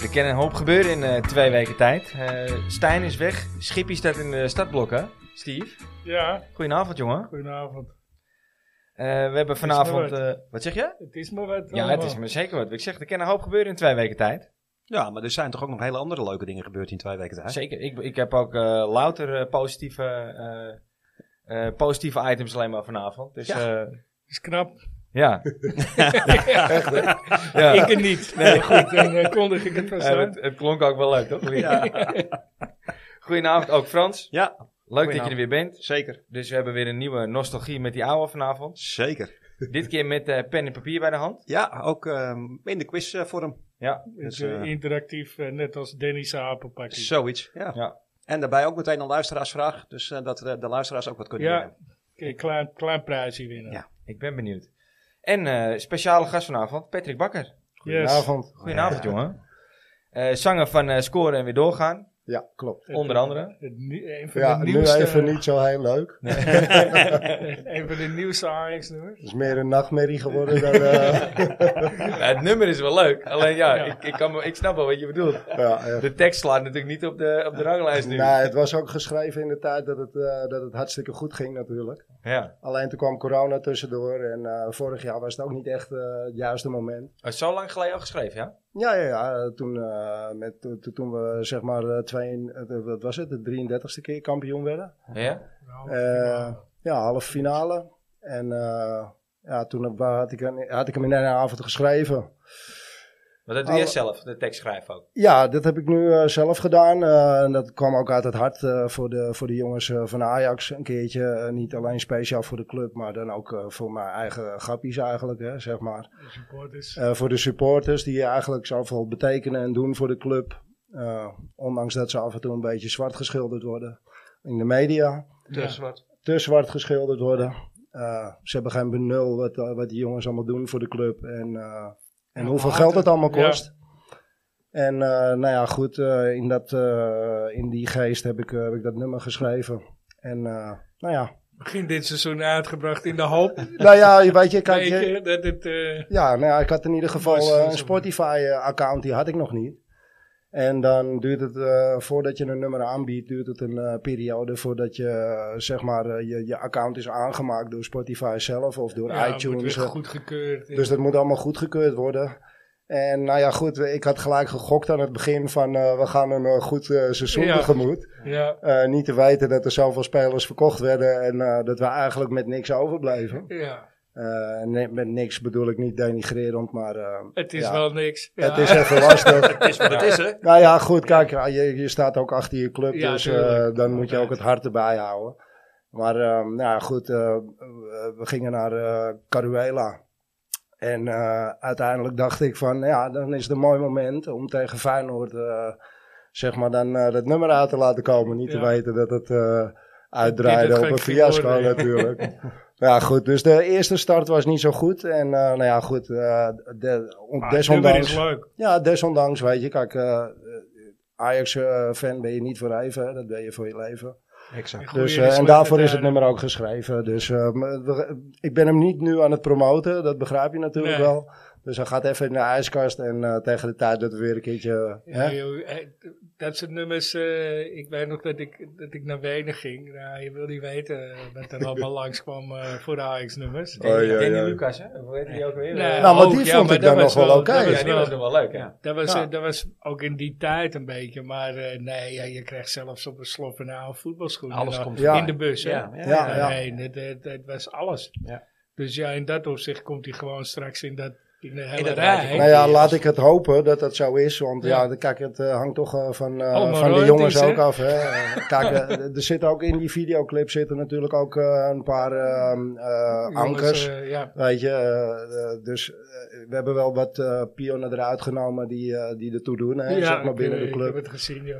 Er kan een hoop gebeuren in eh, twee weken tijd. Eh, Stijn is weg. Schippie staat in de stadblokken. Steve, Ja, goedenavond jongen. goedenavond. Eh, we hebben maar vanavond... wat. eh, wat zeg je? Het is maar wat. Ja, het is me zeker wat. Ik zeg, er kan een hoop gebeuren in twee weken tijd. Ja, maar er zijn toch ook nog hele andere leuke dingen gebeurd in twee weken tijd. Zeker. Ik, ik heb ook eh, louter eh, positieve, eh, eh, positieve items alleen maar vanavond. Dus ja. is knap. ja. Echt, hè? ja. Ik het niet. Nee, goed, dan eh, kondig ik het vast Eh, aan. het, het klonk ook wel leuk, toch? Goedenavond ook Frans. Ja, Leuk dat je er weer bent. zeker. Dus we hebben weer een nieuwe nostalgie met die oude vanavond. Zeker. Dit keer met eh, pen en papier bij de hand. Ja, ook ehm, in de quizvorm. Ja, Het is Dus, eh, eh, interactief, eh, net als Dennis' apenpakje. Zoiets, ja. Ja. En daarbij ook meteen een luisteraarsvraag, dus eh, dat eh, de luisteraars ook wat kunnen Ja. winnen. Een klein, klein prijsje winnen. Ja. ik ben benieuwd. En eh, speciale gast vanavond, Patrick Bakker. Goedenavond. Goedenavond, jongen. Eh, zanger van eh, Scoren en Weer Doorgaan, Ja, klopt. onder andere. Het, nie- eh, een van Ja, de nu nieuwste, even niet zo heel leuk. Een van de nieuwste AX-nummers. Het is meer een nachtmerrie geworden dan... eh, het nummer is wel leuk, alleen ja, Ja. Ik, ik, kan, me- ik snap wel wat je bedoelt. ja, echt. De tekst slaat natuurlijk niet op de, op de ranglijst nu. Nee, het was ook geschreven in de tijd dat het, eh, dat het hartstikke goed ging natuurlijk. Ja. Alleen toen kwam corona tussendoor en eh, vorig jaar was het ook niet echt eh, het juiste moment. Oh, zo lang geleden al geschreven, ja? Ja, ja, ja. eh, Toen, eh, met, to- to- toen we zeg maar eh, twee, eh, wat was het, de 33ste keer kampioen werden. Ja? Nou, Eh, ja, halve finale. En eh, ja, toen heb- had ik, een- had ik hem in één avond geschreven. Want dat doe je Oh. zelf, de tekst schrijven ook. Ja, dat heb ik nu eh, zelf gedaan. Eh, en dat kwam ook uit het hart eh, voor, de, voor de jongens eh, van Ajax een keertje. Eh, niet alleen speciaal voor de club, maar dan ook eh, voor mijn eigen grappies eigenlijk, hè, zeg maar. de supporters. Eh, voor de supporters die eigenlijk zoveel betekenen en doen voor de club. Eh, ondanks dat ze af en toe een beetje zwart geschilderd worden in de media. Dus wat. Te zwart geschilderd worden. Eh, ze hebben geen benul wat, eh, wat die jongens allemaal doen voor de club. En, eh, en Ja, hoeveel later. geld het allemaal Ja. kost. En eh, nou ja, goed, eh, in, dat, eh, in die geest heb ik, eh, heb ik dat nummer geschreven. En eh, nou ja, Begin dit seizoen uitgebracht in de hoop. nou ja, je weet je, kijk, Kijk, je, dat het... eh, ja, nou ja, ik had in ieder geval Mooi, eh, zo- een zo- Spotify-account, die had ik nog niet. En dan duurt het, eh, voordat je een nummer aanbiedt, duurt het een eh, periode voordat je, eh, zeg maar, eh, je, je account is aangemaakt door Spotify zelf of door ja, wordt iTunes. weer eh. goedgekeurd. Dus dat moet allemaal goedgekeurd worden. En nou ja, goed, ik had gelijk gegokt aan het begin van eh, we gaan een eh, goed eh, seizoen Ja. tegemoet. ja. Eh, niet te weten dat er zoveel spelers verkocht werden en eh, dat we eigenlijk met niks overblijven. ja, Eh, nee, met niks bedoel ik niet denigrerend, maar eh, het is Ja. wel niks. Ja. het is even lastig. Het is wat het is, hè? nou ja, goed, kijk, ja, je, je staat ook achter je club, Ja, dus eh, tuurlijk. dan moet je ook het hart erbij houden. Maar eh, nou ja, goed, eh, we gingen naar eh, Caruela. En eh, uiteindelijk dacht ik van, ja, dan is het een mooi moment om tegen Feyenoord, eh, zeg maar, dan eh, dat nummer uit te laten komen. Niet Ja. te weten dat het eh uitdraaide Dit op het een gek ging fiasco worden. natuurlijk. ja, goed, dus de eerste start was niet zo goed. En eh, nou ja, goed, eh, de, on- Ah, het nummer desondanks... is leuk. Ja, desondanks, weet je, kijk, eh, Ajax-fan eh, ben je niet voor even, hè, dat ben je voor je leven. Exact. Goeie dus, eh, en slechte daarvoor is het tijden. nummer ook geschreven. Dus eh, maar we- ik ben hem niet nu aan het promoten, dat begrijp je natuurlijk Nee. wel. Dus hij gaat even in de ijskast en eh, tegen de tijd dat we weer een keertje... hè? Ja, joh, eh, dat soort nummers, eh, ik weet nog dat ik, dat ik naar Wenen ging. Nou, je wil niet weten eh, wat er allemaal langskwam eh voor de Ajax-nummers. Oh, ja, Danny ja. Lucas, hè? Hoe heet die ook weer? Nee. Eh, nou, maar ook, die oh, ja, vond maar ik dat dan nog was wel wel- oké. dat was ja, die was nog wel leuk, ja. Dat, was, Ja. eh, dat was ook in die tijd een beetje. Maar eh, nee, ja, je krijgt zelfs op een slof een oude voetbalschoen. Alles En, komt Ja. in de bus, hè? Ja, ja, Ja, Ja, ja. Nee, dat, dat, dat was alles. Ja. Dus ja, in dat opzicht komt hij gewoon straks in, dat, in de hele dat rij. rijtje. Nou ja, Als- laat ik het hopen dat dat zo is. Want Ja. ja, de- kijk, het eh, hangt toch eh, van, eh, Allemaal van de royalties, jongens hè? ook af. Hè? Eh, kijk, eh, er zitten ook in die videoclip zitten natuurlijk ook eh, een paar ehm, eh, Jongens, ankers. eh, ja. Weet je, eh, eh, dus eh, we hebben wel wat eh, pionnen eruit genomen die, eh die ertoe doen, hè, Ja, zeg maar ik, binnen de eh, Ik club. heb het gezien, ja.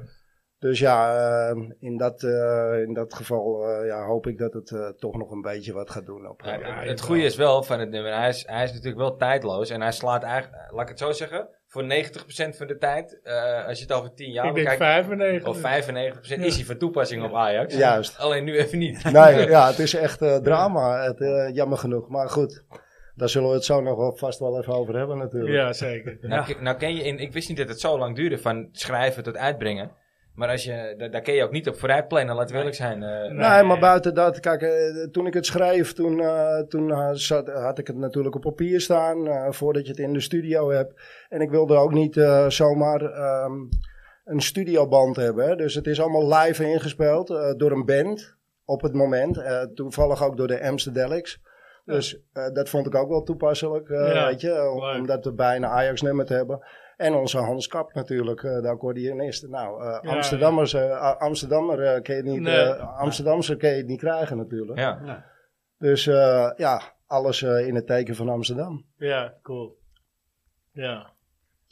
Dus ja, eh, in, dat, eh, in dat geval eh, ja, hoop ik dat het eh, toch nog een beetje wat gaat doen. Op, Ja, eh, het- Ja, het jawel. goede is wel van het nummer, hij is, hij is natuurlijk wel tijdloos en hij slaat eigenlijk, eh, laat ik het zo zeggen, voor 90% van de tijd, eh, als je het over 10 jaar ik denk bekijkt, 95. of 95% is hij van toepassing op Ajax. Juist. Alleen nu even niet. Nou, Nee, ja, het is echt eh, drama, het, eh, jammer genoeg. Maar goed, Daar zullen we het zo nog wel vast wel even over hebben natuurlijk. Ja, zeker. Nou, ke- nou ken je, in, ik wist niet dat het zo lang duurde van schrijven tot uitbrengen. Maar als je, da- daar kun je ook niet op vooruit plannen, laten we eerlijk zijn. eh. Nee. Nee, maar buiten dat, kijk, eh, toen ik het schreef, toen, eh, toen eh, zat, had ik het natuurlijk op papier staan, eh, voordat je het in de studio hebt. En ik wilde ook niet eh, zomaar ehm, een studioband hebben. hè. Dus het is allemaal live ingespeeld eh, door een band op het moment. Eh, toevallig ook door de Amsterdelics. Dus eh, dat vond ik ook wel toepasselijk, eh, Ja, weet je, om, leuk. om dat erbij een Ajax-nummer te hebben. En onze Hans Kap natuurlijk, eh, de accordeonist. Nou, eh, Ja, Amsterdammers, eh, A- Amsterdammer eh, ken je niet, Nee. eh, Amsterdamse kun je het niet krijgen natuurlijk. ja. Dus eh, ja, alles eh, in het teken van Amsterdam. Ja, cool. Ja.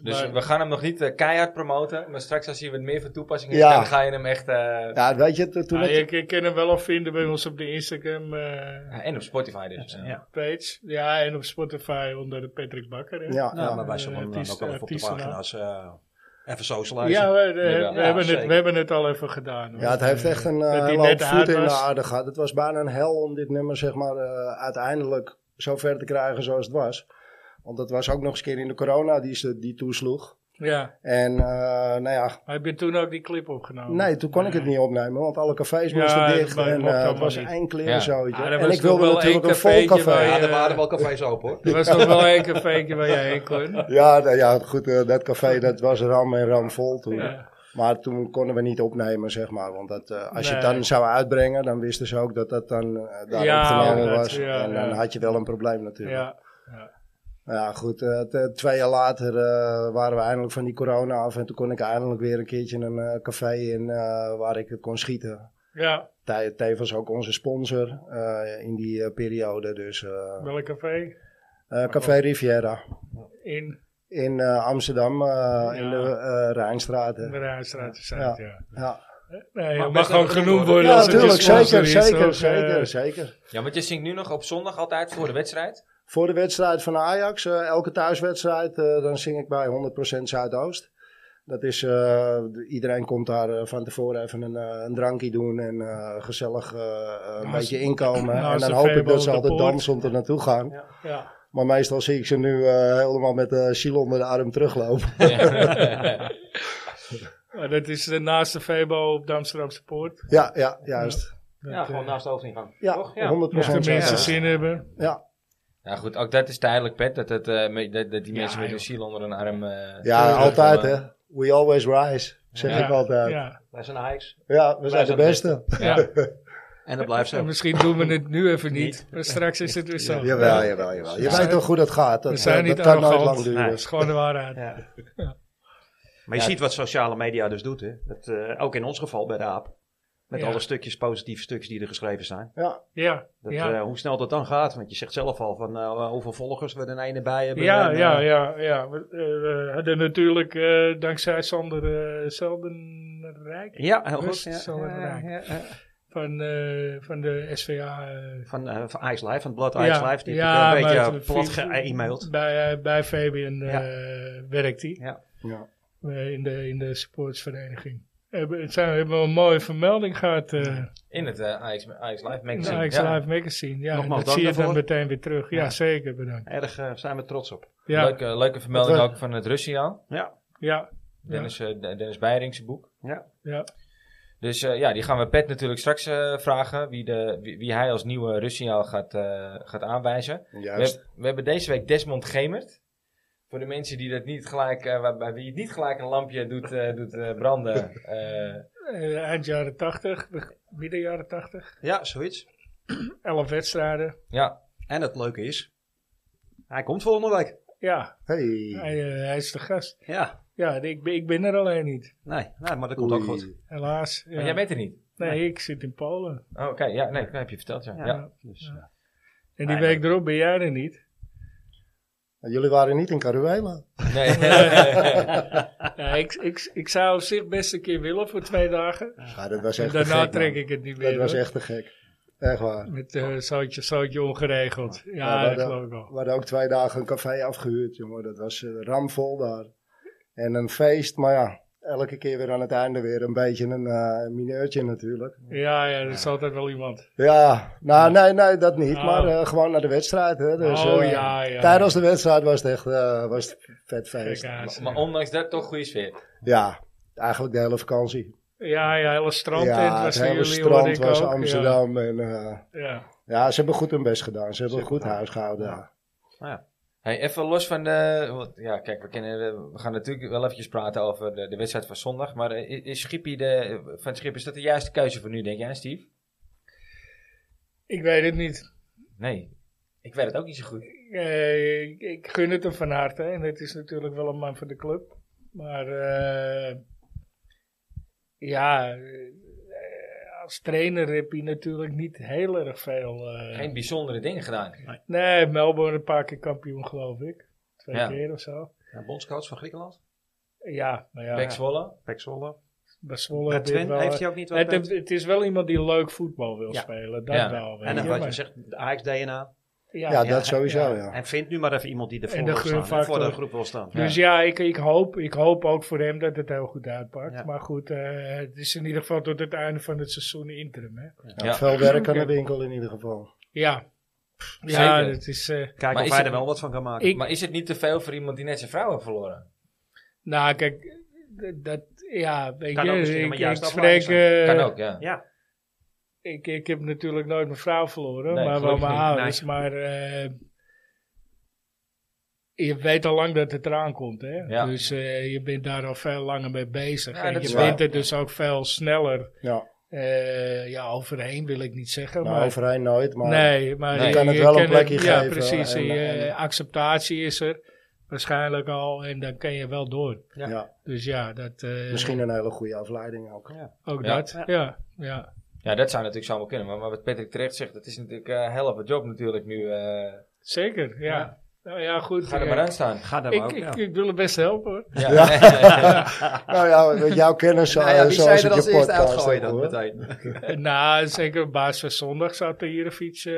Dus Maar- we gaan hem nog niet eh, keihard promoten. Maar straks als hij wat meer van toepassing is, Ja. dan ga je hem echt... eh, Ja, weet je, t- toen Ah, het- je, je kan hem wel al vinden bij ons op de Instagram eh, En op Spotify dus. Ja. eh. Ja. page. Ja, en op Spotify onder Patrick Bakker. Hè? ja, Nou, ja. maar wij zullen eh, hem dan ook artiest- wel even op de artiestennaam. pagina's eh, even socializen. Ja, we, we- Jawel. we Ja, hebben het, zeker. we hebben het al even gedaan. hoor. Ja, het heeft echt een Dat eh die hele hoop net voet uit in de was. aarde gehad. Het was bijna een hel om dit nummer zeg maar eh, uiteindelijk zo ver te krijgen zoals het was. Want dat was ook nog eens een keer in de corona die, ze- die toesloeg. Ja. En eh, nou ja, Maar heb je toen ook die clip opgenomen? nee, toen kon ik het niet opnemen, want alle cafés Ja, moesten dat dicht. mocht En eh, allemaal het was niet. één Ja. kleren zootje. Ah, er en was ik wilde nog wel natuurlijk één een vol cafeetje café. waar Ja, je- er waren wel cafés open hoor. Er was nog wel één cafeetje waar jij heen kon. Ja, nou ja, goed, eh, dat café dat was ram en ram vol toen. Ja. Maar toen konden we niet opnemen, zeg maar. Want dat, eh, als je het Nee. dan zou uitbrengen, dan wisten ze ook dat dat dan eh, daar Ja, opgenomen dat- was. ja, en dan ja. had je wel een probleem natuurlijk. Ja, Ja. goed, eh, t- twee jaar later eh, waren we eindelijk van die corona af. En toen kon ik eindelijk weer een keertje een eh, café in eh, waar ik het kon schieten. ja, Te- Tevens ook onze sponsor eh, in die eh, periode. Dus eh, welk café? eh, Café Riviera In in eh, Amsterdam, eh, in de eh, Rijnstraat. hè. de Rijnstraat zuid ja. Ja. Nee, Mag het mag best gewoon ook genoemd genoemd worden worden. Ja, als het je natuurlijk. sponsor Zeker, is, zeker, toch? zeker, Eh, zeker. ja, want je zingt nu nog op zondag altijd voor de wedstrijd. Voor de wedstrijd van Ajax, eh, elke thuiswedstrijd, eh, dan zing ik bij 100% Zuidoost. Dat is, eh, iedereen komt daar eh, van tevoren even een, eh, een drankje doen en eh, gezellig eh, een Naast- beetje inkomen. en naast dan de hoop ik Febo dat ze de altijd Poort. dansend er naartoe gaan. Ja. Maar meestal zie ik ze nu eh, helemaal met eh Chiel onder de arm teruglopen. Ja. Maar dat is de naaste Febo op de Amsterdamse Poort. ja, ja, juist. Dat, gewoon eh, naast de hoofdingang. gaan. Ja, Toch? Ja. 100% Als de mensen Zuidoost. zin hebben. Ja. Ja, goed, ook dat is tijdelijk, Pet. Dat, het, eh, me- dat, dat die Ja, mensen met hun joh. ziel onder hun arm... eh, ja, terugkomen. altijd hè. We always rise, zeg ja. ik altijd. Ja, Ja. Wij zijn Ajax. we zijn de zijn de beste. beste. Ja. En dat blijft En zo. misschien doen we het nu even niet. Maar straks is het weer zo. Jawel, jawel, jawel. Je Ja. weet toch hoe dat gaat. Dat, We zijn dat- niet dat kan nooit arrogant. lang Nee, duren. Dat is gewoon de waarheid. Ja. Maar je ziet wat sociale media dus doet. Hè? Dat, eh, ook in ons geval bij de AAP. Met Ja. alle stukjes, positieve stukjes die er geschreven zijn. Ja, Ja, Dat, ja. eh, hoe snel dat dan gaat. Want je zegt zelf al van eh, hoeveel volgers we er ene bij hebben. Ja, en, eh, ja, ja, ja. We, eh, we hadden natuurlijk eh, dankzij Sander eh Zeldenrijk Ja, heel goed. Rust Ja, zal het Ja, raken. ja, ja. van, eh, van de SVA. eh, Van, eh van Ice Live, van het blad Ja, Ice Live. Die ja, heb ik eh, maar een beetje het- eh, plat vind- ge-e-maild. bij, eh, bij Fabian eh, Ja. werkt hij ja. eh, in, de, in de supportsvereniging. Hebben, het zijn, hebben we een mooie vermelding gehad eh, In het eh, Ajax, Ajax Live in magazine. de Ajax ja. Live magazine. Ja, en Nogmaals dat dank zie je dan daarvoor. meteen weer terug. Ja, Ja. zeker bedankt. Erg eh, zijn we trots op. Ja, Leuke, eh, leuke vermelding Wat we- ook van het Russiaal. Ja, ja, ja, Dennis, eh, D- Dennis Beiringse boek. ja. ja. Dus eh, ja, die gaan we Pet natuurlijk straks eh, vragen. Wie, de, wie, wie hij als nieuwe Russiaal gaat, eh, gaat aanwijzen. We, Juist. heb- we hebben deze week Desmond Gemert. Voor de mensen die dat niet gelijk, eh, waar- bij wie het niet gelijk een lampje doet, eh, doet eh, branden. eh, Eh, eind jaren 80, beg- midden jaren 80. ja zoiets. 11 wedstrijden. ja, En het leuke is, hij komt volgende week. Ja, Hey. hij, eh, hij is de gast. Ja, Ja, ik, ben- ik ben er alleen niet. nee, nee maar dat komt ook goed. Oei. Helaas. ja. maar jij bent er niet. Nee, ik zit in Polen. Oh, Oké, ja, nee, dat heb je verteld. Ja. Ja. Ja. Dus, En die Ah, week erop ben jij er niet. Jullie waren niet in Caruela. Nee. Ja, ik, ik, ik zou op zich best een keer willen voor twee dagen. Ja, dat was En echt daarna te gek, trek man. ik het niet meer. nou. Dat was hoor. echt te gek. Echt waar. Met eh zoutje, zoutje ongeregeld. Ja, Ja, maar dat dat- geloof ik We wel. hadden ook twee dagen een café afgehuurd, jongen. Dat was eh, ramvol daar. En een feest, maar ja. elke keer weer aan het einde weer een beetje een eh, mineurtje natuurlijk. Ja, ja, er is altijd wel iemand. Ja, nou nee, nee, dat niet. Oh. Maar eh, gewoon naar de wedstrijd. Hè. Dus, oh eh, ja, ja. Tijdens de wedstrijd was het echt eh, was het vet feest. Gekkaas. Maar ondanks dat toch goede sfeer. Ja, eigenlijk de hele vakantie. Ja, ja, hele strandtent ja, was het voor hele jullie, hoorde strand ik was ook. Amsterdam. En, eh, Ja, ja. ja, ze hebben goed hun best gedaan. Ze hebben Zeker. goed huis gehouden. Ja. Hey, even los van de... want Ja, kijk, we, kennen, de- we gaan natuurlijk wel eventjes praten over de, de wedstrijd van zondag. Maar eh, is Schippie de, van Schip, is dat de juiste keuze voor nu, denk jij, Steve? Ik weet het niet. Nee, ik weet het ook niet zo goed. Eh, ik, ik gun het hem van harte. En het is natuurlijk wel een man van de club. Maar eh, ja, eh, als trainer heb je natuurlijk niet heel erg veel. eh, Geen bijzondere dingen gedaan. Nee, Melbourne een paar keer kampioen, geloof ik. Twee Ja. keer of zo. Ja, eh, bondscoach van Griekenland. Ja, maar ja, Pek Zwolle. Pek Zwolle. bij Zwolle Bij heb Oh, je Twente wel- heeft hij ook niet wat het, bij- het is wel iemand die leuk voetbal wil Ja. spelen. Dat Ja. wel. weet En dan je, wat je maar- zegt, de AX-DNA. ja. Ja, dat sowieso, ja. En vind nu maar even iemand die ervoor En de wil staan. hè, Voor gunfactor. de groep wil staan. Dus ja, ik, ik, hoop, ik hoop ook voor hem dat het heel goed uitpakt. Ja. Maar goed, eh, het is in ieder geval tot het einde van het seizoen interim. Hè? Ja. Veel werk aan de winkel in ieder geval. Ja. Ja, Zeker. het is... eh, Kijken Maar of is hij het- er wel wat van kan maken. ik, Maar is het niet te veel voor iemand die net zijn vrouw heeft verloren? nou, kijk... d- Dat, ja, weet Kan je, ook misschien ik, maar ik juist spreek... afleiding eh, kan ook, ja. Ja, ik, ik heb natuurlijk nooit mijn vrouw verloren, Nee, maar wel gelukkig mijn niet. ouders. Maar eh, je weet al lang dat het eraan komt, hè? Ja. Dus eh, je bent daar al veel langer mee bezig. Ja, en dat je is bent waar. er dus ook veel sneller Ja, eh, ja, overheen, wil ik niet zeggen. nou, maar, overheen nooit, maar nee, maar Nee. je kan het wel een plekje ja, geven. precies. en- je, eh, en- acceptatie is er waarschijnlijk al en dan kan je wel door. ja. Dus ja, dat, eh, misschien een hele goede afleiding ook. ook Ja. dat. Ja, ja. Ja, dat zou natuurlijk zomaar kunnen. Maar, maar wat Patrick terecht zegt, dat is natuurlijk eh heel op het job natuurlijk nu. eh, zeker. Ja. Ja. Nou ja, goed. ga er eh, maar aan staan. ga daar Ik, maar ook. ik, ja. ik wil het best helpen hoor. Ja. Nou ja, met jouw kennis Nou eh, ja, wie zoals zei ik er je als podcast eerste uitgooien ook dan hoor. meteen? Eh, nou, zeker op basis van zondag zat er hier een fiets eh,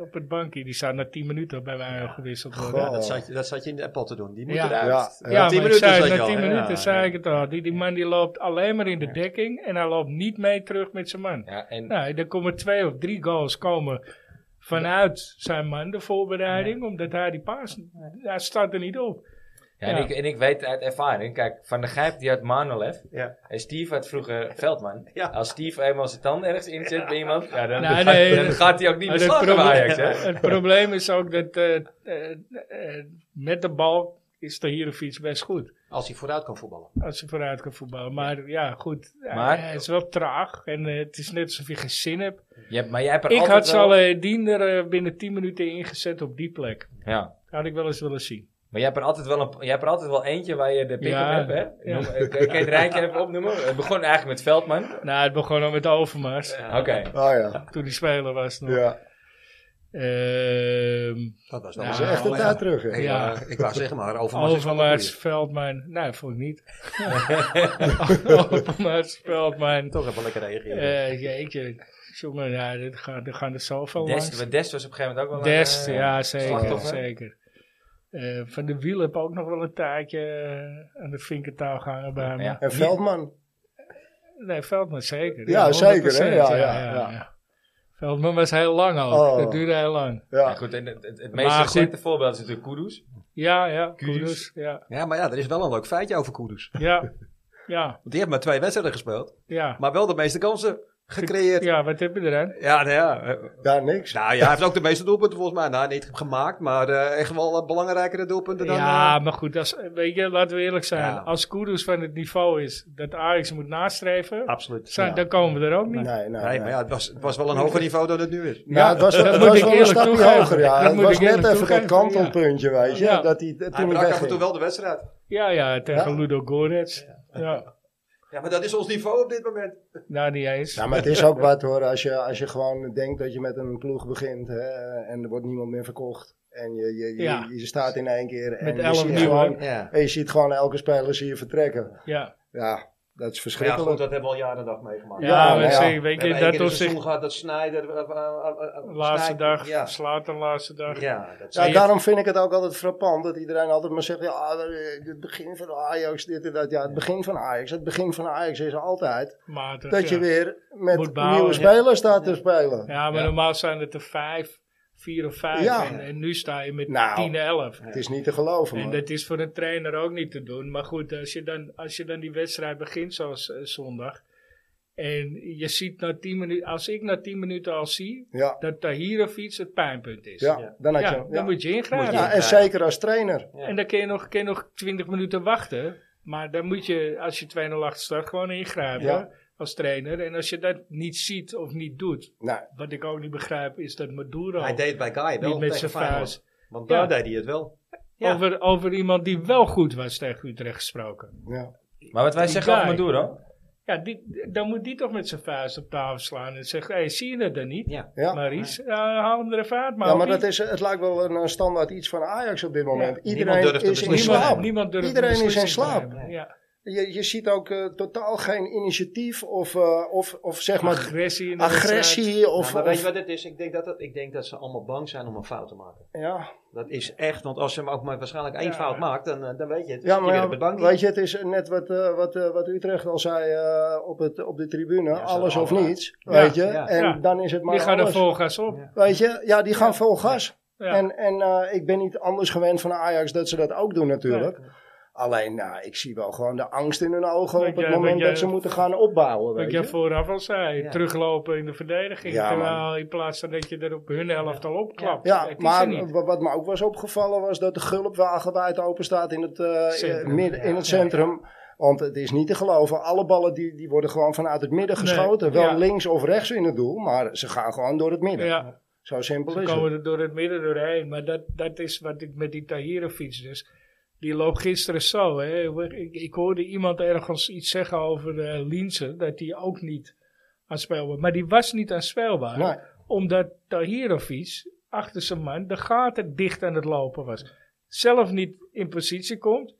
op het bankje. Die zou na 10 minuten bij mij al gewisseld worden. Goh. Ja, dat, zat, je- dat zat je in de appel te doen. Die moet Ja. eruit. Oh, Ja, Ja, maar ik zat zei, je na al, 10 hè? minuten Ja. zei ik het al. Die, die man die loopt alleen maar in de dekking en hij loopt niet mee terug met zijn man. Ja, en Nou, er komen twee of drie goals komen vanuit zijn man, de voorbereiding, omdat hij die paas, hij staat er niet op. ja, en, ja. Ik, en ik weet uit ervaring, kijk, Van der Gijp die had Manolev. Ja. En Steve had vroeger Veldman. Ja. Als Steve eenmaal zijn tand ergens inzet bij iemand, ja, dan, Nou, dan nee, gaat, dan dat- gaat hij ook niet Maar meer slagen bij probleem- Ajax. Hè? het probleem is ook dat eh, eh, eh, met de bal is de Hirofiets best goed. Als hij vooruit kan voetballen. Als ze vooruit kan voetballen. Maar ja, goed. eh, Maar- hij, hij is wel traag. En eh, het is net alsof je geen zin hebt. Je hebt, maar jij hebt er Ik altijd had wel- Saladin er eh, binnen 10 minuten ingezet op die plek. Ja. Had ik wel eens willen zien. Maar jij hebt, er altijd wel een, jij hebt er altijd wel eentje waar je de pik Ja. op hebt, hè? Noem, eh, Kun je het rijtje even opnoemen? Het begon eigenlijk met Veldman. Nou, het begon al met Overmars. Oké. Oh ja, Toen die speler was nog. ja. Ehm, Dat was Ja, Dat is echt een maar- tijd terug. hè. Ik, Ja. wou, ik wou zeggen maar, Oh, Overmars is wel een Overmars, goeie. Veldman. Nee, vond ik niet. Overmars, Veldman. Toch even lekker reageren. Eh, jeetje, jongen, ja, dit gaan, er gaan er zoveel Dest, langs. maar Dest was op een gegeven moment ook wel een... Dest, eh, ja, zeker, slachtoffer. zeker. Eh, van de wiel heb ook nog wel een taartje eh, aan de vinkertaal gehangen bij hem. Ja. En Veldman. Nee, Veldman zeker. Ja, zeker, hè? 100%, Ja, ja, ja. Veldman was heel lang ook. Oh. Dat duurde heel lang. Ja, Ja, goed, en het, het, het Maar meest goed. recente voorbeeld is natuurlijk Kudus. Ja, ja, Kudus. Kudus. Ja, Ja, maar ja, er is wel een leuk feitje over Kudus. ja, ja, Want die heeft maar twee wedstrijden gespeeld. ja. Maar wel de meeste kansen gecreëerd. Ja, Ja, wat heb je er aan? nou ja. eh, daar niks. Nou ja, hij heeft ook de meeste doelpunten volgens mij. Nou, niet gemaakt, maar eh, echt wel eh, belangrijkere doelpunten dan... Ja, eh, maar goed, als, weet je, laten we eerlijk zijn. Ja. Als Kudus van het niveau is dat Ajax moet nastreven, Ah, absoluut. zijn, Ja. dan komen we er ook niet. Nee, nee, Nee, nee. maar eh, ja, het was, het was wel een hoger niveau dan het nu is. Nou, het was, dat het moet was ik wel een eerlijk stapje toegeven. hoger, ja. Dat het moet was ik eerlijk net even dat toegeven, ja. kantelpuntje, weet je. Ja. Dat hij, dat Hij toen hij brak af en wegging. toe wel de wedstrijd. Ja, ja, tegen Ja. Ludo Gorets. Ja. Ja, maar dat is ons niveau op dit moment. Nou, niet eens. Ja, maar het is ook wat hoor, als je, als je gewoon denkt dat je met een ploeg begint hè, en er wordt niemand meer verkocht. En je, je, je, Ja. je staat in één keer en Met je elf ziet nieuwe. gewoon, Ja. en je ziet gewoon elke speler zie je vertrekken. Ja. Ja, Dat is Maar ja, verschrikkelijk. goed, dat hebben we al jaren en dag meegemaakt. Ja, Ja, maar ja. zie, weet We je, hebben één dat keer een op zich seizoen gehad dat Snijder... eh, eh, eh, laatste Sneijder- dag, Ja, slaat de laatste dag. ja dat Ja, zijn- daarom vind ik het ook altijd frappant dat iedereen altijd maar zegt: ja, eh, het begin van Ajax, dit en dat. Ja, het begin van Ajax. Het begin van Ajax is altijd Maar dat- dat je ja. weer met Moet bouwen, nieuwe ja. spelers staat te spelen. Ja, maar Ja. normaal zijn het er vijf, vier of vijf. Ja. En, en nu sta je met Nou. tien, elf. Het is niet te geloven, En man. dat is voor een trainer ook niet te doen. Maar goed, als je dan, als je dan die wedstrijd begint zoals eh, zondag. En je ziet na tien minuten, als ik na tien minuten al zie, Ja, dat Tahirovic het pijnpunt is. ja, dan had Ja, je. dan Ja. moet je ingrijpen. Moet je Ja, en zeker als trainer. Ja. En dan kun je, nog, kun je nog 20 minuten wachten. Maar dan moet je, als je 2-0 achter staat, gewoon ingrijpen Ja. als trainer. En als je dat niet ziet of niet doet, Nou, wat ik ook niet begrijp, is dat Maduro Hij deed bij Guy wel niet met zijn tegen vuist. Feyenoord. Want Ja. daar deed hij het wel. Ja. Over, over iemand die wel goed was tegen Utrecht gesproken. ja. Maar wat wij Die zeggen over guy. Maduro. Ja, die, dan moet die toch met zijn vuist op tafel slaan en zeggen: hey, zie je dat dan niet? Ja. Ja. Maries, Ja, haal hem er even uit. ja, maar Maukie. dat is, het lijkt wel een eh, standaard iets van Ajax op dit moment. durft Iedereen te is in beslissen. slaap. niemand, niemand durft Iedereen een is in beslissing te slaap. nemen. Ja. Je, je ziet ook eh, totaal geen initiatief of, eh, of, of zeg maar Agressie. in de wedstrijd. agressie. Of, Nou, maar weet of- je wat het is? Ik denk dat, dat, ik denk dat ze allemaal bang zijn om een fout te maken. ja. Dat is echt, want als ze hem ook maar waarschijnlijk één Ja. fout maakt, dan, eh, dan weet je het. Dus Dan zit Ja, je maar weer ja, op de bank. weet je, het is net wat, eh, wat, eh, wat Utrecht al zei eh, op, het, op de tribune. ze alles of allemaal. niets, Ja, weet je. ja. en Ja. dan is het maar Die gaan er alles. vol gas op. Ja. Weet je, ja, die gaan vol gas. Ja. En, en eh, ik ben niet anders gewend van Ajax dat ze dat ook doen natuurlijk. Alleen, nou, ik zie wel gewoon de angst in hun ogen Weet op het jij- moment weet jij- dat ze moeten gaan opbouwen, Wat weet jij je. vooraf al zei, Ja. teruglopen in de verdediging. Ja, terwijl in plaats van dat je er op hun helft al opklapt. Ja, Het is er maar niet. wa- wat me ook was opgevallen was dat de gulpwagen wijd open staat in het, eh, Centrum, eh, midden, in het ja. centrum. Want het is niet te geloven. Alle ballen die, die worden gewoon vanuit het midden Nee, geschoten. Wel ja. links of rechts in het doel, maar ze gaan gewoon door het midden. Ja, Zo simpel ze is het. komen er door het midden doorheen. Maar dat, dat is wat ik met die Tahirovic dus... Die loopt gisteren zo. Hè. Ik, ik hoorde iemand ergens iets zeggen over eh Linsen. Dat die ook niet aanspeelbaar Maar die was niet aanspeelbaar. Nee. Omdat Tahirovic achter zijn man de gaten dicht aan het lopen was. Zelf niet in positie komt.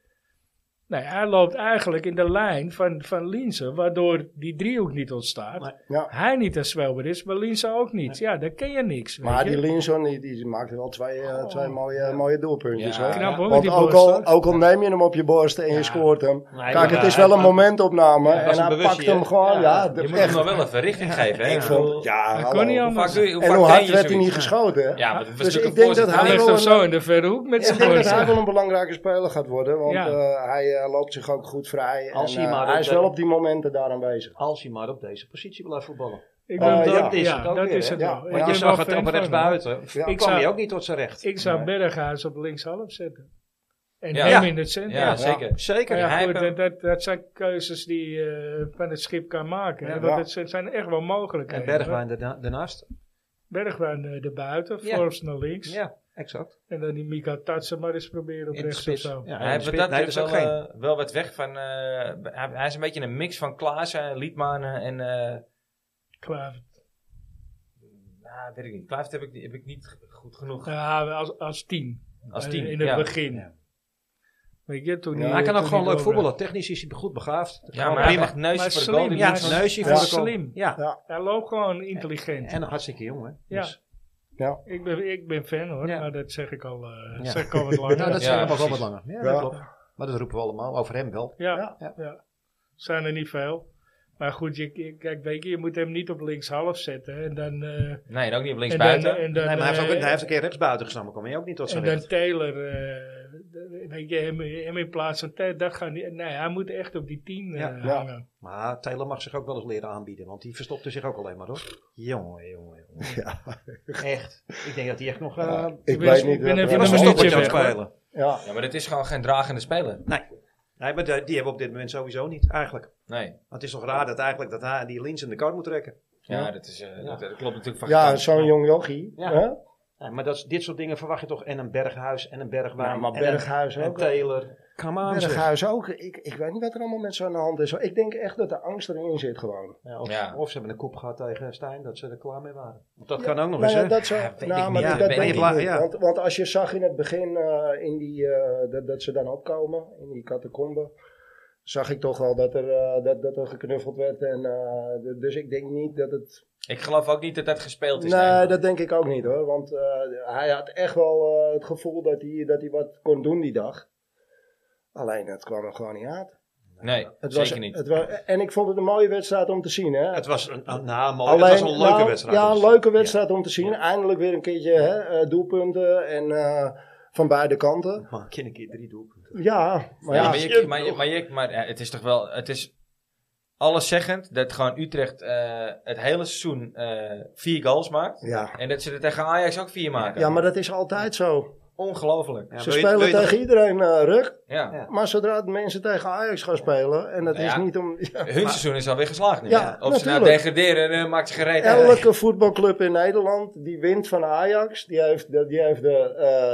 Nee, hij loopt eigenlijk in de lijn van, van Linse, waardoor die driehoek niet ontstaat. Maar- Ja. Hij niet een zwelber is, maar Linse ook niet. Ja, dan ken je niks. weet Maar je. Oh, die Linson die, die maakte wel twee, eh, twee mooie, mooie doelpuntjes. Ja. hoor. Knap hoor, met Want die ook borst, al, hoor. ook al neem je hem op je borst en je Ja. scoort hem. Nee, Kijk, maar het is hij- wel een momentopname. Ja, was en een hij bewustzijn, pakt hem hè? Ja, gewoon. Ja, Je moet hem echt. nog wel even richting geven. Hè? Ik Ik bedoel, vond- ja, dat hallo. kon niet Hoe vaak anders. doe je- hoe En vaak hoe train hard je werd hij zoiets? niet geschoten? hè? Ja, maar het was Dus natuurlijk een ik denk dat voorzet. Hij hij ligt wel hem een, zo in de verre hoek met ik zijn denk dat hij borst. wel een belangrijke speler gaat worden. Want Ja. eh, hij eh, loopt zich ook goed vrij. Als en, hij eh, maar hij op is de- wel op die momenten daar aanwezig. Als hij maar op deze positie blijft voetballen. Ik Eh, ben wel- ja. dat is het ook dat weer, is hè? het Ja, wel. want Ik Want ben je zag wel het op fan rechts van hem. buiten. Ja. Ik kwam zou- hij ook niet tot zijn recht. Ik zou Nee. Berghuis op linkshalf zetten. En Ja. hem Ja. in het centrum. Ja, zeker. Zeker. Maar ja, Hij goed, heeft hem- dat, dat, dat zijn keuzes die eh, van het schip kan maken. hè. Ja. Want het zijn- zijn echt wel En mogelijkheden. hoor. Bergwijn daarna- daarnaast. Bergwijn eh, erbuiten, Ja. Forbes naar links. Ja, exact. En dan die Mika Tatsen maar eens proberen op In de rechts of spits. zo. Ja, hij in de heeft wat spits. dat Nee, dat betreft is ook wel, geen. eh, wel wat weg van... eh, hij, hij is een beetje een mix van Klaassen, Liedmanen en... eh, Klaar. nou, weet ik niet. Kluivert heb ik, heb ik niet goed genoeg Ja, Nou, als, als tien. als Eh, tien. In het ja. begin. Ja. Weet je, toen Ja, die- eh, Hij kan ook toen gewoon die leuk door- voetballen. Technisch is hij goed begaafd. Ja, Gewoon maar hij prima. mag neusje voor de Maar slim, goal. Die Ja, moet- een neusje Hij voor is de goal. slim. Ja. Hij loopt gewoon intelligent. En een hartstikke jong, hè? Ja. Dus- Ja. ik, ben, ik ben fan hoor, Ja. maar dat zeg ik al, eh, Ja. zeg ik al wat langer. Nou, dat Ja, zijn we ook wel wat precies. langer. Ja, Ja. dat klopt. Maar dat roepen we allemaal. Over hem wel. Ja, Ja. ja. Zijn er niet veel. Maar goed, je, je- kijk, weet je, je moet hem niet op linkshalf zetten. En dan, eh Nee, en ook niet op links en dan, buiten. en dan, Nee, maar hij heeft, ook, eh, hij heeft een keer rechts buiten gestaan. kwam hij ook niet tot en zijn dan recht. Taylor, eh, d- weet je, hem, hem in plaats van Taylor, dat gaan die- nee, hij moet echt op die 10 eh, Ja. Ja. hangen. Maar Taylor mag zich ook wel eens leren aanbieden. Want die verstopte zich ook alleen maar, hoor. Jongen, jongen, jongen. Ja. Echt. Ik denk dat hij echt nog... eh Ja, die Ik ben- weet niet. ik ben wat even er een was allemaal- minuutje verstopperd aan het weg, hoor. spelen. Ja. Ja, maar het is gewoon geen dragende speler. Nee, maar die die hebben we op dit moment sowieso niet, eigenlijk. Nee. Want het is toch raar dat eigenlijk dat hij die lins in de kar moet trekken. Ja, Ja. Dat, is, eh, dat, dat klopt natuurlijk van Ja, gedachte. zo'n jong jochie. Ja. hè? Nee, Nou, maar dat, is- dit soort dingen verwacht je toch. En een berghuis en een bergwijn. Ja, maar en Berghuis een, en ook. Taylor. Come on, zeg. Berghuis ook. Ik, ik weet niet wat er allemaal met zo'n hand is. Ik denk echt dat de angst erin zit gewoon. Ja, of, Ja. of ze hebben een koep gehad tegen Stijn, dat ze er klaar mee waren. Want dat Ja, kan ook nog Nou eens, ja, hè? dat zou, Ja, weet nou, ik maar niet. dat- Ja, dat weet denk ik ik niet. niet. Ja. Want, want als je zag in het begin eh, in die, eh, dat, dat ze dan opkomen, in die catacombe. zag ik toch wel dat er, eh, dat, dat er geknuffeld werd. En, eh, d- dus ik denk niet dat het... Ik geloof ook niet dat dat gespeeld is. Nee, nee. dat denk ik ook niet hoor. Want eh, hij had echt wel eh, het gevoel dat hij, dat hij wat kon doen die dag. Alleen het kwam hem gewoon niet uit. Nee, Het zeker was, niet. Het wa- en ik vond het een mooie wedstrijd om te zien. Hè? Het was een, een, nou, Oh, mooi. Alleen, het was een leuke nou, wedstrijd. Ja, een Dus, leuke wedstrijd om te zien. Eindelijk weer een keertje hè, eh, doelpunten en eh, van beide kanten. Ja. Maar een keer drie doelpunten. Ja, maar ja, ja. maar, je, maar, je- maar, je- maar eh, het is toch wel. Het is alleszeggend dat gewoon Utrecht eh, het hele seizoen eh, vier goals maakt. Ja. En dat ze er tegen Ajax ook vier maken. ja, maar dat is altijd zo. Ongelooflijk. Ja. Ja, Ze wil je- spelen wil je tegen iedereen eh, ruk. Ja. Maar zodra de mensen tegen Ajax gaan spelen, en dat Nou is ja. niet om... ja. Hun seizoen is alweer geslaagd. nu, Ja, hè? of ze nou natuurlijk. degraderen, eh, maakt ze gereed. Elke voetbalclub in Nederland die wint van Ajax, die heeft, de, die heeft, de,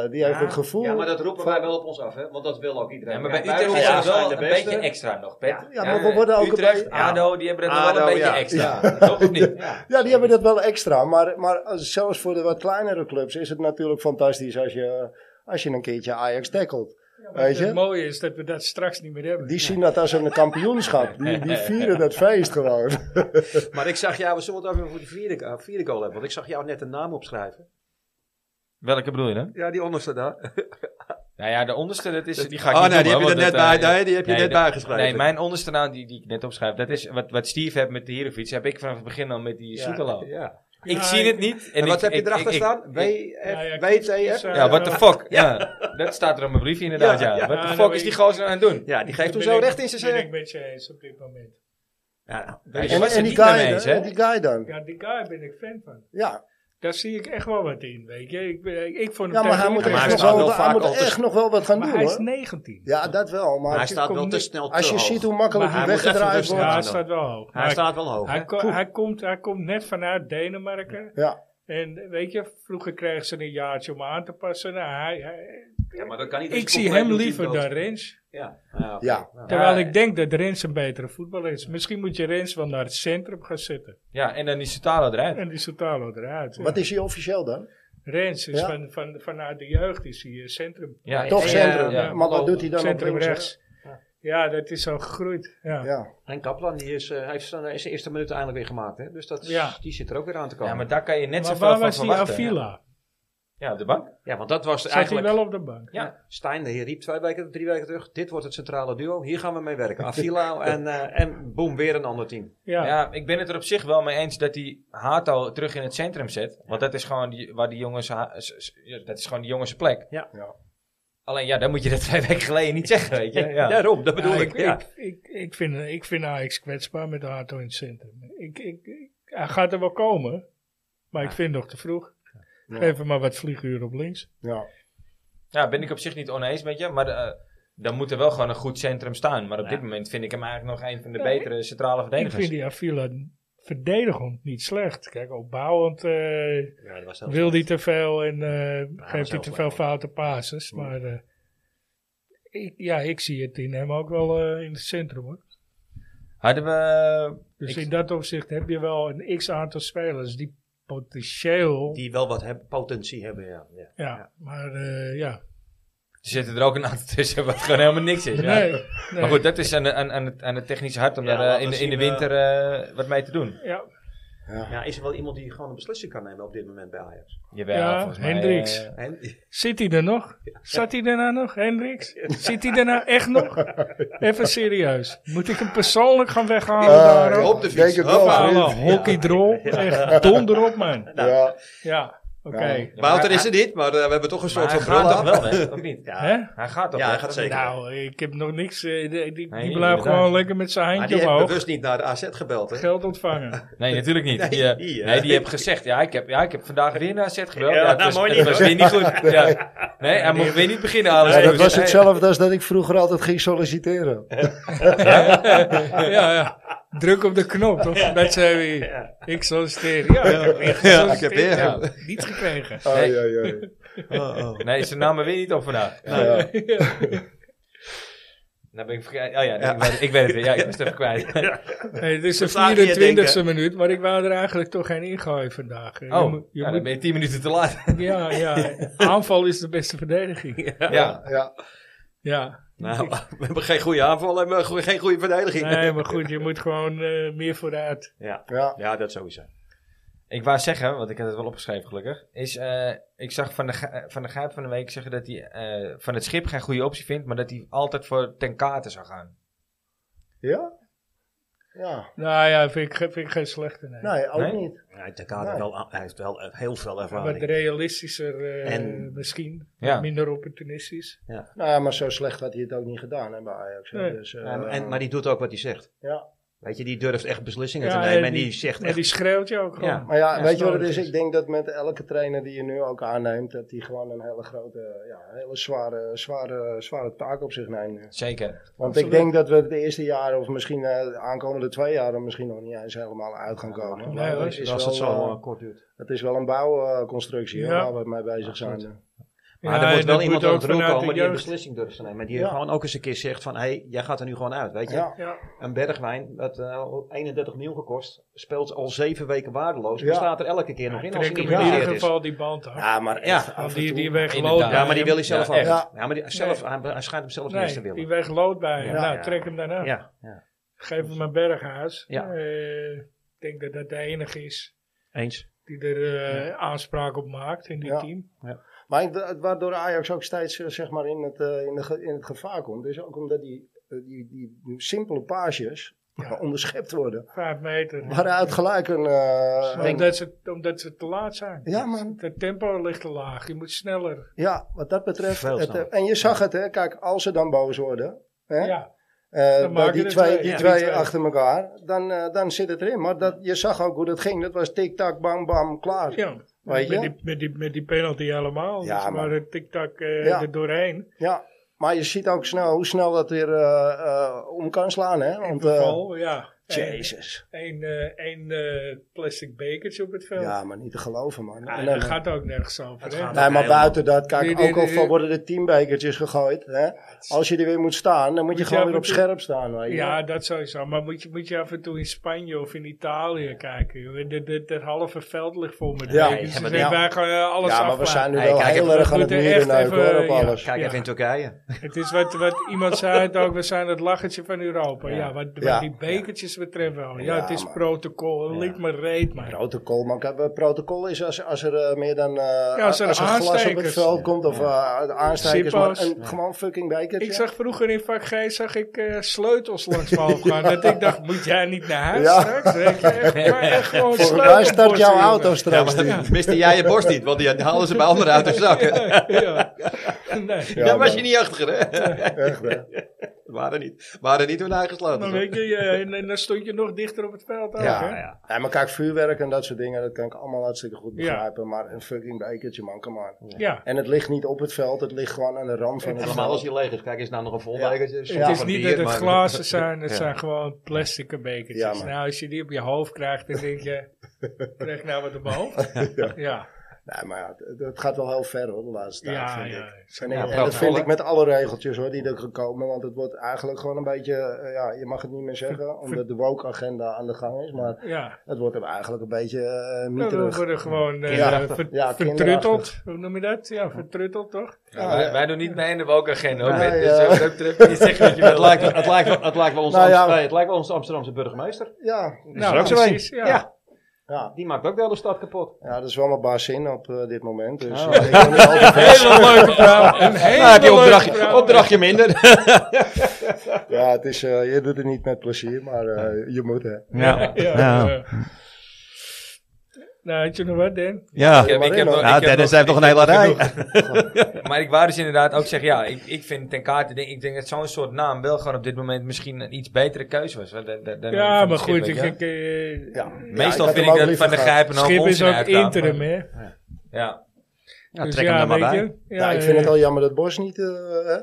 eh, die heeft het gevoel. Ja, maar dat roepen wij wel op ons af, hè? Want dat wil ook iedereen. Ja, maar bij Ja, wij Utrecht is roepen dat ons af, wel zijn een de beste. beetje extra nog, Pet. Ja, maar we worden ook Utrecht, een beetje- ADO, die hebben dat nog wel een ADO, beetje ja. extra. Toch of niet? Ja, die hebben dat wel extra. Maar, maar als- zelfs voor de wat kleinere clubs is het natuurlijk fantastisch als je, als je een keertje Ajax tackelt. Het Weet je? mooie is dat we dat straks niet meer hebben. Die zien dat als een kampioenschap. Die, die vieren dat feest gewoon. Maar ik zag jou, we zullen het ook even voor die vierde, eh, vierde goal hebben. Want ik zag jou net een naam opschrijven. Welke bedoel je dan? Ja, die onderste daar. Nou ja, de onderste, dat is, die ga ik Oh niet nee, nou, die heb noemen, je er net want dat, bij. eh, Nee, die heb je nee, net dat- bij geschreven. Nee, mijn onderste naam die, die ik net opschrijf, dat is wat, wat Steve heeft met de Heerenfiets, heb ik vanaf het begin al met die Soetelo. Ja. Ik Ja, zie ik- het niet. En, ik- wat heb je ik- erachter ik- ik- staan? W, E Ja, ja, F, WTF? Kies, eh, Ja, what the fuck. Ja. dat staat er op mijn briefje inderdaad, ja. Ja, ja. What the Ja, fuck nou, is die ik- gozer nou aan het doen? Ja, die geeft Ben hem zo ik- recht in zijn Ben ik zin. met je eens op dit moment. Ja, Ja, weet je je En, was er en, die niet mee guy, eens, hè? en die guy dan. Ja, die guy ben ik fan van. Ja, Daar zie ik echt wel wat in, weet je. Ik, ben- ik, ik vond ja hem maar tegen hij moet Utrecht hij echt, nog wel- staat wel wel, wat- hij vaak moet altijd- echt nog wel wat gaan maar doen hij is hoor. 19. Ja, dat wel. Maar hij Maar staat wel komt te niet- snel te als je hoog. ziet hoe makkelijk Maar hij hij moet echt weggedraaid rustig Ja, wordt. hij dan. staat wel hoog. Hij Maar staat wel hoog. hij, ko- hij, komt, hij komt net vanuit Denemarken. Ja, En weet je, vroeger kregen ze een jaartje om aan te passen. Nou, hij, hij- Ja, maar dat kan niet. ik Dus zie compleet hem doet hij liever het wel. dan Rens. Ja. ja. Terwijl Ja, ik denk dat Rens een betere voetballer is. Misschien moet je Rens wel naar het centrum gaan zetten. Ja, en dan is Soetelo eruit. En die Sotalo eruit. ja. Wat is hij officieel dan? Rens is Ja. van, van, vanuit de jeugd is hij eh, centrum. Ja, Toch en, eh, centrum. ja. Maar wat doet hij dan op centrum links, hè? rechts. Ja, dat is al gegroeid. Ja. Ja. En Kaplan die is, eh, hij heeft zijn, zijn eerste minuut eindelijk weer gemaakt. Hè? Dus dat is- Ja. die zit er ook weer aan te komen. Ja, Ja, maar daar kan je net Maar zoveel waar van was die verwachten. Ja. Avila? Ja, op de bank. want dat was Zat hij eigenlijk... wel op de bank? Ja. Stijn de Heer riep twee weken, drie weken terug. Dit wordt het centrale duo. Hier gaan we mee werken. Avila en, eh, en boem, weer een ander team. Ja. Ja, ik ben het er op zich wel mee eens dat die Hato terug in het centrum zet. Want dat is gewoon die, waar die jongens, ha- s- s- ja, dat is gewoon die jongens plek. Ja. Ja. Alleen ja, dan moet je dat twee weken geleden niet zeggen, weet je. Ja. Daarom, dat bedoel Ja, ik. Ja. Ik, ik, ik, vind, ik vind Ajax kwetsbaar met Hato in het centrum. Ik, ik, ik- hij gaat er wel komen, maar ik vind het nog te vroeg. Ja. Geef hem maar wat vlieguur op links. ja. Ja, ben ik op zich niet oneens met je. Maar eh, dan moet er wel gewoon een goed centrum staan. Maar op dit moment vind ik hem eigenlijk nog een van de Ja, betere centrale Ik vind verdedigers. die Avila verdedigend niet slecht. Kijk, opbouwend eh Ja, dat was heel wil hij te veel en eh, geeft hij zelf te veel wel. foute passes. Maar eh, ik, ja, ik zie het in hem ook wel eh, in het centrum hoor. Hadden we... Dus Ik- in dat opzicht heb je wel een x aantal spelers die potentieel. Die wel wat heb- potentie hebben, ja. ja. ja, maar eh, ja. Er zitten er ook een aantal tussen wat gewoon helemaal niks is. Ja. Nee, nee. Maar goed, dat is aan, de- aan, aan, het, aan het technische hart om Ja, daar eh, laten in, de- in de zien, eh, winter eh, wat mee te doen. Ja, Ja, is er wel iemand die gewoon een beslissing kan nemen op dit moment bij Ajax? Jawel, Ja, volgens mij, Hendricks. eh, En, zit hij er nog? Zat hij er nou nog, Hendricks? Zit hij er nou echt nog? Even serieus. Moet ik hem persoonlijk gaan weghalen Eh, daarop? op de fiets. Denk het wel, Hoppa. vriend. Alle hockeydrol. Echt donder op, man. Ja. Ja, oké. Ja. Ja, maar Wouter hij- is er niet, maar eh, we hebben toch een soort maar hij van gaat bril toch aan. wel weg, of niet? Ja, Hè? Hij gaat toch Ja, hij weg? gaat zeker. Nou, ik heb nog niks. eh, die die, die Nee, blijft gewoon inderdaad. lekker met zijn maar handje die heeft omhoog. bewust niet naar de AZ gebeld, hè? Geld ontvangen. Nee, natuurlijk niet. Die, eh, die, eh. nee, die heeft gezegd, ja ik, heb, ja, ik heb vandaag weer naar zet gebeld. Ja, Ja, het nou, was, mooi het niet, was hoor. weer niet goed. Ja. Nee, hij mocht weer niet beginnen. Alex. Ja, dat was Nee. hetzelfde als dat ik vroeger altijd ging solliciteren. ja, ja. Druk op de knop, toch? Dat zei hij. Ik solliciteer. Ja, ik heb weer Ja, ik heb gesolliciteerd. weer. Ja, Niets gekregen. Ai, Nee. ai, ai. Oh, Nee, ze namen weer niet op vandaag. Ja. Nou ben ik vergeten. Oh ja, nee, Ik, weet, het- ik weet het weer. Ja, ik was het even kwijt. Hey, het is Dat zou ik niet de 24e denken. minuut, maar ik wou er eigenlijk toch geen ingooien vandaag. Je Oh, moet- je ja, dan moet- ben je tien minuten te laat. ja, ja, aanval is de beste verdediging. Ja, Ja. Ja. Nou, we hebben geen goede aanval en we hebben geen goede verdediging. Nee, maar goed, je moet gewoon eh, meer vooruit. Ja, Ja. ja, dat sowieso. Ik wou zeggen, want ik had het wel opgeschreven gelukkig. Is, eh, ik zag van de, Ga- eh, van de Gijp van de week zeggen dat hij eh, van het schip geen goede optie vindt. Maar dat hij altijd voor ten katen zou gaan. Ja? Ja. Nou ja, vind ik, ge- vind ik geen slechte. Nee. Nou, Nee, ook Nee? niet. Ja, Ten Kade Nee. wel, hij heeft wel eh, heel veel Wat ervaring. realistischer eh, En- misschien. Ja. Minder opportunistisch. Nou ja, maar zo slecht had hij het ook niet gedaan hè, bij Ajax. hè. Nee. Dus, eh, En, en, maar die doet ook wat hij zegt. ja. Weet je, die durft echt beslissingen Ja, te nemen. en En die, die- zegt En echt... die schreeuwt je ook gewoon. Ja. Maar ja, Ja, weet je wat het nodig is? is. Ik denk dat met elke trainer die je nu ook aanneemt, dat die gewoon een hele grote, ja, een hele zware, zware, zware taak op zich neemt nu. Zeker. Want ik Absoluut. denk dat we het eerste jaar, of misschien eh, de aankomende twee jaar, er misschien nog niet eens helemaal uit gaan komen. Nee, Maar hoor. het is als het wel, zo eh, eh, kort duurt. het is wel een bouwconstructie hoor, Ja. waar we mee bezig zijn. Maar Ja, er moet en wel dat iemand moet aan ook het roer vanuit de komen die een jeugd. beslissing durft te nemen. En die Ja. gewoon ook eens een keer zegt van... Hé, jij gaat er nu gewoon uit, weet je. eh. Ja. Ja. Een bergwijn, dat eh, 31 miljoen gekost, speelt al zeven weken waardeloos. Maar Ja. staat er elke keer nog in als hij niet Trek hem in ieder geblesseerd is. geval die band af. ja, maar Ja. echt, af Want en die, toe- die weg Inderdaad. loopt Ja, Ja, maar die wil hij zelf Ja, ook. echt. Ja, maar die, zelf, hij, hij schijnt hem zelf niet eens te Nee, die willen. weg loopt bij hem. Ja. nou, Ja. trek hem dan af. Ja, ja, Geef hem een berghuis. Ja. Eh, ik denk dat dat de enige is eens. die er eh, aanspraak op maakt in dit Ja. team. Maar ik- dat- waardoor Ajax ook steeds eh, zeg maar in het, eh, in de, ge- in het gevaar komt, is ook omdat die, eh, die, die, die simpele paasjes Ja. onderschept worden. Vijf meter. Waaruit gelijk een... eh, Maar omdat, ze, omdat ze te laat zijn. Ja, man. Het tempo ligt te laag. Je moet sneller. Ja, wat dat betreft. Veel het, sneller. eh, en je zag het, hè? Kijk, als ze dan boos worden. Hè, Ja. eh, Dan dat maken die er twee, twee. die Ja. twee Die twee. achter elkaar, dan, eh, dan zit het erin. Maar dat, je zag ook hoe dat ging. Dat was tik-tak, bam, bam, klaar. Ja, ja. Weet Met, je? die, met, die, met die penalty allemaal. Ja, Ja, man. maar het tik-tak eh, Ja. er doorheen. maar je ziet ook snel hoe snel dat weer eh, eh, om kan slaan, hè? In Want, eh, geval, ja. Jezus. Eén eh, één, eh, plastic bekertje op het veld. Ja, Ja, maar niet te geloven, man. En dan- dat gaat ook nergens over. Het hè? gaat- Nee, maar Helemaal. buiten dat, Die- kijk, die- ook al die- van worden er tien bekertjes gegooid, hè? Als je er weer moet staan, dan moet je Moet je gewoon af weer en op toe- scherp staan, weet je. Ja, dat sowieso. Maar moet je, moet je af en toe in Spanje of in Italië kijken. joh. Dat- dat- Dat halve veld ligt vol met Ja, ja, bekers. ja, Dus maar ja. wij gaan eh, alles Ja, maar we aflaten. zijn nu Hey, wel kijk, heel we erg aan het moeten midden echt even- hoor, op ja. alles. Kijk Ja. even in Turkije. Het is wat, wat iemand zei het ook, we zijn het lachertje van Europa. Ja, wat, wat Ja. die bekertjes betreft wel. Ja, Ja, het is maar- protocol. Ja. Liet me reet, maar. Protocol, maar kijk, eh, protocol is als, als er eh, meer dan eh, als er een glas op het aanstekers. veld komt of eh, aanstekers, maar Zippo's. een, gewoon fucking bekertje. Ik zag vroeger in vak G zag ik, eh, sleutels langs me hoofd gaan. Dat ik dacht, moet jij niet naar huis Ja. straks? Weet je, echt, maar echt gewoon Volgens mij start sleutelbossen, jouw jongen. auto Ja, straks. maar dan miste jij je borst niet, want die halen ze bij anderen uit de zak. Ja, ja. Nee. Ja, Daar was man. je niet achter, hè? Echt, hè? Waren niet, waren niet hun eigen Dan, sloten. weet je, eh, en, en dan stond je nog dichter op het veld. Ook, hè? Ja, ja. maar kijk, vuurwerk en dat soort dingen, dat kan ik allemaal hartstikke goed Ja. begrijpen. Maar een fucking bekertje, man, come on. Ja. En het ligt niet op het veld, het ligt gewoon aan de rand van het Helemaal als veld. je leeg is. Kijk, is nou nog een vol Ja. bekertje? Ja, het is Van niet bier, dat het maar- glazen zijn, het Ja. zijn gewoon plastic bekertjes. Ja, man. nou, als je die op je hoofd krijgt, dan denk je, krijg ik nou wat op mijn hoofd? Ja, ja, Nee, maar ja, het, het gaat wel heel ver hoor, de laatste tijd, ja. vind ik. Zo- En, ik- Ja, en dat protocol, vind hè? ik met alle regeltjes hoor, die er gekomen. Want het wordt eigenlijk gewoon een beetje, eh, ja, je mag het niet meer zeggen, omdat de woke agenda aan de gang is. Maar ja. het wordt hem eigenlijk een beetje eh Ja, we mieterig. worden gewoon eh, Kinderachtig. ver- Ja, vertrutteld. Hoe noem je dat? Ja, vertrutteld toch? Ja, Ja, wij, ja. wij doen niet mee in de Wokagenda. hoor. Nee, Ben. dus ja. eh, wat dat betreft, je zegt wat je Het wilt. lijkt, wel- het, lijkt, wel- het, lijkt wel onze Nou ja. Amst- nee, het lijkt wel onze Amsterdamse burgemeester. Ja, Nou, ook zo een. precies, ja. ja. Die maakt ook de hele stad kapot. ja, dat is wel mijn baas in op eh, dit moment. Dus eh, ik kan niet altijd- Hele leuke vrouw. Een Ah, hele Nou, heb je leuke opdrachtje, vrouw. opdrachtje minder. ja, het is, eh, je doet het niet met plezier, maar eh, je moet hè. Ja, ja. Nou, had je nog wat, Dan? Ik heb- ik heb nog- Nou, ik heb nog- ik heb nog genoeg. Ja, Maar ik wou dus inderdaad ook zeggen, ja, ik, ik vind ten kaarte, ik denk, ik denk dat zo'n soort naam wel gewoon op dit moment misschien een iets betere keuze was. hè, dan- dan- dan van Ja, het maar schip, goed. weet Ik, je. ik, eh, Meestal had hem vind ook ik dat liever van de gehad. grijpen een hoop Schip is onzin ook uitgaan, maar- interim, hè? Ja, Ja, Dus trek hem er maar weet bij. je. Ja, Nou, ik vind het al jammer dat Bos niet... eh, hè?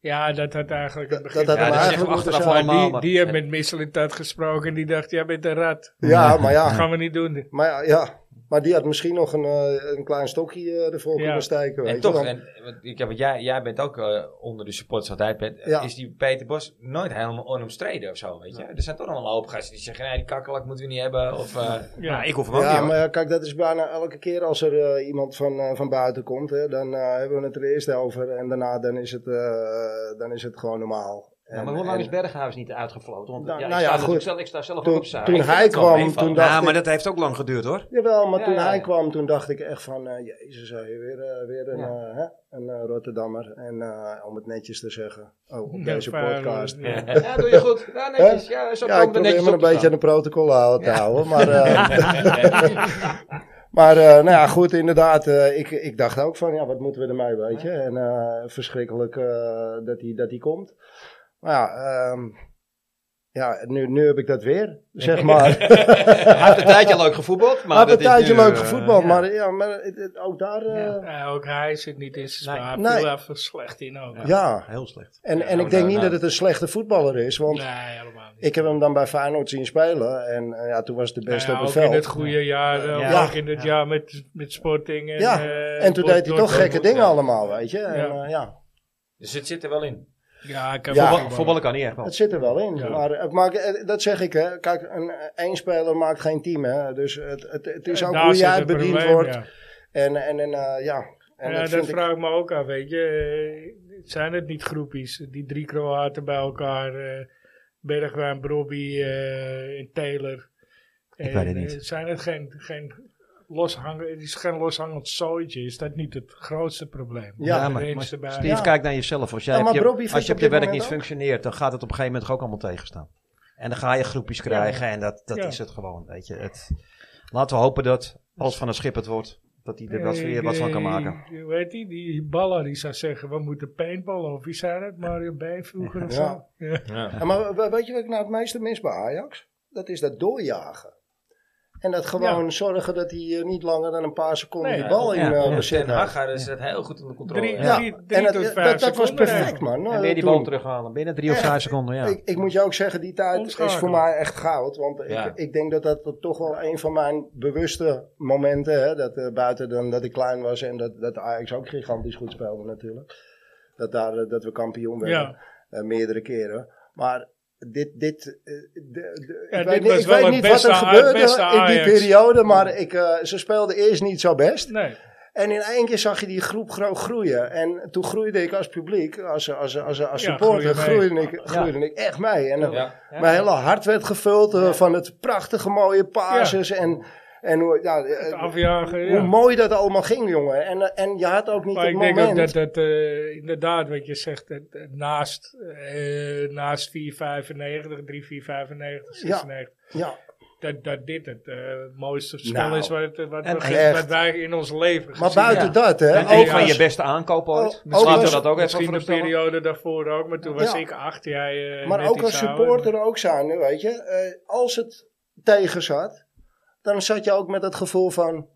Ja, dat had eigenlijk het Dat, begin. dat had Ja, hem dat eigenlijk zeggen we moeten achteraf zijn. maar allemaal, die, maar- die heeft met Misselintat gesproken en die dacht, jij bent een rat. Ja, maar Dat ja. gaan we niet doen. Maar ja, ja. Maar die had misschien nog een, eh, een klein stokje eh, ervoor Ja. kunnen steken. Weet En je, toch, want- en, want ik heb, jij, jij bent ook eh, onder de supporters wat hij bent. Ja. Is die Peter Bos nooit helemaal onomstreden of zo, weet je? Er zijn toch nog wel een hoop gasten die zeggen, nee, die kakkelak moeten we niet hebben. Of, eh, Ja. nou, ik hoef hem ook Ja, niet. hoor. maar kijk, dat is bijna elke keer als er eh, iemand van, eh, van buiten komt. Hè, dan eh, hebben we het er eerst over en daarna dan is het, eh, dan is het gewoon normaal. Ja, maar En- hoe lang en is Berghuis niet uitgefloten? Want Nou, ja, ik, nou ja, sta goed. natuurlijk Zelf, ik sta zelf ook Toen, op saai. toen Ik vind hij het wel kwam, meevallen. toen dacht Ja, ik... maar dat heeft ook lang geduurd hoor. Jawel, maar Ja, toen ja, hij ja. kwam, toen dacht ik echt van... eh, jezus, hé, weer, eh, weer een, Ja. eh, hè, een eh, Rotterdammer. En eh, om het netjes te zeggen, oh, op Ja, deze maar, podcast. ja. Ja, doe je goed. Ja, netjes. Ja, zo Ja, komen we ik er probeer netjes me op een te beetje aan staan. de protocol houden, te houden. Maar, eh, maar eh, nou ja, goed, inderdaad. eh, ik, ik dacht ook van, ja, wat moeten we ermee, weet je. En eh, verschrikkelijk eh, dat hij dat die komt. Maar ja, ehm, ja nu, nu heb ik dat weer, zeg maar. Hij heeft een tijdje leuk gevoetbald. Maar Maar had dat een is tijdje nu, leuk eh, gevoetbald, ja. maar, ja, maar het- het- ook daar... eh, ja. Ja, ook hij zit niet in zijn slaap. Nee. Nee. Viel even slecht in ook. Ah, Heel slecht. en, en nou, ik denk nou, niet nou. dat het een slechte voetballer is, want nee, helemaal niet. ik heb hem dan bij Feyenoord zien spelen. En eh, ja, toen was het de beste Nou ja, op het ook in veld. het goede jaar, eh, Ja. ook in het jaar met, met Sporting. En, Ja, eh, En toen Bos- deed hij toch Dortmund. gekke dingen allemaal, weet je. En, Ja. eh, ja. Dus het zit er wel in. Ja, ik heb Ja. ook Voetbal- Voetballen kan niet echt wel. Het zit er wel in. Ja. Maar het maakt, eh, dat zeg ik, hè. Kijk, een, eh, één speler maakt geen team, hè. Dus het, het, het is ook Daar hoe zit jij het bediend probleem, wordt. ja. En, en, en eh, ja. En ja, dat dat, vind ik... vraag ik me ook af, weet je. Eh, Zijn het niet groepjes? Die drie Kroaten bij elkaar. eh, Bergwijn, Brobby eh, en Taylor. Ik En, weet het eh, niet. Zijn het geen, geen loshang, het is geen loshangend zooitje? Is dat niet het grootste probleem? Ja, De maar- mensen maar erbij. Steve, Ja. kijk naar jezelf. Als, jij Ja, op maar je, Robbie als vindt je op op je dit werk moment niet ook. functioneert, dan gaat het op een gegeven moment ook allemaal tegenstaan. En dan ga je groepjes krijgen en dat, dat Ja. is het gewoon, weet je. Het, laten we hopen dat, als Van een Schip het wordt, dat hij er wat, weer wat van kan maken. Weet je, die baller die zou zeggen, we moeten paintballen. Of wie zei dat? Mario Been vroeger of Ja. zo? Ja. Ja. Ja, maar we- weet je wat ik nou het meeste mis bij Ajax? Dat is dat doorjagen. En dat gewoon zorgen dat hij eh, niet langer dan een paar seconden Nee, die bal in ja. eh, Ja, bezit Ten heeft. Hag had- is dat heel goed onder controle. Drie- ja. Ja, drie en dat, tot dat, vijf dat was seconden perfect, man. Nou, en weer die toen- bal terughalen. Binnen drie of Echt, vijf seconden, ja. Ik, ik moet je ook zeggen, die tijd is Omschakelen. voor mij echt goud. Want Ja. ik, ik denk dat dat toch wel een van mijn bewuste momenten, hè, dat eh, buiten dan dat ik klein was en dat, dat Ajax ook gigantisch goed speelde natuurlijk. Dat, daar, eh, dat we kampioen werden, Ja. eh, meerdere keren. Maar dit, dit, eh, de- de- Ja, ik dit weet, niet- was ik wel weet het niet wat beste er Aj- gebeurde beste in die Ajax. periode, maar ik, eh, ze speelden eerst niet zo best. Nee. En in één keer zag je die groep gro- groeien. En toen groeide ik als publiek, als, als, als, als Ja, supporter, groei je groeide, ik, groeide ik echt mee. En eh, Ja. mijn hele hart werd gevuld eh, van het prachtige mooie pases. En, en hoe, ja, eh, Het afjagen, hoe ja. mooi dat allemaal ging, jongen. En, eh, en je had ook niet Maar het ik denk ook moment. dat dat eh, inderdaad, wat je zegt, dat, eh, naast, eh naast 495, 3495, 96, ja, dat, dat dit het eh, mooiste spel Nou, is wat, eh, wat, en wat, echt. wat wij in ons leven gezien maar buiten hebben. dat, hè. En Ja, een Ook ja. van als- je beste aankopen ooit. Oh, Misschien ook laten we als- dat ook even Misschien de voorstellen. periode daarvoor ook, maar toen was Ja. ik acht, jij eh maar net ook iets als ouder. supporter ook zijn, weet je. eh, als het tegen zat, dan zat je ook met het gevoel van...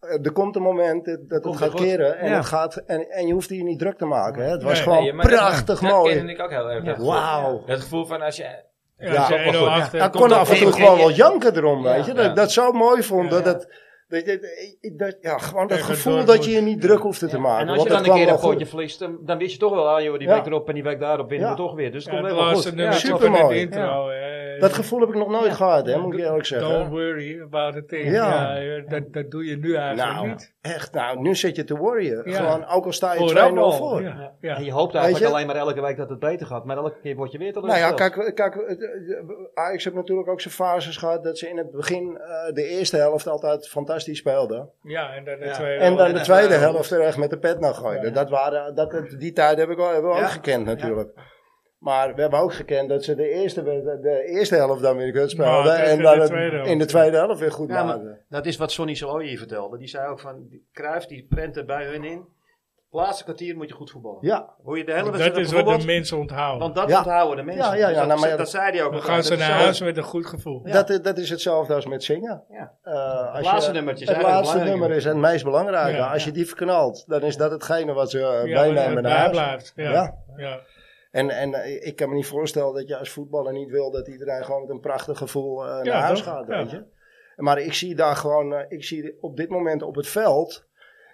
eh, Er komt een moment dat, dat het Komt gaat het goed. keren en, Ja. het gaat, en, en je hoeft hier niet druk te maken. Hè? Het was Nee, gewoon Nee, maar dat- prachtig dat mooi. kende ik ook heel erg. dat gevoel. Wauw. Dat gevoel van als je... Ja, Ja, als je ook wel 108 hebt, Hij komt kon dat af en toe goed. gewoon wel janken erom, Ja, weet je. Dat ja. ik dat zo mooi vond. Ja, dat, dat, dat, dat- dat- ja, gewoon dat Tegen gevoel Dortmund. dat je je niet druk hoefde te maken. En als je want dat dan een kwam keer een wel potje verliest, dan dan wist je toch wel, ah joh, die Ja. week erop en die week daarop winnen Ja. we toch weer. Dus het Ja, komt de helemaal laatste goed. nummer Ja. toch in het supermooi. intro. eh, goed. Dat gevoel heb ik nog nooit gehad, hè, moet ik je eerlijk zeggen. Don't worry about it. thing. Ja. Ja. eh, dat, dat doe je nu eigenlijk Nou, niet. Echt, nou, nu zit je te worryen. Ja. Gewoon, ook al sta je 2-0 Vooraf al, voor. Ja. Ja. En je hoopt Weet eigenlijk je? alleen maar elke week dat het beter gaat. Maar elke keer word je weer Nou ja, teleurgesteld. kijk, kijk het, eh, Ajax heeft natuurlijk ook zijn fases gehad dat ze in het begin eh, de eerste helft altijd fantastisch speelden. Ja, en dan de Ja. tweede. En dan de en- tweede en- helft er echt met de pet naar gooiden. Ja. Dat waren, dat, die tijd heb ik al, hebben we Ja. ook gekend natuurlijk. Maar we hebben ook gekend dat ze de eerste, de, de eerste helft dan weer kut speelden. Maar tegen en dan de het- tweede helft. in de tweede helft weer goed Ja, maar- maakten. Dat is wat Sonny Saloye vertelde. Die zei ook van, die- Cruijff die prent er bij hun in. Het laatste kwartier moet je goed voetballen. Ja, Hoe je de hele wedstrijd hebt Dat is wat de gevoetbald, mensen onthouden. want dat Ja. onthouden de mensen. Ja, ja, ja, Dus dat, nou, maar ja, dat zei hij ook. Dan al. gaan ze Dat is naar zo- huis met een goed gevoel. Dat, is- dat is hetzelfde als met zingen. Ja. Eh, als laatste je- nummertje is Het eigenlijk laatste belangrijker. nummer is het meest belangrijke. Ja. als je die verknalt, dan is dat hetgene wat ze eh, Ja, dat meenemen het naar bij huis. blijft. Ja. Ja. Ja. Ja. En, en eh, ik kan me niet voorstellen dat je als voetballer niet wil dat iedereen gewoon met een prachtig gevoel eh, Ja, naar huis toch? gaat. Ja. Weet je? Maar ik zie daar gewoon, eh, ik zie op dit moment op het veld,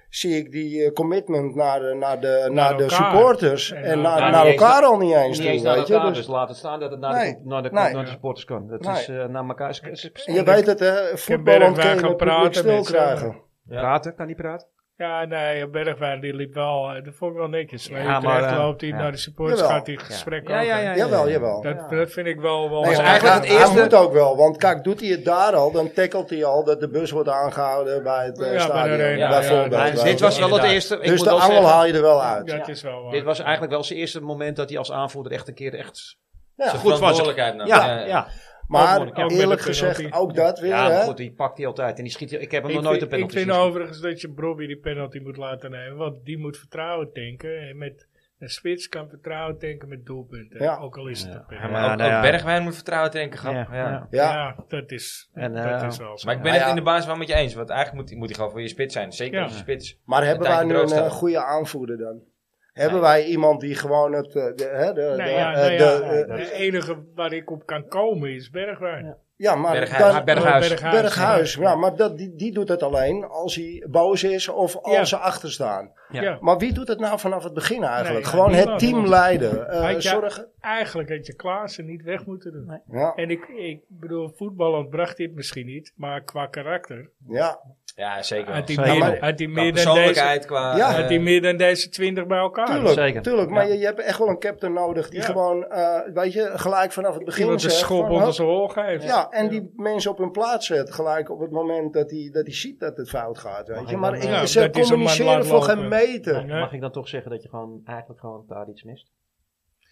zie ik die eh, commitment naar, eh, naar, de, naar, de elkaar. supporters En eh, en, naar- naar, Ja, naar niet eens elkaar al niet eens. Niet toe, eens naar weet je? elkaar, dus, Dus- laten staan dat het naar, Nee. de, naar, de, Nee. naar de supporters kan. Dat Nee. is eh, naar elkaar sp- je weet het, hè? Voetbal Bergwijn ontkennen, gaan het publiek praten stil met z'n allen. krijgen. praten. Kan niet praten? Ja, nee, Bergwijn die liep wel, eh, dat vond ik wel netjes. Maar Ja, ja, maar, eh, loopt hij ja. naar de supporters, Jawel. gaat hij het gesprek Ja, ja, over. ja. Jawel, jawel. Dat, dat vind ik wel... wel Nee, wel- maar eigenlijk hij, het hij eerste- moet ook wel, want kijk, doet hij het daar al, dan tackelt hij al dat de bus wordt aangehouden bij het eh, Ja, bij de stadion. arena, ja, bijvoorbeeld. ja, Maar ja. weet dus dit je. was wel het Inderdaad. eerste. ik dus moet de wel angel zeggen, haal je er wel uit. dat is wel waar. Dit was eigenlijk wel zijn eerste moment dat hij als aanvoerder echt een keer echt... Ja. zijn Goed verantwoordelijkheid verantwoordelijkheid nam. nam. Ja, Ja, ja. Maar Ook moeilijk, ja. Ook met eerlijk de gezegd, penalty. ook dat weer. Ja, hè? maar goed, die pakt hij altijd. En die schiet, ik heb hem Ik nog nooot vind, een ik penalty vind zien schieten. overigens dat je Bobby die penalty moet laten nemen. Want die moet vertrouwen tanken. En met een spits kan vertrouwen tanken met doelpunten. Ja. Ook al is het een penalty. Ja, Ja, maar Ja, ook, nou ook ja. Bergwijn moet vertrouwen denken gehad. Ja, Ja, ja. Ja. dat, is, En, dat eh, is wel zo. Maar ik ben Ja, het ja. in de basis wel met je eens. Want eigenlijk moet, moet hij gewoon voor je spits zijn. Zeker Ja. als je spits. Maar hebben Een wij tijdje nu een eh, droogstellen. goede aanvoerder dan? Hebben wij iemand die gewoon het. eh, de- hè, de- de- Nou eh, ja, nou ja, de- eh, de enige waar ik op kan komen is Bergwijn. Ja, maar Berghuis. dan- Ah, Berghuis. Berghuis. Berghuis, ja, maar dat, die, die doet het alleen als hij boos is of als Ja. ze achter staan. Ja. Maar wie doet het nou vanaf het begin eigenlijk? Nee, Gewoon het niemand. team leiden. eh, Had je- zorgen. Eigenlijk had je Klaassen niet weg moeten doen. Ja, En ik, ik bedoel, voetballend bracht dit misschien niet. Maar qua karakter ja. Ja, zeker. had hij Zeker. meer, Maar- had Qua hij meer, dan deze- persoonlijkheid, qua... Ja. eh, had hij meer dan deze twintig bij elkaar. Tuurlijk, zeker. tuurlijk. Maar Ja. je, je hebt echt wel een captain nodig die Ja. gewoon, eh, weet je, gelijk vanaf het begin Iemand een zegt schop van, onder hup, zijn hol geeft. Ja, en die mensen op hun plaats zet gelijk op het moment dat hij dat hij ziet dat het fout gaat, weet je. Maar dan, ik, eh, ja, ze dat hij zo'n man communiceren laat voor geen lopen. meter. Nee. Mag ik dan toch zeggen dat je gewoon, eigenlijk gewoon daar iets mist?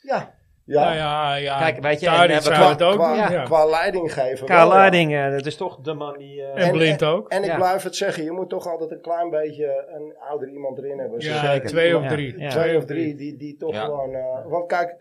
Ja. Ja, Ja. ja, ja. Kijk, weet je, en Tadic hebben we zou Qua, het ook qua, doen, ja. qua leiding geven. Karel wel, ja. Leiding, eh, dat is toch de man die... eh, En blind ook. En ik Ja. blijf het zeggen, je moet toch altijd een klein beetje een ouder iemand erin hebben. Ja, Zeker. twee of Ja, drie. ja. Twee of drie, die, die toch Ja. gewoon... eh, want kijk,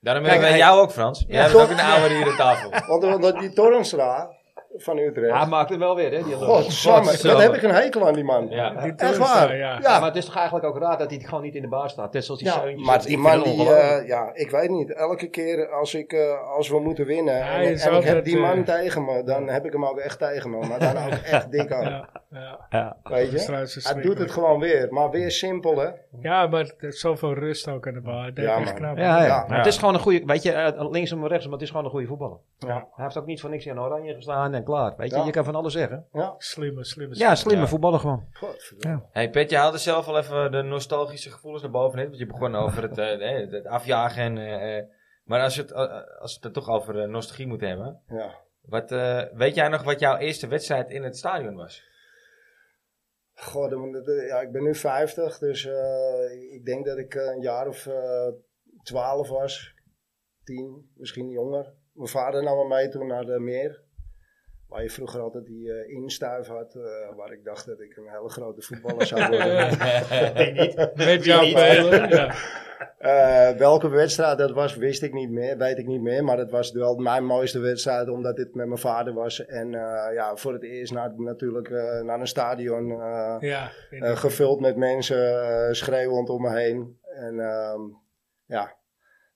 Daarom Kijk, hebben we hij- jou ook, Frans. Jij bent toch? ook een oude hier aan tafel. want, want die Torrenstra van Utrecht... hij maakt hem wel weer, hè? Die lul. Godsamme, Godsamme. dat heb ik een hekel aan die man. Ja. Die Echt Torrenstra, waar. ja. Ja, ja. maar het is toch eigenlijk ook raar dat hij gewoon niet in de baas staat. Net zoals die Ja, zeuntjes. maar Ik die vind man het die, ongelooflijk. eh, ja, ik weet niet. Elke keer als, ik, eh, als we moeten winnen Hij en, is en ik heb altijd, die man eh, tegen me, dan heb ik hem ook echt tegen me. Maar dan ook echt dik aan, Ja, ja. ja. weet Dat is je. trouwens Hij doet het verschrikkelijk. gewoon weer, maar weer simpel hè. Ja, maar het is zoveel rust ook aan de bal. Dat Ja, is echt man. knap. Ja, ja. Ja. Maar het is gewoon een goede, weet je, eh, linksom en rechtsom, maar het is gewoon een goede voetballer. Ja. Hij heeft ook niet voor niks in oranje gestaan en klaar. Weet je, Ja. je kan van alles zeggen. Ja, Slimme, slimme. Ja, slimme Ja. voetballer gewoon. godverdomme. Hey Pet, je haalde zelf al even de nostalgische gevoelens naar boven. net, Want je begon over het, eh, nee, het- het afjagen. En, eh, eh, maar als je het, eh, als we het er toch over eh, nostalgie moet hebben. Ja. Wat, eh, weet jij nog wat jouw eerste wedstrijd in het stadion was? God, dan moet het- ja, ik ben nu 50, dus eh, ik denk dat ik eh, een jaar of eh 12 was. 10, misschien jonger. Mijn vader nam me mee toen naar de meer. Waar je vroeger altijd die eh, instuif had, eh, waar ik dacht dat ik een hele grote voetballer zou worden. Met jouw belen. Ja. Eh, welke wedstrijd dat was, wist ik niet meer, weet ik niet meer. Maar het was wel mijn mooiste wedstrijd, omdat dit met mijn vader was. En eh, ja, voor het eerst naar, natuurlijk eh, naar een stadion. eh, Ja, Eh, gevuld met mensen eh, schreeuwend om me heen. En ehm, ja,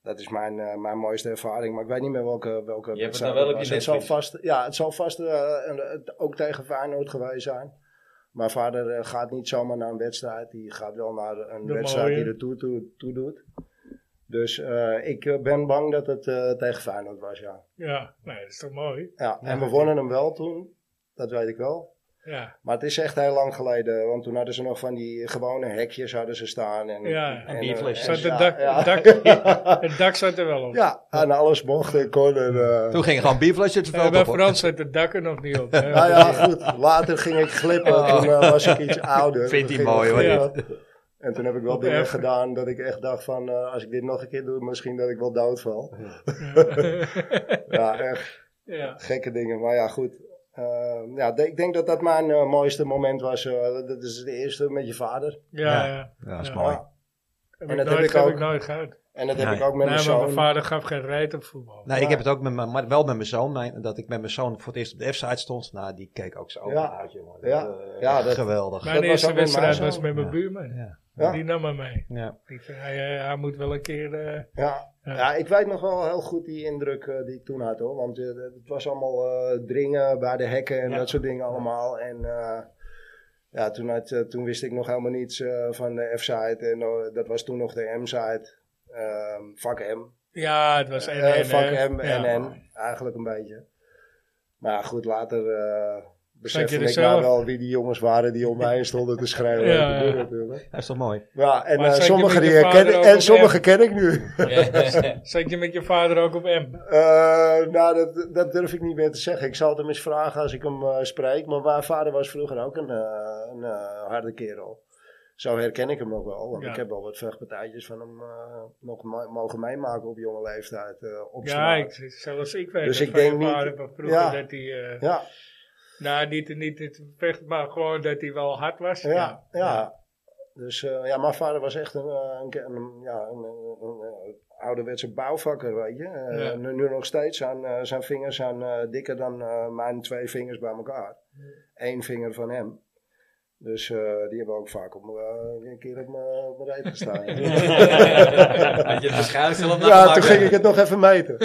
dat is mijn, eh, mijn mooiste ervaring. Maar ik weet niet meer welke, welke Je hebt het wedstrijd dan wel dat op je was. het zal netvlies. vast, Ja, het zal vast eh, een- het ook tegen Feyenoord geweest zijn. Mijn vader eh, gaat niet zomaar naar een wedstrijd. Die gaat wel naar een De wedstrijd mooie. die er toe, toe, toe doet. Dus eh, ik eh, ben bang dat het eh, tegen Feyenoord was, ja. ja, nee, dat is toch mooi. ja. En we wonnen hem wel toen. Dat weet ik wel. Ja, Maar het is echt heel lang geleden, want toen hadden ze nog van die gewone hekjes hadden ze staan. En, Ja, en, bierflesjes. eh, zat en- het, ja, dak, ja. het dak, het dak zat er wel op. Ja, en alles mocht en kon. En, eh, Toen ging gewoon bierflesje het Eh, bij veld op. Frans zat het dak er nog niet op. hè. nou ja, goed. Later ging ik glippen, toen eh, was ik iets ouder. Vindt hij Toen ging ik mooi, hoor, glippen. En toen heb ik wel dingen gedaan dat ik echt dacht van, eh, als ik dit nog een keer doe, misschien dat ik wel doodval. ja, echt. ja. gekke dingen. Maar ja, goed. Eh, ja, de- ik denk dat dat mijn eh, mooiste moment was. eh, dat is het eerste met je vader. Ja, ja. Ja, dat is Ja. mooi. Heb ik En dat heb nooit- ik heb ook. ik nooit gehad. En dat heb Nee. ik ook met Nee, maar mijn mijn zoon. Nou, vader gaf geen reet op voetbal. Nee, Nou, ik heb het ook met mijn, maar wel met mijn zoon. Mijn, dat ik met mijn zoon voor het eerst op de F-site stond. Nou, die keek ook zo open Ja. uit, jongen. Ja. eh, Ja, dat- geweldig. Mijn Dat was eerste ook met mij wedstrijd zo. was met mijn Ja. buurman. Ja. Ja. Die nam me mee. Ja. Ik zei, hij, eh, hij moet wel een keer... eh, Ja, Ja. Ja, ik weet nog wel heel goed die indruk eh, die ik toen had hoor. Want eh, het was allemaal eh, dringen bij de hekken en Ja. dat soort dingen allemaal. En eh, ja, toen, had, eh, toen wist ik nog helemaal niets eh, van de F-site. En eh, dat was toen nog de M-site. Ehm fuck M. Ja, het was NN. Eh, fuck hè? M, Ja. NN. Eigenlijk een beetje. Maar ja, goed, later eh Zat je besefte er ik nou zelf? wel wie die jongens waren die om mij heen stonden te schrijven. Ja, Ja, ja. natuurlijk. Dat is toch mooi? ja en Maar eh, zat je sommige, met je die herken- vader ook en op sommige M? ken ik nu. Zat je met je vader ook op M? Eh, nou, dat, dat durf ik niet meer te zeggen. Ik zal het hem eens vragen als ik hem eh, spreek. Maar mijn vader was vroeger ook een, eh, een eh, harde kerel. Zo herken ik hem ook wel. Want Ja. ik heb wel wat vechtpartijtjes van hem eh, nog ma- mogen meemaken op jonge leeftijd. eh op Ja, straat. ik, zelfs ik weet Dus dat ik van je denk niet- vader van vroeger ja. dat hij... eh, Ja, Nou, niet, niet het vecht, maar gewoon dat hij wel hard was. ja, ja. Dus eh, ja, mijn vader was echt een, eh, een, ke- een- ja, een, een- een- een ouderwetse bouwvakker, weet je. Eh, Ja. nu, nu nog steeds. Zijn, eh, zijn vingers zijn eh, dikker dan eh, mijn twee vingers bij elkaar. Eén vinger van hem. Dus eh, die hebben ook vaak op, me- een keer op me- op mijn reet gestaan. Had je het waarschijnlijk zelf ja, toen nagemaakt, ging hè? ik het nog even meten.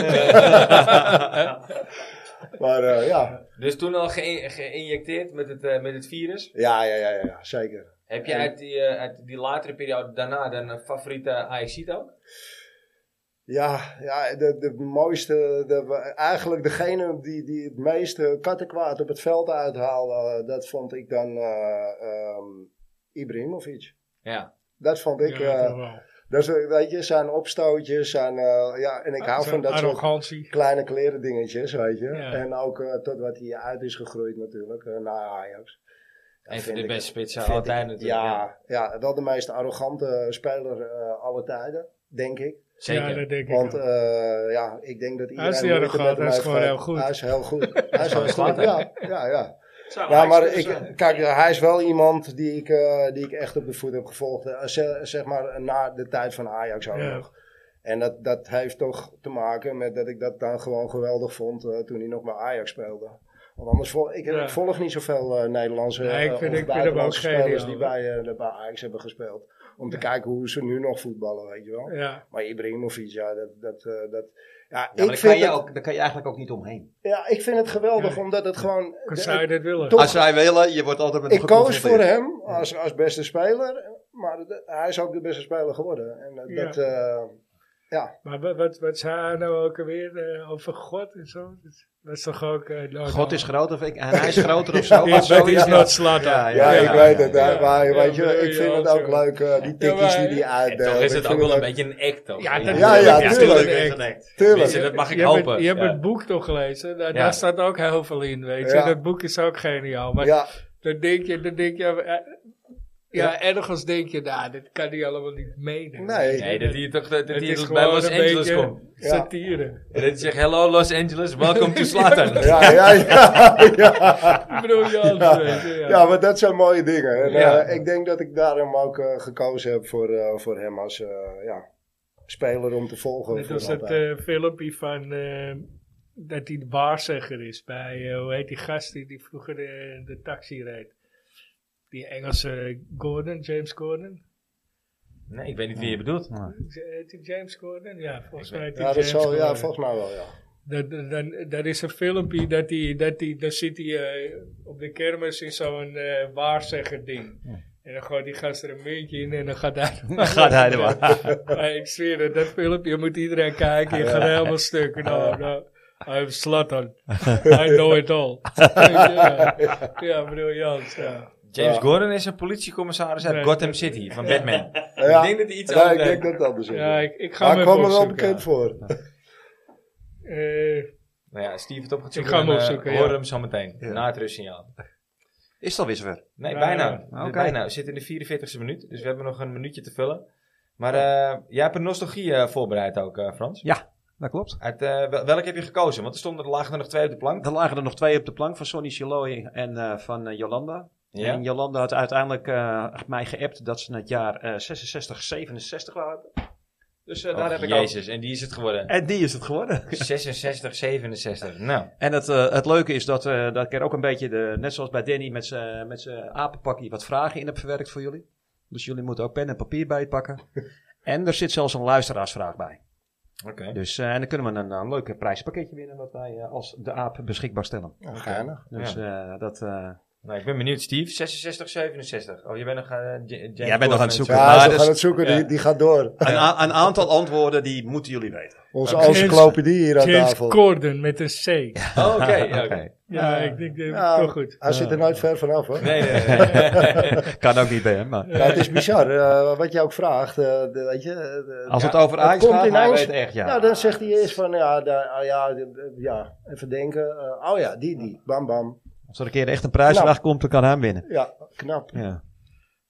maar eh, ja. Dus toen al geïn- geïnjecteerd met het, eh, met het virus. Ja, ja, ja, ja, ja, zeker. Heb je uit die, eh, uit die latere periode daarna dan een favoriete AXC ook? Ja, ja de, de mooiste, de, eigenlijk degene die, die het meeste kattenkwaad op het veld uithaalde, eh, dat vond ik dan eh ehm Ibrahimovic. Ja. Dat vond ik, Ja, eh, toch wel. dat is, eh, weet je, zijn opstootjes, zijn, eh, ja, en ik hou Zo'n van dat soort arrogantie. kleine kleren dingetjes, weet je. Ja. En ook eh, tot wat hij uit is gegroeid natuurlijk, eh, naar Ajax. Dat Een van vind de ik- beste spitsen vind altijd ik- natuurlijk. Ja, ja, wel de meest arrogante speler eh alle tijden, denk ik. Zeker. Ja, dat denk ik Want ook. eh, ja, ik denk dat iedereen... is niet moeite erg met groot, hem hij is heeft gewoon gehad. heel goed. Hij is heel goed. Hij is heel goed, Slater. ja. Ja, ja. ja maar ik, kijk, eh, hij is wel iemand die ik, eh, die ik echt op de voet heb gevolgd. Eh, ze- zeg maar na de tijd van Ajax ook Ja. nog. En dat, dat heeft toch te maken met dat ik dat dan gewoon geweldig vond eh, toen hij nog bij Ajax speelde. Want anders volg ik, Ja. ik volg niet zoveel eh, Nederlandse Nee, ik vind- ik eh, of vind hem buitenlandse ook geniaal, spelers die hoor. bij, eh, bij Ajax hebben gespeeld. Om te kijken hoe ze nu nog voetballen, weet je wel. Ja. Maar Ibrahimovic, ja, dat... dat, eh, dat Ja, ja, maar ik daar kan, vind je het, ook, daar kan je eigenlijk ook niet omheen. ja, ik vind het geweldig, Ja. omdat het gewoon... Kan zou je dat willen? Toch- Als zij willen, je wordt altijd met ik koos voor geconfronteerd. hem als, als beste speler, maar de- hij is ook de beste speler geworden. En dat, Ja. dat, eh, Maar wat, wat, wat zei hij nou ook alweer eh, over God en zo? Dat was toch ook... eh, nou, God nou, is groot of ik, en hij is groter of zo. Oh, He maar is- zoiets, He is ja. not Slater. Ja, ja, ja, ik ja, weet ja, het. ja. hè, maar Ja, weet je, bedoel ik je vind ook het ook zo. leuk, eh, die Ja, tikjes maar- die die En uitdeelt. toch is Ik het vind ook wel een leuk. beetje een act, toch? Ja, dat- Ja, ja, tuurlijk. Mensen, Tuurlijk. dat mag ik je hebt het- hopen. je hebt Ja. het boek toch gelezen? Daar, Ja. daar staat ook heel veel in, weet je. Ja. Dat boek is ook geniaal. Maar Ja, dan denk je... Dan denk je eh, ja, Ja. ergens denk je, nou, dit kan hij allemaal niet meenemen. nee. Nee, dat hij toch dat, dat Het hij is tot bij gewoon Los een Angeles beetje komt. Ja. satire. En dat hij zegt, hello Los Angeles, welcome to Slatan. Ja, ja, ja, ja. Briljant, Ja. weet je, ja. Ja, maar dat zijn mooie dingen. En, Ja. eh, ik denk dat ik daarom ook eh, gekozen heb voor, eh, voor hem als eh, ja, speler om te volgen. Net voor als dat altijd. eh, filmpje van eh, dat hij de baarzegger is bij, eh, hoe heet die gast die, die vroeger de, de taxi reed? Die Engelse Gordon, James Gordon. Nee, ik weet niet wie je bedoelt. Heet die James Gordon? Ja, volgens mij heet die ja, dat James zal, ja, Gordon. volgens mij wel, ja. Dat, dat- dan- dat is een filmpje dat hij, dat hij, daar zit hij eh, op de kermis in zo'n eh waarzegger ding. En dan gooit die gast er een muntje in en dan gaat hij... Dan Gaat hij er maar. Maar ik zweer het, dat filmpje moet iedereen kijken. Je gaat helemaal stuk. Nou, nou, I'm Slatan. I know it all. ja, ja, briljant. Ja. James Ja. Gordon is een politiecommissaris uit Nee. Gotham City, van Batman. Ja. Ik denk dat hij iets Ja, aan ik denk dat dat dus is. ja, ik, ik ga Hij hem kwam even er wel opzoeken. bekend voor. Eh, Nou ja, Steve het op gaat Ik zoeken. ga hem dan, eh, opzoeken, horen ja. hem zo meteen, na het rustsignaal. Is het alweer zover? Nee, Ja, bijna. ja. Oké. bijna. We zitten in de 44e minuut, dus we hebben nog een minuutje te vullen. Maar eh, jij hebt een nostalgie eh, voorbereid ook, eh, Frans. Dat klopt. Uit, eh, wel- welke heb je gekozen? Want er stonden er lagen er nog twee op de plank. Er lagen er nog twee op de plank van Sonny Chiloy en eh, van eh, Jolanda. Ja. En Jolanda had uiteindelijk eh, mij geappt dat ze het jaar eh, 66, 67 waren. Dus eh, daar Och, heb ik ook. Oh, Jezus, en die is het geworden. En die is het geworden. 66, 67. Nou, En het, eh, het leuke is dat, eh, dat ik er ook een beetje, de, net zoals bij Danny met zijn met zijn apenpakje, wat vragen in heb verwerkt voor jullie. Dus jullie moeten ook pen en papier bij pakken. en er zit zelfs een luisteraarsvraag bij. Oké. Dus, eh, en dan kunnen we een, eh, leuk prijspakketje winnen wat wij eh, als de aap beschikbaar stellen. Ja, geinig. Dus eh, dat... eh, Nou, ik ben benieuwd, Steve. 66, 67. Oh, je bent nog eh, J- James bent nog Bond aan het met- zoeken. Ja, Maar ze dus- gaan het zoeken, ja. die, die gaat door. Een, a- een aantal antwoorden die moeten jullie weten. Onze Oké. encyclopedie hier aan James tafel. Corden met een C. Ja, Oh, Oké, ja, oké. Oké. ik denk dat Ja, toch goed. Hij zit er nooit ver vanaf hoor. Nee, nee, nee. Kan ook niet bij hem, maar... Ja, het is bizar, eh, wat je ook vraagt. eh, de- weet je, eh, Als ja, het over Ajax komt gaat, hij ineens- weet echt, ja. Nou, dan zegt hij eerst van, ja, daar- ah, ja, de- ja even denken. eh, oh ja, die, die. Bam, bam. Als er een keer echt een prijsvraag Nou. komt, dan kan hij hem winnen. Ja, knap. Ja. Ja,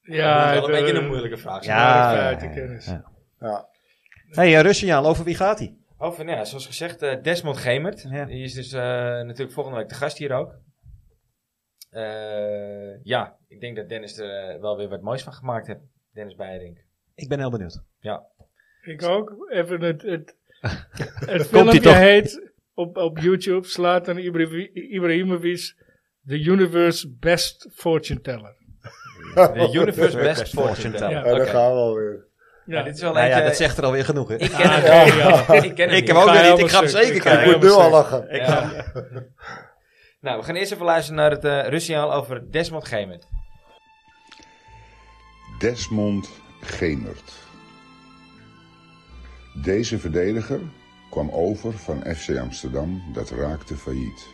Ja, eh, dat is wel een beetje de- een moeilijke vraag. Ja. Ja, uit de kennis. ja. Ja. Hé, hey, eh, Russiaan, over wie gaat hij? Over, nou ja, zoals gezegd, eh, Desmond Gemert. Ja. Die is dus eh, natuurlijk volgende week de gast hier ook. Eh, ja, ik denk dat Dennis er eh, wel weer wat moois van gemaakt heeft. Dennis Beiring. Ik ben heel benieuwd. Ik ook. Even het, het, het Komt-ie filmpje toch? heet op, op YouTube Slatan Ibrahimovic The Universe Best Fortune Teller. De Universe Best Oh. Best Fortune Fortune Teller. Teller. Ja. En dan Oké. gaan we alweer. Ja, Ja, dit is wel Nou ja, eentje- dat zegt er alweer genoeg, hè? Ik ken hem Ah, niet. oké, Ik ken hem Ik niet. heb ook ga weer niet. helemaal Ik ga hem stuk. zeker eh, Ik ga Ik kijken. moet nu al lachen. Ja. nou, we gaan eerst even luisteren naar het eh Russiaal over Desmond Gemert. Desmond Gemert. Deze verdediger kwam over van FC Amsterdam dat raakte failliet.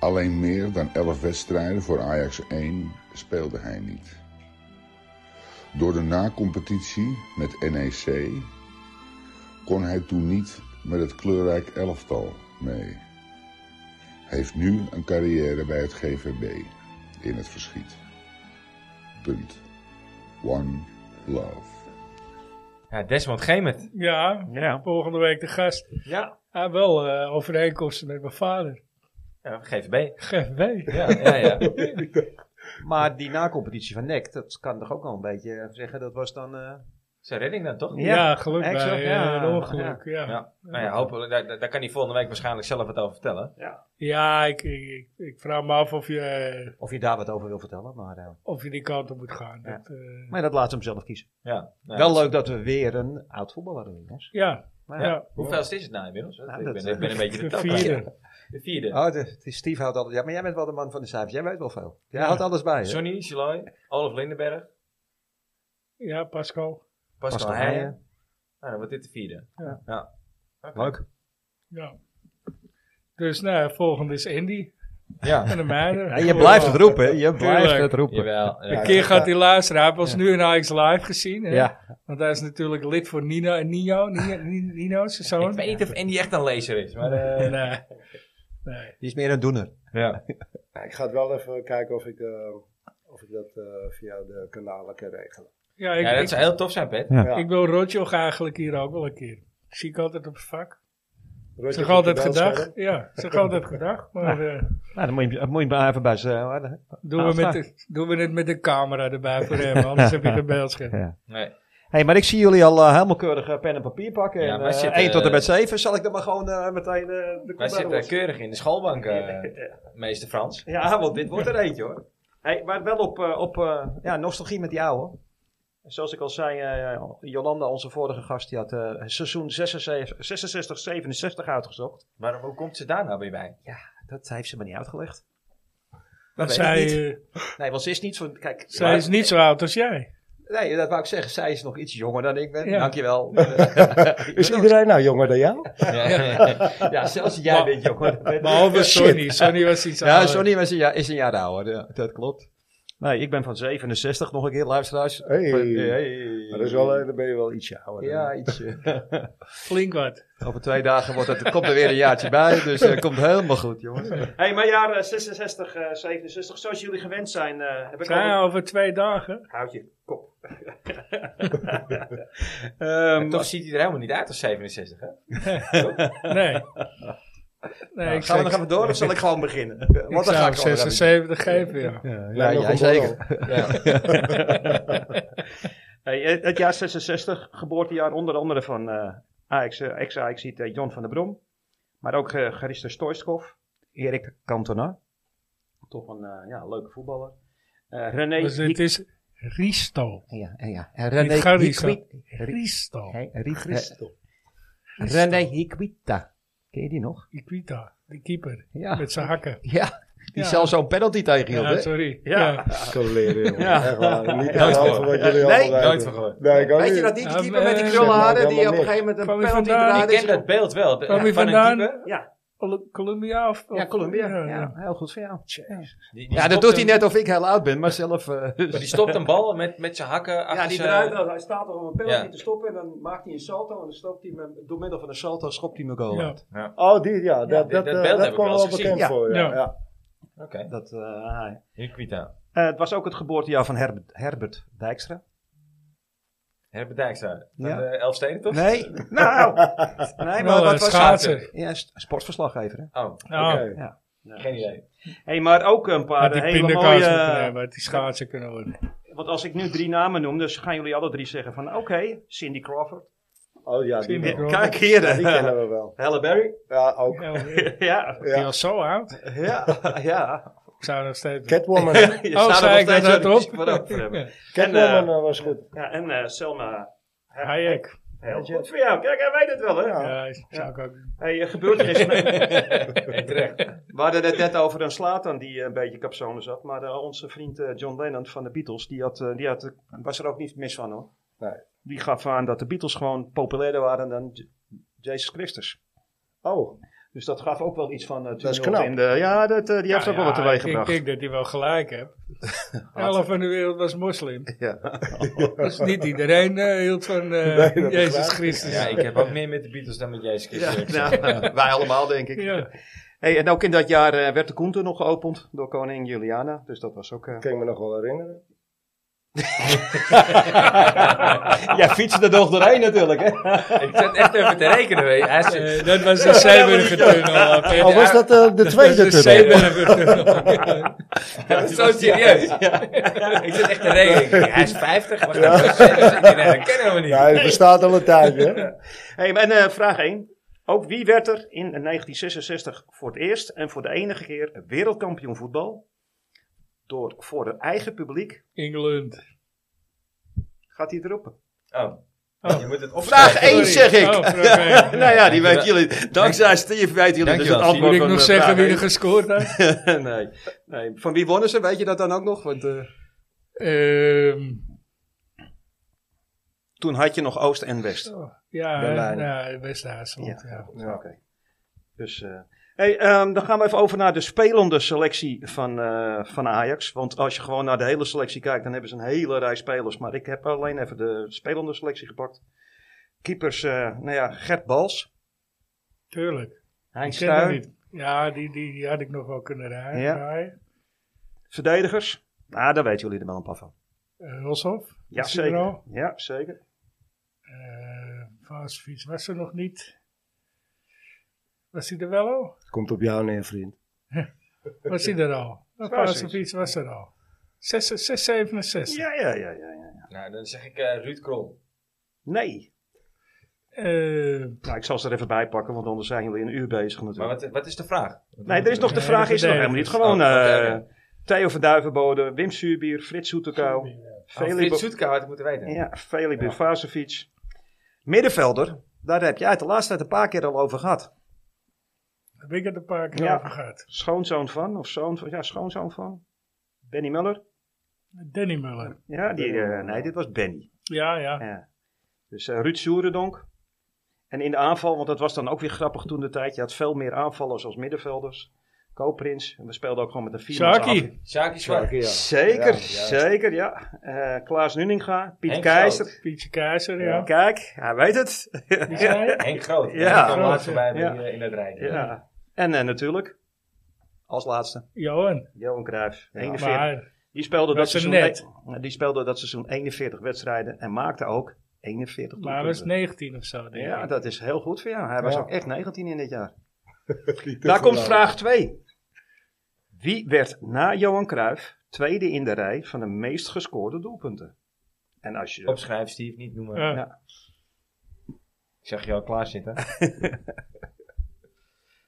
Alleen meer dan 11 wedstrijden voor Ajax 1 speelde hij niet. Door de nacompetitie met NEC kon hij toen niet met het kleurrijk elftal mee. Heeft nu een carrière bij het GVB in het verschiet. Punt. One love. Ja, Desmond Gemert. ja, Ja. volgende week de gast. Ja. Ah, wel eh, overeenkomsten met mijn vader. ja GVB. GVB. Ja, ja, ja. Maar die nacompetitie van NEC, dat kan toch ook wel een beetje zeggen, dat was dan... eh, Zijn redding dan toch? Ja, Ja, geluk bij exact, eh, ja. een ongeluk. Ja, ja. Ja, nou ja, hopelijk. Daar, daar- daar kan hij volgende week waarschijnlijk zelf wat over vertellen. ik, ik, ik vraag me af of je, eh, Of je daar wat over wil vertellen, maar... eh, of je die kant op moet gaan. Ja. Dat, eh, maar dat laat ze hem zelf kiezen. Ja, nou, Wel leuk dat we weer een oud voetballer hebben, jongens. ja, Maar, ja. Hoeveel is het nou inmiddels? ik, dat, ben, eh, ik ben een beetje de de tapper. vierde. De vierde. Oh, de, de Steve houdt altijd... Ja, maar jij bent wel de man van de cijfers. Jij weet wel veel. Jij Ja. houdt alles bij, hè? Johnny, Siloy, Olaf Lindenberg, Ja, Pascal. Pascal, Pascal Heijen. Heijen. Nou, dan wordt dit de vierde. Ja. Oké. Leuk. Ja. Dus nou, ja, volgende is Andy Ja. van de Meijer. Ja, je blijft het roepen, hè? Je Tuurlijk. blijft het roepen. Jawel. Een Ja. keer gaat hij luisteren. Hij heeft ons nu in Ajax Live gezien. Hè? Ja. Want hij is natuurlijk lid voor Nino en Nino, Nino, Nino zijn Ik zoon. weet niet of Andy echt een lezer is, maar... En, eh, nee. Die is meer een doener. ja. Ja, Nou, Ik ga het wel even kijken of ik, eh, of ik dat eh, via de kanalen kan regelen. Ja, ik, ja, dat ik, zou heel tof zijn, Pet. Ja. Ja. ik wil Rotjoch eigenlijk hier ook wel een keer. Zie ik altijd op het vak. Roger, Zeg altijd dankjewel, gedag. Sharon. Ja, zeg altijd gedag. Maar eh, Nou, dan moet je, dan moet je maar even bij ze houden. doen, Nou, Ah, we met vraag. de, doen we het met de camera erbij voor hem. Anders heb je geen beeldscherm. Nee. hey, maar ik zie jullie al eh, helemaal keurig eh, pen en papier pakken. Ja, en, wij eh, zitten, één tot en eh, met 7. Zal ik dan maar gewoon eh, meteen eh, de Wij kop zitten keurig in de schoolbank, eh, meester Frans. Ja, want dit wordt er eentje hoor. Hey, maar wel op, eh, op eh, ja, nostalgie met die oude. Zoals ik al zei, eh, Jolanda, onze vorige gast, die had eh, seizoen 66-67 uitgezocht. Maar hoe komt ze daar nou weer bij? Dat heeft ze me niet uitgelegd. Dat Want weet ik zij, niet. eh, Nee, want ze is niet zo... Kijk, zij is niet zo oud als jij. Nee, dat wou ik zeggen. Zij is nog iets jonger dan ik ben. Ja. Dankjewel. Is iedereen nou jonger dan jou? Ja. Ja, zelfs jij Maar- bent jonger. Behalve Sonny. Sonny was iets Ja, ouder. Sonny was een jaar, is een jaar ouder. Ja, dat klopt. Nee, ik ben van 67 nog een keer luisteraars. Hey. Van- hey. Maar dat is wel, eh, dan ben je wel ietsje ouder. Ja, ietsje. Flink wat. Over twee dagen wordt het, komt er weer een jaartje bij, dus het komt helemaal goed, jongens. hey, maar jaar eh, 66, eh, 67, zoals jullie gewend zijn, eh, heb ik al... Ja, over twee dagen. Houd je kop. En Ehm, toch ziet hij er helemaal niet uit als 67, hè? Nee. nee ik Nou, gaan we zou- nog even door of zal ik gewoon beginnen? Ik Want dan zou ga hem ik gewoon 76 geven, ja. Ja, ja, nog jij een zeker. Ja. Hey, het- het jaar 66, geboortejaar onder andere van eh Ajax, eh, ex-Ajax ziet Jon van der Brom. Maar ook eh Garister Stoiskov, Erik Cantona. Toch een eh, ja, leuke voetballer. Eh René Dus het Hiek- is Risto. Ja, ja. En Niet René Garisto. Hiekwi- Ri- Risto. Hey, Ri- eh, René Higuita. Ken je die nog? Iquita, de keeper, Ja. met zijn hakken. Ja, die Ja. zelfs zo'n penalty tegenhield, Ja, hè? sorry. Ja. Ja. Leren, jongen. Ja. Echt waar. Niet Nooit over van. wat jullie Nee, allemaal Nooit weten. van gehoord. Nee, ik ook Weet je niet. dat die Ja, keeper met die eh, krullen zeg maar, haren die helemaal op een niks. gegeven moment Kwam een hij penalty vandaan? Ik draaide? ken dat beeld wel. Kwam hij van een vandaan? keeper. Ja, Col- Colombia of... ja, of- Colombia. Ja, heel goed voor jou. Die- die Ja, dat stopt doet hij hem- net of ik heel oud ben, maar zelf... eh, Maar die stopt een bal met, met zijn hakken achter ja, die zijn- draait, hij staat er om een penalty. Ja. te stoppen en dan maakt hij een salto en dan stopt hij hem door middel van een salto schopt hij mijn goal Ja. uit. Oh, die, ja. Dat, dit- dat, dat eh, beeld heb dat ik kwam wel eens wel bekend gezien. Ja. voor, ja. Ja. ja. Oké, Dat, eh, hier kwiet aan. eh, het was ook het geboortejaar van Herbert, Herbert Dijkstra. Herbert Dijkstra. Van Ja. de Elfsteden toch? Nee, nou, nee, maar Wel, wat eh, was schaatsen. Ja, s- sportverslaggever. Hè? Oh, Nou, Oké. geen idee. Hey, maar ook een paar Had die Ah, hele pindakaas eh, moeten mooie. eh, hebben, had die schaatsen kunnen worden. Want als ik nu drie namen noem, dus gaan jullie alle drie zeggen van, oké, Cindy Crawford. Oh ja, die, Cindy wel. Crawford. Kijk hier, Ja, die hè. kennen we wel. Halle Berry. Ja, ook. Ja, die Ja, Ja. was zo oud. ja, ja. Ik zou nog steeds... Catwoman. Je Oh, staat er zei nog ik dat steeds aan die erop? muziek voorop voor hem. Ja. Catwoman eh, was goed. Ja, en eh, Selma. Hayek. Heel goed voor jou. Kijk, hij weet het wel, hè. Ja. eh, Ja, zou ik ook... Hey, eh, gebeurtenis. Terecht. We hadden het net over een Slatan die eh, een beetje kapzone zat. Maar eh, onze vriend eh, John Lennon van de Beatles, die, had, eh, die had, eh, was er ook niet mis van hoor. Nee. Die gaf aan dat de Beatles gewoon populairder waren dan J- Jezus Christus. Oh, Dus dat gaf ook wel iets van eh Dat is tumult knap. In de, ja, dat, eh, die heeft Ja, ook wel Nou wat ja, teweeg ik- gebracht. Ik denk dat hij wel gelijk hebt. Elf van de wereld was moslim. Ja. Dus niet iedereen eh, hield van eh, Nee, dat Jezus begrijp ik. Christus. Ja, ik heb ook meer met de Beatles dan met Jezus Ja, Christus. nou, wij allemaal denk ik. Ja. Hey, en ook in dat jaar eh, werd de Koenten nog geopend door koningin Juliana. Dus dat was ook... eh, kan ik me nog wel herinneren. Jij fietste er nog doorheen natuurlijk hè. Ik zat echt even te rekenen. Weet. je. Hij is, Eh, dat was de Zeeburger-tunnel. Peter. Oh, was dat eh, de Dat was tweede de tunnel? Zeeburger-tunnel. hij is zo serieus. Ik zat echt te rekenen. Hij is 50. Wat ja. dat kennen we niet. Ja, het bestaat al een tijdje. hè? Hey, en eh, vraag 1. Ook wie werd er in 1966 voor het eerst en voor de enige keer wereldkampioen voetbal? Door, voor het eigen publiek Engeland. gaat hij het roepen. Oh. Je moet het opschrijven. Vraag 1 zeg ik. Oh, vraag één. nou ja, die Ja. weten jullie. Dankzij Steve weten jullie dus het Dankjewel, antwoord Moet ik van, nog eh, zeggen vraag wie één. er gescoord had? nee. nee. Van wie wonnen ze? Weet je dat dan ook nog? Want eh, Ehm, toen had je nog Oost en West. oh, ja, Berlijn. ja, West-Duitsland. Ja. Ja. Dus, eh, hey, ehm, dan gaan we even over naar de spelende selectie van, eh, van Ajax. Want als je gewoon naar de hele selectie kijkt, dan hebben ze een hele rij spelers. Maar ik heb alleen even de spelende selectie gepakt. Keepers, eh, nou ja, Gert Bals. Tuurlijk. Ik Heinz ken dat Stuy. niet. Ja, die, die, die had ik nog wel kunnen ra- Ja. draaien. Verdedigers. Nou, daar weten jullie er wel een paar van. Eh, Roshoff. Ja, was die er zeker. al? Ja, zeker. Eh, Vaasfiets was er nog niet. Was hij er wel al? Komt op jou neer, vriend. Was hij er al? Een Vaasfiets. Vaasfiets was er al. 667. Ja, ja, ja, ja. ja. Nou, dan zeg ik eh, Ruud Krol. Nee. Eh, Nou, ik zal ze er even bij pakken, want anders zijn jullie een uur bezig Maar natuurlijk. wat, wat is de vraag? Nee, er is nog, de Ja, vraag de is nog helemaal niet. verdedigers. Gewoon Oh, oké, eh, Theo van Duivenbode, Wim Suurbier, Frits Soetekou. Philip Veli- Oh, Frits Soetka had ik moeten weten. Ja, Feli Bufasevic. Middenvelder, daar heb jij het de laatste tijd een paar keer al over gehad. Heb ik het een paar keer Ja. over gehad. Schoonzoon van, of zoon van, ja, schoonzoon van. Benny Muller. Danny Muller. Ja, die, eh, nee, dit was Benny. Ja, ja. Ja. Dus eh, Ruud Soerendonk. En in de aanval, want dat was dan ook weer grappig toen de tijd. Je had veel meer aanvallers als middenvelders. Co-prins. En we speelden ook gewoon met een vier. Sharky. Sjaki Zwart. ja. Zeker, Ja, ja. zeker, ja. Eh, Klaas Nuninga, Piet Henk Keizer. Pietje Keizer, ja. Kijk, hij weet het. Die zei- Henk Groot. Ja. Ja. Ik kwam Groot, laatst voorbij bij ja. die, eh, in het rijtje. Ja. En eh, natuurlijk, als laatste, Johan. Johan Cruijff. 41. Maar die, speelde dat was er seizoen, net. eh, die speelde dat seizoen 41 wedstrijden en maakte ook 41 maar hij was doelpunten. 19 of zo, denk Ja, ik. dat is heel goed voor jou. Hij was Ja. ook echt 19 in dit jaar. Niet te Daar komt verlaten. vraag 2. Wie werd na Johan Cruijff tweede in de rij van de meest gescoorde doelpunten? En als je... Opschrijf, Steve, niet noemen. Ja. Ja. Ik zag je al klaar zitten.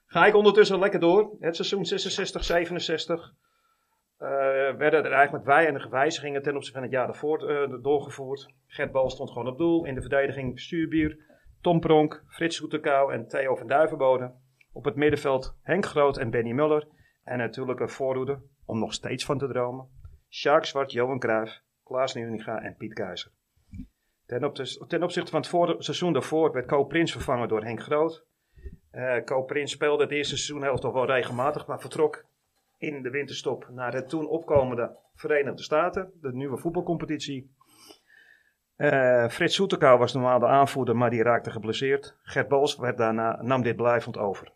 Ga ik ondertussen lekker door. Het seizoen 66, 67 eh, werden er eigenlijk weinig wijzigingen ten opzichte van het jaar daarvoor eh, doorgevoerd. Gert Bal stond gewoon op doel. In de verdediging Stuurbier, Tom Pronk, Frits Soetekau en Theo van Duivenbode. Op het middenveld Henk Groot en Benny Muller. En natuurlijk een voorhoede, om nog steeds van te dromen. Sjaak Zwart, Johan Cruijff, Klaas Nieuwenga en Piet Keizer. Ten, op ten opzichte van het voor- seizoen daarvoor werd Co Prins vervangen door Henk Groot. Eh Co Prins speelde het eerste seizoen helft nog wel regelmatig, maar vertrok in de winterstop naar de toen opkomende Verenigde Staten, de nieuwe voetbalcompetitie. Eh Frits Soetekau was normaal de aanvoerder, maar die raakte geblesseerd. Gert Bals werd daarna, nam dit blijvend over.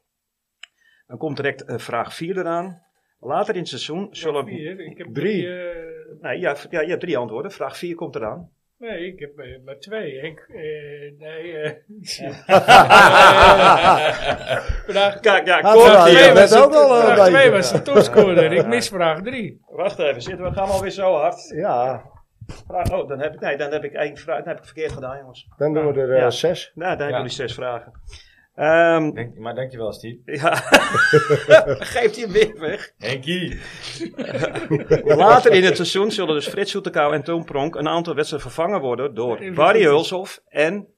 Dan komt direct eh, vraag 4 eraan. Later in het seizoen zullen... Vier, ik heb Drie. drie, eh, Nee, ja, v- ja, je hebt drie antwoorden. Vraag 4 komt eraan. nee, ik heb eh, maar twee. Henk, eh, nee, eh vraag, Kijk, ja, Had er al, Cor- je twee bent was, ook al een vraag twee beetje. was de topscorer. Ik mis vraag drie. Wacht even, zitten we gaan alweer zo hard. Ja, Vraag- oh, dan heb ik, nee, dan heb ik één vraag. Dan heb ik verkeerd gedaan, jongens. dan doen we er eh, Ja. zes. Nou, dan hebben Ja. jullie zes vragen. Ehm Dank- maar dankjewel, Steve. ja, geeft hij hem weer weg. Henkie. Later in het seizoen zullen dus Frits Soetekau en Toon Pronk een aantal wedstrijden vervangen worden door Even Barry goed. Hulshoff en...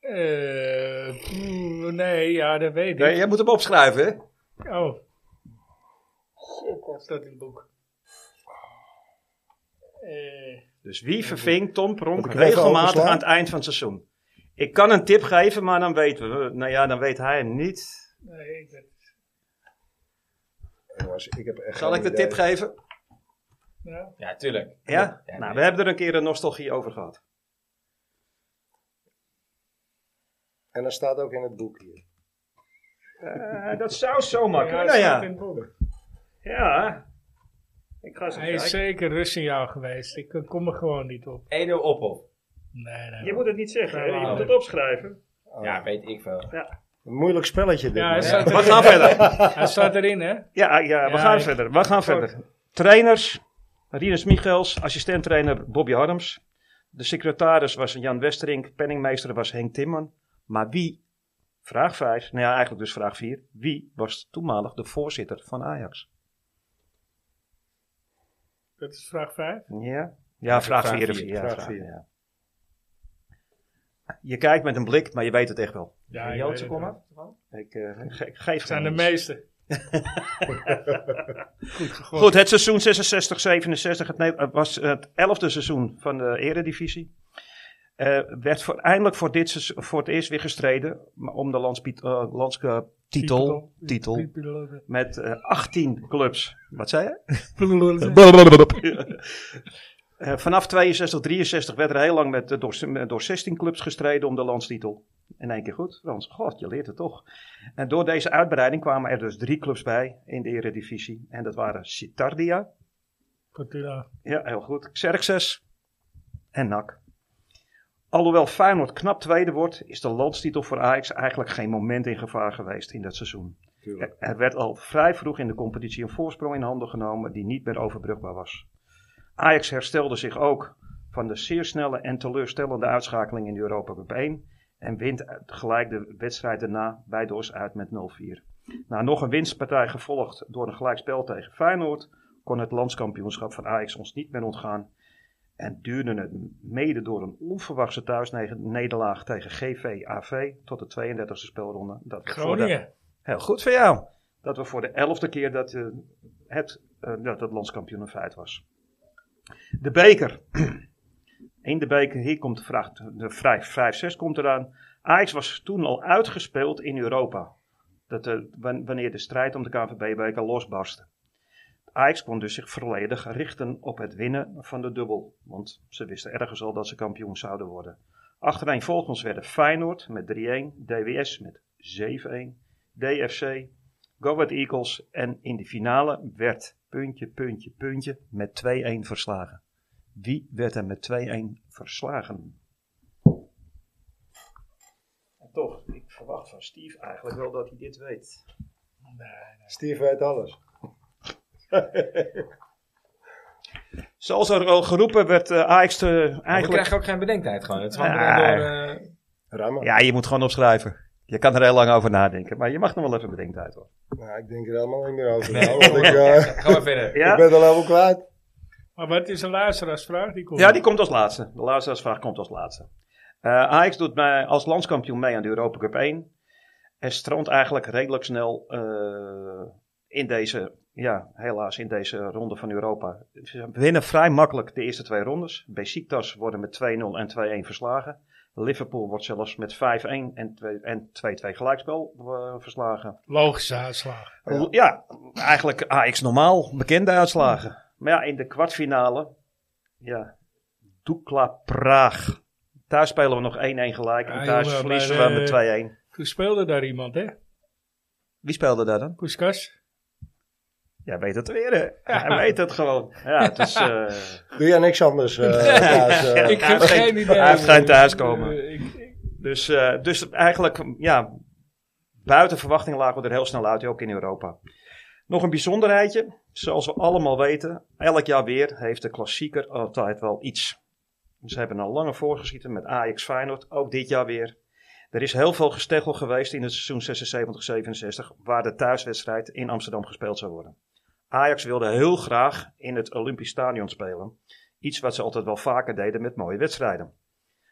Eh, pff, nee, ja, dat weet ik. Nee, jij moet hem opschrijven, hè? Oh. Shit, daar staat in het boek. Eh, Dus wie verving Tom Pronk Moet ik even regelmatig overslaan? aan het eind van het seizoen? Ik kan een tip geven, maar dan weten we... Nou ja, dan weet hij hem niet. nee, ik weet- Jongens, ik heb echt Zal geen ik de idee. tip geven? ja. Ja, tuurlijk. Ja? Ja, nou, nee. we hebben er een keer een nostalgie over gehad. En dat staat ook in het boek hier. Eh, dat zou zomaar Ja, kunnen. het nou Ja, staat in ja. het boek. Ik ga eens Hij is kijken. zeker Russiaal geweest. Ik eh, kom er gewoon niet op. Edo Oppel. Nee, nee. Je moet het niet zeggen, hè? je Ja, moet maar- het opschrijven. Oh, Ja, weet ik veel. Een moeilijk spelletje dit. Ja, man. hij staat, We erin. gaan verder. hij staat erin, hè? Ja, ah, ja we Ja, gaan ik- verder. We gaan verder. Trainers, Rinus Michels, assistenttrainer Bobby Harms. De secretaris was Jan Westerink, penningmeester was Henk Timman. Maar wie, vraag 5, nou ja, eigenlijk dus vraag 4. Wie was toenmalig de voorzitter van Ajax? Dat is vraag 5. Ja, ja vraag vraag 4. vier. Ja, Vraag vraag vier. ja. Je kijkt met een blik, maar je weet het echt wel. Ja, Joodse kom komma? Ik, eh, ge- ik geef Het zijn de geen meeste. Goed, het seizoen 66-67 het ne- eh, was het elfde seizoen van de eredivisie. Eh werd voor, eindelijk voor, dit seizoen- voor het eerst weer gestreden maar om de landspie- eh, landske- titel, titel met eh, 18 clubs. Wat zei je? Eh, vanaf 62-63 werd er heel lang met, eh, door, eh, door 16 clubs gestreden om de landstitel. In één keer goed, Frans. God, je leert het toch. En door deze uitbreiding kwamen er dus drie clubs bij in de eredivisie. En dat waren Citardia, Fortuna. ja, heel goed. Xerxes en NAC. Alhoewel Feyenoord knap tweede wordt, is de landstitel voor Ajax eigenlijk geen moment in gevaar geweest in dat seizoen. Er, er werd al vrij vroeg in de competitie een voorsprong in handen genomen die niet meer overbrugbaar was. Ajax herstelde zich ook van de zeer snelle en teleurstellende uitschakeling in de Europa Cup 1 en wint uit- gelijk de wedstrijd daarna bij DOS uit met 0-4. Na nog een winstpartij gevolgd door een gelijkspel tegen Feyenoord kon het landskampioenschap van Ajax ons niet meer ontgaan. En duurde het mede door een onverwachte thuisnederlaag tegen GVAV tot de 32e speelronde. Dat we voor de- Groningen. Heel goed voor jou. Dat we voor de elfde keer dat eh, het, eh, dat het landskampioen een feit was. De beker. In de beker, hier komt de vraag, de vraag 5-6 komt eraan. Ajax was toen al uitgespeeld in Europa. Dat, eh, wan- wanneer de strijd om de KNVB-beker losbarstte. Ajax kon dus zich volledig richten op het winnen van de dubbel. Want ze wisten ergens al dat ze kampioen zouden worden. Achtereenvolgens werden Feyenoord met 3-1, DWS met 7-1, DFC, Go Ahead Eagles en in de finale werd puntje, puntje, puntje met 2-1 verslagen. Wie werd er met 2-1 verslagen? En toch, ik verwacht van Steve eigenlijk wel dat hij dit weet. Steve weet alles. Zoals er al geroepen werd, eh, Ajax te- Maar We eigenlijk... krijgen ook geen bedenktijd gewoon. Het is gewoon Ja. door... eh, Rammen. Ja, je moet gewoon opschrijven. Je kan er heel lang over nadenken, maar je mag nog wel even bedenktijd hoor. Nou, ik denk er helemaal niet meer over. Nee. Nou, want ik, eh, Ga maar verder. ik ben er helemaal kwijt. Maar wat is een luisteraarsvraag? Die komt. Ja, die komt als laatste. De laatste vraag komt als laatste. Eh Ajax doet mij als landskampioen mee aan de Europa Cup 1. En strandt eigenlijk redelijk snel eh, in deze, ja, helaas in deze ronde van Europa. Ze winnen vrij makkelijk de eerste twee rondes. Besiktas worden met 2-0 en 2-1 verslagen. Liverpool wordt zelfs met 5-1 en 2- en 2-2 gelijkspel eh, verslagen. Logische uitslag. Ja. eigenlijk AX normaal, bekende uitslagen. Maar ja, in de kwartfinale, ja, Dukla Praag. Daar spelen we nog 1-1 gelijk Ja, en thuis jongen, verliezen maar, eh, we met 2-1. Toen speelde daar iemand, hè? Wie speelde daar dan? Koeskas. Jij weet het weer, hè? Hij weet het gewoon. Ja, het is, eh, Doe jij niks anders? eh, thuis, eh? ik heb heeft geen- geen idee. hij heeft geen hoor. thuiskomen. Eh, ik- ik- dus, eh, dus eigenlijk, ja, buiten verwachting lagen we er heel snel uit, ook in Europa. Nog een bijzonderheidje. Zoals we allemaal weten, elk jaar weer heeft de klassieker altijd wel iets. Ze hebben een lange voorgeschieten met Ajax Feyenoord, ook dit jaar weer. Er is heel veel gesteggel geweest in het seizoen 76-67, waar de thuiswedstrijd in Amsterdam gespeeld zou worden. Ajax wilde heel graag in het Olympisch Stadion spelen. Iets wat ze altijd wel vaker deden met mooie wedstrijden.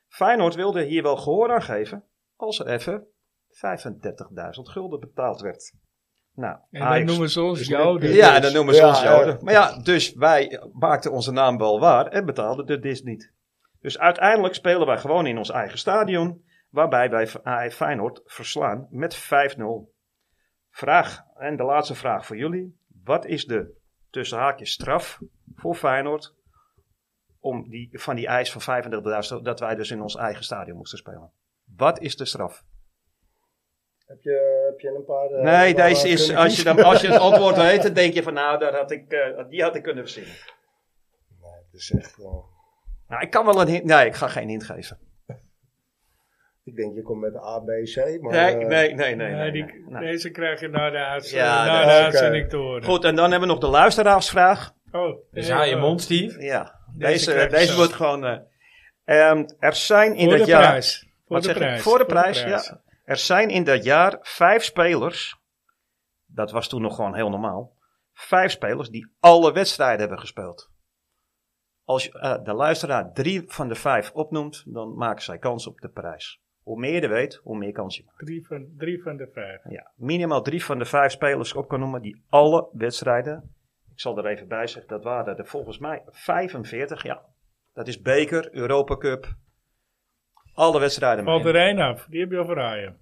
Feyenoord wilde hier wel gehoor aan geven als er even 35.000 gulden betaald werd. Nou, En dan noemen ze ons Joden. ja, dan noemen ze Ja, ons ja. Joden. Maar ja, dus wij maakten onze naam wel waar en betaalden de dis niet. Dus uiteindelijk spelen wij gewoon in ons eigen stadion, waarbij wij AF Feyenoord verslaan met 5-0. Vraag, en de laatste vraag voor jullie. Wat is de tussen haakjes straf voor Feyenoord om die, van die eis van 35.000 dat wij dus in ons eigen stadion moesten spelen? Wat is de straf? heb, je, heb je een paar... eh, Nee, waar- deze is, kunnen als je, dan, als je het antwoord weet, dan denk je van nou, daar had ik, eh, die had ik kunnen verzinnen. kiezen? Nee, het is echt... eh, Nou, ik kan wel een hint. Nee, ik ga geen hint geven. ik denk, je komt met A, B, C, maar... Nee, eh, nee, nee, nee. Ja, nee, die, nee, Nou, nee. Deze krijg je na de uitzending, Ja, na dat- eh, de oké. uitzending te horen. Goed, en dan hebben we nog de luisteraarsvraag. Oh, Dus eh, haal je eh, mond, Steve. Ja, Deze deze, krijg deze, je zelf. wordt gewoon. eh, ehm, er zijn in Voor de dat jaar. prijs. Voor Wat de zeg ik? prijs. Voor de prijs, ja. Er zijn in dat jaar vijf spelers. Dat was toen nog gewoon heel normaal. Vijf spelers die alle wedstrijden hebben gespeeld. Als je, eh, de luisteraar drie van de vijf opnoemt, dan maken zij kans op de prijs. Hoe meer je er weet, hoe meer kans je maakt. Drie van, drie van de vijf. Ja, minimaal drie van de vijf spelers op kan noemen die alle wedstrijden. Ik zal er even bij zeggen, dat waren er volgens mij 45. Ja, dat is beker, Europa Cup. Alle wedstrijden. Valt mee. er één af. Die heb je al voor Ajax.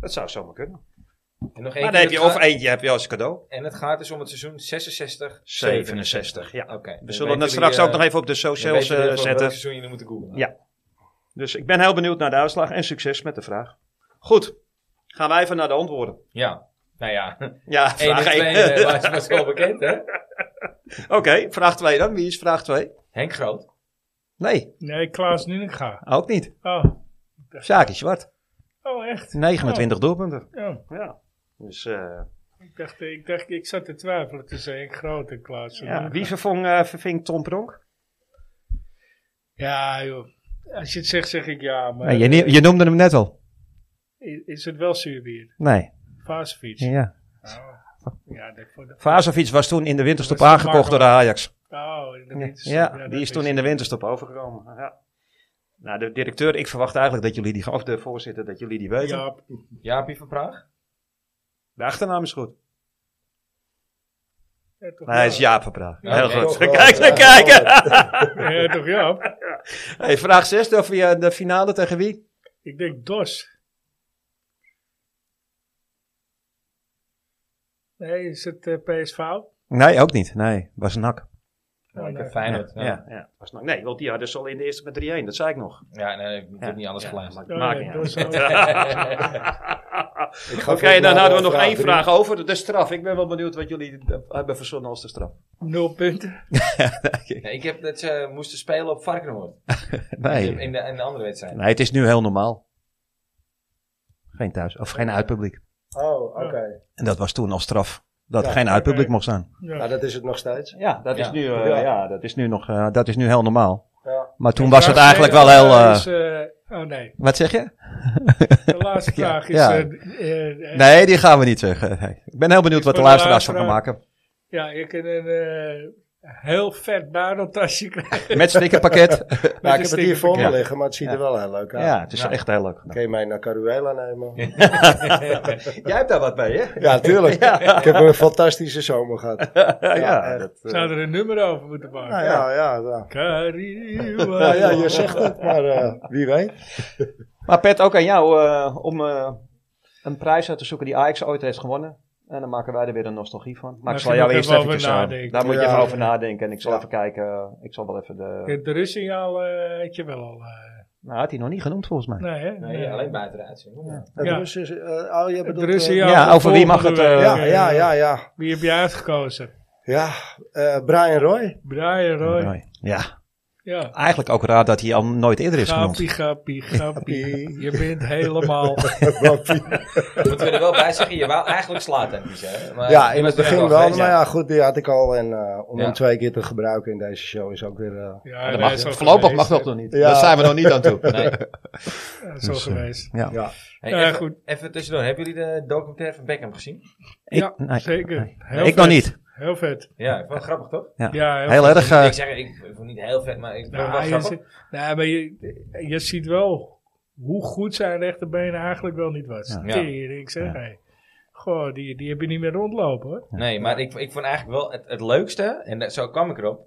Dat zou zomaar kunnen. En nog één Maar dan keer heb je het of gaat- eentje heb je als cadeau. En het gaat dus om het seizoen 66, 67, 67. ja. Oké. We zullen dat straks ook nog even op de socials eh, zetten. seizoen jullie moeten googlen. Ja. Dus ik ben heel benieuwd naar de uitslag en succes met de vraag. Goed, gaan wij even naar de antwoorden. Ja. Nou ja, Ja, 1 en vraag 2 één. eh, was, was wel bekend, hè? Oké, vraag 2 dan. Wie is vraag 2? Henk Groot. Nee, Nee, Klaas Nuninga. ook niet. Oh, Sjaakje Zwart. oh echt? 29 doelpunten. Ja. Ja. Dus eh, Ik dacht, ik dacht, ik zat te twijfelen tussen één grote Klaas ja. Nuninga. wie vervong, eh, verving Tom Pronk? Ja, joh. Als je het zegt, zeg ik ja. Maar noemde hem net al. i- is het wel zuurbier? Nee. Vaasfiets. Ja. Oh. Ja, dat voor de... Vazovic was toen in de winterstop Dat was de aangekocht door de Ajax. Oh, dat Ja, is- ja, dat die is toen in de winterstop overgekomen. Ja. Nou, de directeur, ik verwacht eigenlijk dat jullie die, of de voorzitter, dat jullie die weten. Jaap. Jaapie van Praag. De achternaam is goed. Ja, toch Maar hij is Jaap van Praag. Ja, Heel oké. goed. Toch wel, Kijk, ja. kijk, kijk. Ja, toch Jaap? Hey, vraag 6 over je eh, de finale tegen wie? Ik denk Dos. Nee, is het eh, PSV? Nee, ook niet. Nee, was nak. Oh, nee. Lekker Feyenoord. Ja, Ja. Ja. ja. was nak. Nee, want die hadden ze al in de eerste met 3-1. Dat zei ik nog. nee, ik heb niet alles Ja, geluisterd. maakt- Maakt Oh, niet nee, uit. Dos ook. Ik ga Oké, volgens mij dan hadden we nog vraag één drie. vraag over. De straf. Ik ben wel benieuwd wat jullie eh, hebben verzonnen als de straf. Nul punten. Nee, ik heb dat ze moesten spelen op Varkenoord. In, de, in de andere wedstrijd. Nee, het is nu heel normaal. Geen thuis, of geen uitpubliek. Oh, oké. En dat was toen als straf. Dat Ja, er geen uitpubliek oké. mocht zijn. Nou, Ja. dat is het nog steeds. Ja, dat is nu, eh, ja. dat is nu nog, eh, dat is nu heel normaal. Ja. Maar toen De was het vraag eigenlijk wel tweede heel, vraag is, eh, oh nee, wat zeg je? de laatste Ja, vraag is... ja. eh, eh, eh, Nee, die gaan we niet zeggen. Nee. Ik ben heel benieuwd Is wat de voor de luisteraars van gaan luisteraar- maken. Ja, ik en een eh, heel vet buideltasje krijgt. Met stickerpakket. Nou, ik heb het hier voor me Ja. liggen, maar het ziet er Ja. wel heel leuk uit. ja, het is echt heel leuk. Kun je mij naar Caruela nemen? Jij hebt daar wat bij, hè? Ja, tuurlijk. Ik heb een fantastische zomer gehad. Ja, ja, echt. dat, eh, Zou er een nummer over moeten maken? Nou ja, ja, ja. Kariwa. Nou ja, je zegt het, maar eh, wie weet. Maar Pet, ook aan jou eh, om eh, een prijs uit te zoeken die Ajax ooit heeft gewonnen. En dan maken wij er weer een nostalgie van. Maar Daar ik zal ging jou ik eerst even even over aan. nadenken. Daar moet je Ja. even over nadenken. En ik zal Ja. even kijken. eh, Ik zal wel even de... Het rustsignaal eh had je wel al. eh, Nou, had hij nog niet genoemd volgens mij. nee, hè? Nee, alleen buiten de uitzending. Ja. Het Ja. Russische, eh, oh, je Het bedoelt, eh, rustsignaal ja, voor over wie mag volgende het, eh, week, ja, eh, ja, ja, ja. Wie heb je uitgekozen? Ja, eh, Brian Roy. Brian Roy. Mooi. Ja, Ja. eigenlijk ook raar dat hij al nooit eerder is genoemd. Gappie, gappie, gappie. Je bent helemaal... Moeten we er wel bij zeggen, je wou eigenlijk slaat hem niet, hè? Maar Ja, je in was het er begin wel. geweest, Maar ja, goed, die had ik al. En eh, om Ja. hem twee keer te gebruiken in deze show is ook weer... eh, Ja, dat nee, mag, zo voorlopig geweest, mag dat hè. nog niet. Ja. Daar zijn we nog niet aan toe. Nee. Ja, Zo geweest. Ja. ja. Hey, Ja, even, goed. even tussendoor, hebben jullie de documentaire van Beckham gezien? Ik- Ja, nee, zeker. nee. Heel Ik nog vet. niet. Heel vet. Ja, ik vond het grappig toch? Ja, heel Heel erg. eh, ik zeg, ik vond het niet heel vet, maar ik vond het Nou, wel je, grappig. zi- nou, maar je, je ziet wel hoe goed zijn rechterbeen eigenlijk wel niet was. Ja. Tering, zeg. Ja. hé. Goh, die, die heb je niet meer rondlopen hoor. Nee, maar ik, ik vond eigenlijk wel het, het leukste, en dat, zo kwam ik erop.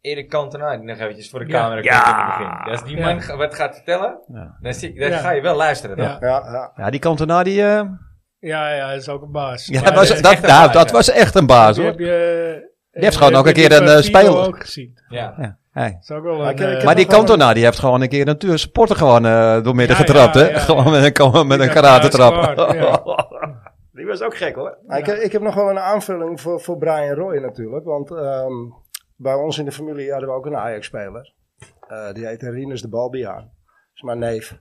Erik Cantona, die nog eventjes voor de Ja. camera Ja. komt in het begin. Als die Ja. man ga- wat gaat vertellen, Ja. dan, zie, dan Ja. ga je wel luisteren. Dan. Ja, Ja, ja. ja, die kantenaar die... eh, ja, ja, dat is ook een baas. ja, Maar, was, eh, dat, echt een nou, baas, dat ja. was echt een baas die hoor. heb je... Die heeft gewoon heb ook een je keer die een, van eh, Tino speler. ook gezien. Ja. Ja, hey. Dat is ook wel Maar een... kijk, eh, ik Maar heb die nog wel- kantenaar die heeft gewoon een keer een tu- supporter gewoon eh door midden Ja, getrapt. ja, hè? ja, gewoon met een, gewoon met Die een dacht, karate ja, trap. is waar, Die was ook gek hoor. Ah, Ik, heb- ik heb nog wel een aanvulling voor, voor Brian Roy natuurlijk. Want ehm, bij ons in de familie hadden we ook een Ajax-speler. Eh, die heette Rinus de Balbiaan. Dat is mijn neef.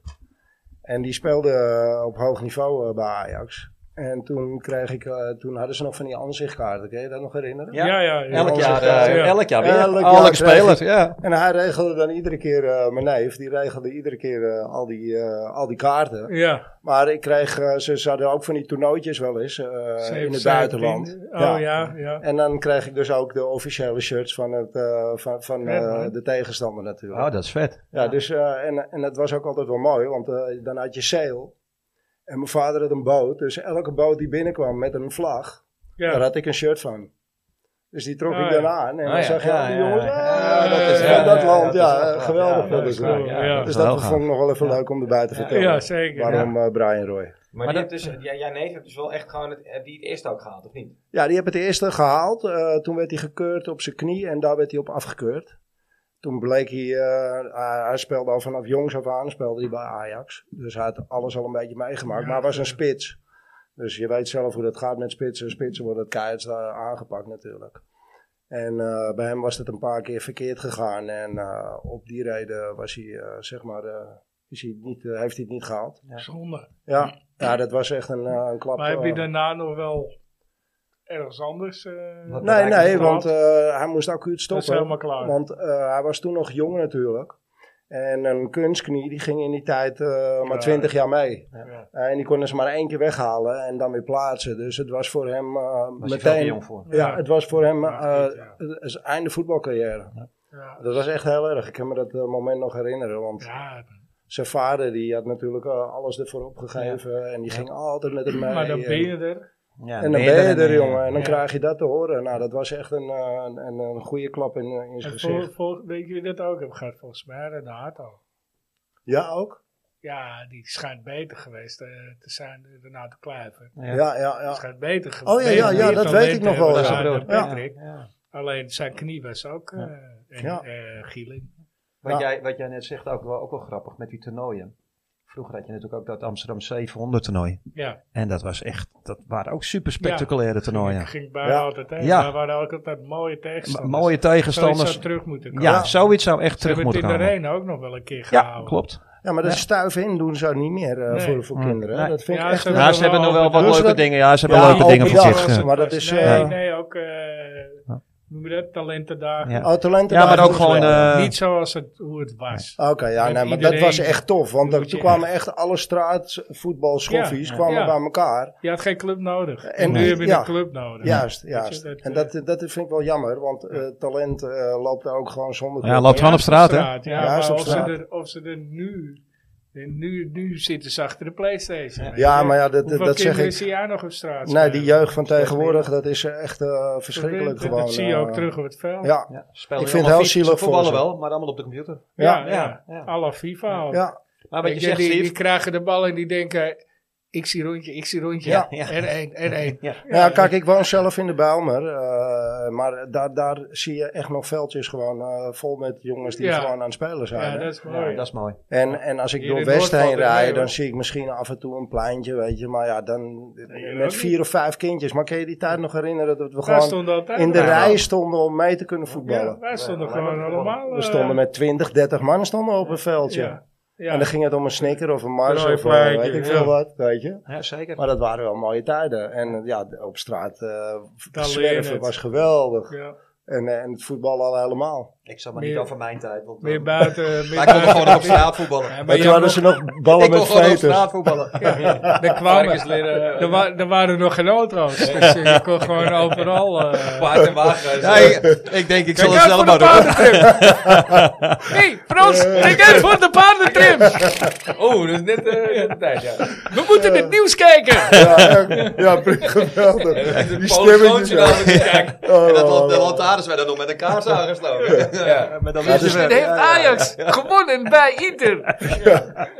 En die speelde eh, op hoog niveau eh, bij Ajax. En toen, kreeg ik, eh, toen hadden ze nog van die aanzichtkaarten. Kun je dat nog herinneren? Ja. ja, ja, ja. Elk onze jaar, grenzen, eh, ja. elk jaar weer. Elk jaar Elke krijg je- speler, ja. En hij regelde dan iedere keer, eh, mijn neef, die regelde iedere keer eh, al, die, eh, al die kaarten. Ja, Maar ik kreeg, eh, ze, ze hadden ook van die toernooitjes wel eens eh, in het 17. buitenland. Oh ja, ja. En dan kreeg ik dus ook de officiële shirts van, het, eh, van, van eh, Vet, man. de tegenstander natuurlijk. Oh, dat is vet. ja, dus, eh, en, en dat was ook altijd wel mooi, want eh, dan had je zeil. En mijn vader had een boot, dus elke boot die binnenkwam met een vlag, daar ja. had ik een shirt van. Dus die trok Ah, ik ja. dan aan en Ah, dan ja. zag je Ja, al die ja, jongens, ja. "Ah, dat is Ja, van dat ja, land, ja, ja, Dus, eh, eh, dat is wel gaaf. geweldig. Ja, dat dat is is wel. wel, ja. Ja. Dus Dat is wel dat vond ik nog wel even leuk om erbij te vertellen. Ja, zeker. Waarom eh, Brian Roy? Maar, Maar die heeft dus, ja, jij neef heeft dus wel echt gewoon het, eh, die het eerste ook gehaald, of niet? Ja, die heb het eerste gehaald. Eh, toen werd hij gekeurd op zijn knie en daar werd hij op afgekeurd. Toen bleek hij, eh, hij, hij speelde al vanaf jongs af aan speelde hij bij Ajax. Dus hij had alles al een beetje meegemaakt, maar hij was een spits. Dus je weet zelf hoe dat gaat met spitsen. Spitsen worden het keihard eh, aangepakt natuurlijk. En eh, bij hem was het een paar keer verkeerd gegaan. En eh, op die reden was hij, eh, zeg maar, eh, is hij niet, eh, heeft hij het niet gehaald. Zonde. Ja, ja dat was echt een, eh, een klap. Maar heb je eh, daarna nog wel ergens anders? eh, Wat- Nee, bereikt nee, het want eh, hij moest acuut Dat is stoppen. helemaal klaar. Want eh, hij was toen nog jong natuurlijk. En een kunstknie die ging in die tijd eh, maar Ja. twintig jaar mee. Ja. en die konden ze maar één keer weghalen en dan weer plaatsen. Dus het was voor hem eh, Was hij veel te meteen. jong voor. Ja, het was voor hem Ja, eh goed, ja. het is einde voetbalcarrière. Ja. Dat was echt heel erg. Ik kan me dat eh, moment nog herinneren. Want Ja, zijn vader die had natuurlijk eh, alles ervoor opgegeven. En die ging altijd met hem mee. maar dan En- ben je er. Ja, en dan ben je er, eh, jongen. En dan Ja. krijg je dat te horen. Nou, dat was echt een, eh, een, een, een goede klap in, in zijn En gezicht. vol, vol, weet je wie dat ook heb gehad? Volgens mij de Hato. Ja, ook? Ja, die schijnt beter geweest eh, te zijn, Renato Kluiver. Ja. Ja, ja, ja. Die schijnt beter geweest. Oh ja, ja, ja, dat weet ik nog wel, ja. Ja. Alleen zijn knie was ook eh en, Ja. eh, Gieling. Wat, Ja. jij, wat jij net zegt, ook wel, ook wel grappig met die toernooien. Vroeger had je natuurlijk ook dat Amsterdam 700 toernooi. Ja, En dat was echt, dat waren ook super spectaculaire toernooien. ging, ging bijna Ja. altijd heen. Ja. Maar we hadden ook altijd mooie M- tegenstanders. Mooie Zoiets tegenstanders. zou terug moeten komen. Ja, zoiets zou echt Ze terug hebben het moeten in komen. de arena ook nog wel een keer Ja, gehouden. klopt. Ja, maar dat Ja. stuiven in doen ze niet meer eh, Nee. voor, voor Nee. kinderen. Nee. Dat vind ik Ja, echt... ze een- Ja, ze hebben nog wel wat Dus leuke dat- dingen. eh. Ja, ze hebben Ja, leuke dingen open voor dag. zich. Maar dat is, Nee, eh, nee, ook... eh, noem je dat, talentendagen. Ja. Oh, talenten. Ja, maar ook gewoon... eh, Niet zoals het, hoe het was. Oké, ja, Met nee, Ah. maar dat iedereen. was echt tof. Want Dan er- moet toen je kwamen echt alle straatvoetbalschoffies Ja, kwamen ja. bij elkaar. Je had geen club nodig. En En nu heb je ja. een club nodig. Juist, Weet je, juist. dat, eh, en dat, dat vind ik wel jammer, want eh, talent eh, loopt ook gewoon zonder... Ja, club. loopt gewoon op straat, hè? Ja, Ja, is maar op of ze, straat. er, of ze er nu... Nu, nu zitten ze achter de Playstation. weet Ja, je. maar ja, dat, Hoeveel dat zeg kinderen ik. zie jij nog op straat? Nee, Nou, die jeugd van Steeds tegenwoordig, dat is echt eh, verschrikkelijk dat, gewoon. Dat zie je ook eh, terug op het veld. Ja, Ja, spelen Ik nu vind het allemaal heel FIFA. Ze zielig voor voetballen ze. wel, maar allemaal op de computer. Ja, ja, ja, ja. à la FIFA. al. ja. Maar wat Weet je je, zegt, die, die Steve, krijgen de bal en die denken, ik zie rondje, ik zie rondje. Ja, ja. En één, en één. Nou Ja, kijk, ik woon zelf in de Bijlmer. eh, maar daar, daar zie je echt nog veldjes gewoon eh, vol met jongens die Ja. gewoon aan het spelen zijn. Ja, hè. dat is mooi. ja, dat is mooi. En, en als ik Hier door in West Noord heen valt het mee, rijd, dan hoor. zie ik misschien af en toe een pleintje, weet je. Maar ja, dan ook met niet. vier of vijf kindjes. Maar kun je die tijd nog herinneren dat we Wij gewoon stonden altijd in de daar. rij stonden om mee te kunnen Ja, voetballen? wij stonden Ja, gewoon wij allemaal. eh, We stonden met 20, 30 man stonden op een veldje. Ja, ja. En dan ging het om een snicker of een mars Rooi of eh, vlaggetje, weet ik veel ja. wat, weet je. Ja, zeker. Maar dat waren wel mooie tijden. En eh, ja, op straat eh Dan leer je zwerven het. was geweldig. Ja. En, eh, en het voetbal al helemaal. Ik zal maar niet Meer- over mijn tijd. Want, Oh. Meer eh, buiten. Meer wij konden buiten. gewoon op straat voetballen. Ja, Maar maar toen je had hadden nog- ze nog ballen ik kon met gewoon op veters. straat voetballen. er kwamen. Er, wa- er waren nog geen auto's. Dus je kon gewoon overal. eh, Paard en wagen. ja, ik, ik denk, ik zal Kijk het uit voor zelf maar de doen. paardentrim! hey, Frans, kijk uit voor de paardentrim! Oh, dat is net eh, net de tijd, ja. We moeten het nieuws kijken! Dus Ja, echt. ja, geweldig. En een Die polygoontje stemmetjes. Ja. namelijk, ja. Oh, En dat, oh, lan- de oh. lantaarns werden nog met een kaars aangesloten. Ja. Met dat Ja, dus- En liedje. heeft Ajax gewonnen bij Inter!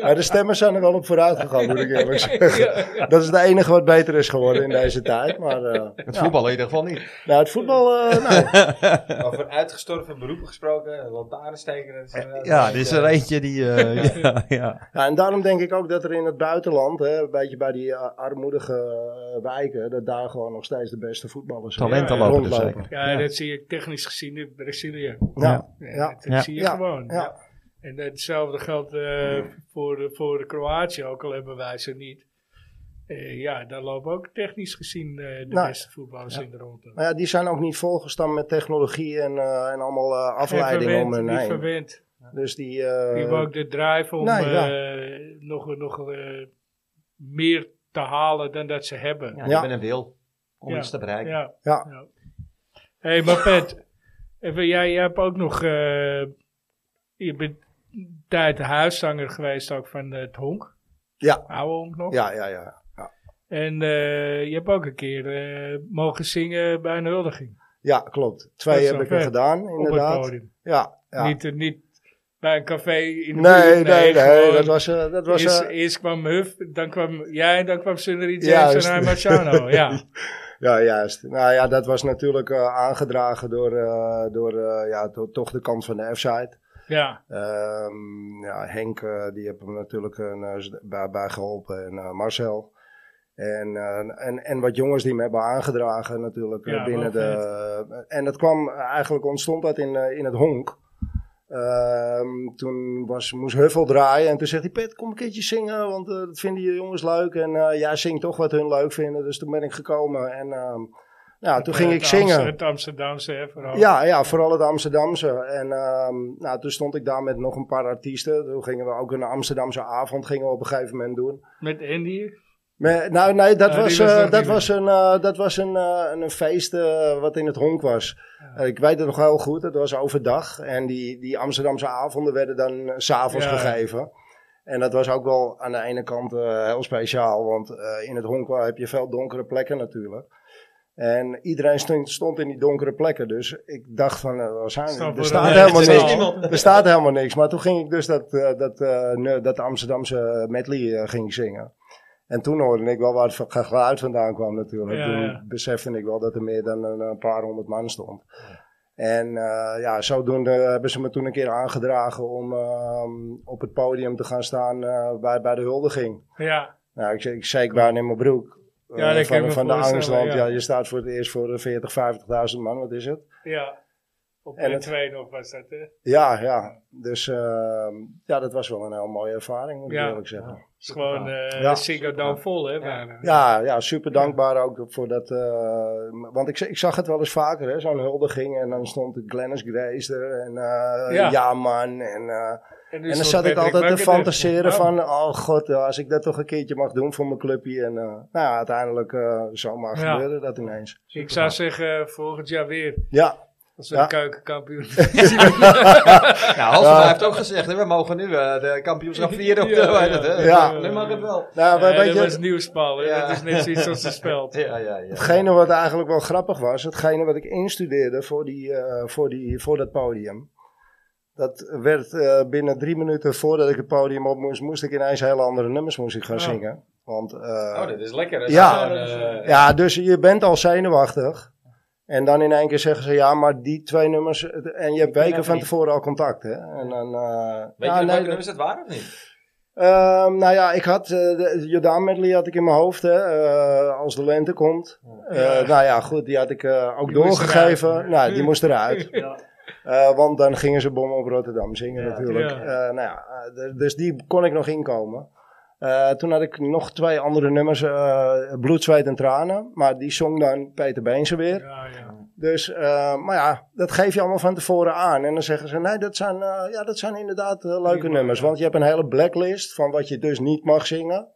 Maar de stemmers zijn er wel op vooruit gegaan, moet ik eerlijk zeggen. Dat is het enige wat beter is geworden in deze tijd. Maar eh, Het voetballen in ieder geval niet. nou, het voetbal, eh, nee. Over uitgestorven beroepen gesproken, lantaarnsteken. dat is eh, inderdaad Ja, een er is beetje- er eentje die... eh, ja, ja. Ja, en daarom denk ik ook dat er in het buitenland, hè, een beetje bij die eh, armoedige eh, wijken, dat daar gewoon nog steeds de beste voetballers Talenten eh, lopen dus rondlopen. zeker. Ja, dat zie je technisch gezien in Brazilië. Ja, Ja, ja, dat Ja. zie je Ja. gewoon. ja. En hetzelfde geldt eh, voor, de- voor de Kroatië, ook al hebben wij ze niet. Eh, ja, daar lopen ook technisch gezien eh, de Nou, beste voetballers in de ronde. Maar ja, die zijn ook niet volgestampt met technologie en, eh, en allemaal eh, afleidingen om hun niet heen. verwend. Dus die, Die eh, hebben ook de drive om nee, ja. eh, nog, nog eh, meer te halen dan dat ze hebben. Ja, Ja. ik ben een wil om Ja. iets te bereiken. Ja. Ja. Hé, hey, maar Pet, even, jij, jij hebt ook nog. eh, je bent een tijd huiszanger geweest ook van het Honk. Ja. Oude Honk nog. ja, ja, ja. En eh, je hebt ook een keer eh, mogen zingen bij een huldiging. Ja, klopt. Twee Dat is heb wel ik er vet. gedaan, Op het inderdaad. podium. Ja, ja. Niet, eh, niet bij een café in de nee, nee, buurt, nee, gewoon dat was... eh, dat was eerst, eh, eerst kwam Huff, dan kwam jij, dan kwam Sunnery James Juist. en hij Marciano. Ja. Ja, juist. Nou ja, dat was natuurlijk eh, aangedragen door, eh, door eh, ja, to- toch de kant van de F-side. ja. Ehm, ja, Henk, eh, die heb hem natuurlijk een, eh, z- bij, bij geholpen. En eh, Marcel. En, eh, en, en wat jongens die hem hebben aangedragen natuurlijk eh, Ja, binnen wel de... en dat kwam eh, eigenlijk, ontstond dat in, eh, in het honk. Ehm, toen was, moest Huffel draaien en toen zegt hij... Pet, kom een keertje zingen, want eh, dat vinden je jongens leuk. En eh, jij zingt toch wat hun leuk vinden. Dus toen ben ik gekomen en ehm, ja, toen ging Eh, ik het Amster- zingen. Het Amsterdamse, hè, vooral. Ja, ja, vooral het Amsterdamse. En ehm, nou, toen stond ik daar met nog een paar artiesten. Toen gingen we ook een Amsterdamse avond gingen we op een gegeven moment doen. Met Andy. Maar, nou, nee, dat Ja, die was, was eh, nog niet dat meer. was, een, eh, dat was een, eh, een, een feest eh, wat in het honk was. Eh, ik weet het nog heel goed, het was overdag. En die, die Amsterdamse avonden werden dan eh, s s'avonds Ja. gegeven. En dat was ook wel aan de ene kant eh, heel speciaal, want eh, in het honk wa- heb je veel donkere plekken natuurlijk. En iedereen stond, stond in die donkere plekken, dus ik dacht van, eh, waar zijn we? Staan voor er de- staat Nee, helemaal er is niks. niemand. Er staat helemaal niks. Maar toen ging ik dus dat, eh, dat, eh, ne- dat Amsterdamse medley eh, ging zingen. En toen hoorde ik wel waar het ge- geluid vandaan kwam natuurlijk. Ja, toen ja. besefte ik wel dat er meer dan een, een paar honderd man stond. En eh, ja, zodoende hebben ze me toen een keer aangedragen om ehm, op het podium te gaan staan eh, bij, bij de huldiging. Ja. Nou, ik, ik zeik bijna in mijn broek. eh, Ja, dat kan ik van me van de angst, voorstellen, want ja. ja. je staat voor het eerst voor de 40, 50.000 man, wat is het? Ja. Op En de het- 2 nog was dat, hè? Ja, ja. Dus ehm, ja, dat was wel een heel mooie ervaring, moet ik Ja. eerlijk zeggen. Het is gewoon eh Ja. Ziggo Dome vol, hè? bijna. Ja, ja super dankbaar ook voor dat. eh, want ik, ik zag het wel eens vaker, hè, zo'n huldiging. En dan stond Glennis Grace er en eh Ja. ja. man. En, eh, nu en dan stond zat ik Patrick Nou, altijd te Buckethead. Ja. fantaseren van: oh god, eh, als ik dat toch een keertje mag doen voor mijn clubje. En eh, nou ja, uiteindelijk eh zomaar Ja. gebeurde dat ineens. Ik zou zeggen, eh, volgend jaar weer. Ja, Als we Ja. een keukenkampioen Nou, Halsema Ja. heeft ook gezegd, hè, we mogen nu eh, de kampioenschap vieren. Op de, Ja, weet het, hè. ja. Nu mag het wel. Ja, nou, we- weet dat je, Eh, was nieuwspal. hè. Ja. Dat is net zoiets als een speld. Ja, ja, ja. Hetgene wat eigenlijk wel grappig was, hetgene wat ik instudeerde voor, die, eh, voor, die, voor dat podium. Dat werd eh, binnen drie minuten voordat ik het podium op moest, moest ik ineens hele andere nummers moest ik gaan Oh. zingen. Want, eh, Oh, dat is lekker. Dat Ja. is gewoon, eh, ja, dus je bent al zenuwachtig. En dan in één keer zeggen ze, ja, maar die twee nummers, het- en je hebt weken dat van niet. tevoren al contact, hè. En dan, eh, Weet ja, je nog welke nee, dat- nummers dat waren of niet? Ehm, nou ja, ik had eh, de Jordaan medley had ik in mijn hoofd, hè, eh, als de lente komt. Eh, nou ja, goed, die had ik eh, ook Die moest doorgegeven. eruit. Nou, die moest eruit. Eh, want dan gingen ze bommen op Rotterdam zingen Ja. natuurlijk. Ja. Eh, nou ja, eh, d- dus die kon ik nog inkomen. Eh, toen had ik nog twee andere nummers, eh Bloed, Zweet en Tranen. Maar die zong dan Peter Beense weer. Ja, ja. Dus, eh, maar ja, dat geef je allemaal van tevoren aan. En dan zeggen ze, nee, dat zijn, eh, ja, dat zijn inderdaad eh, leuke Prima, nummers. ja. Want je hebt een hele blacklist van wat je dus niet mag zingen.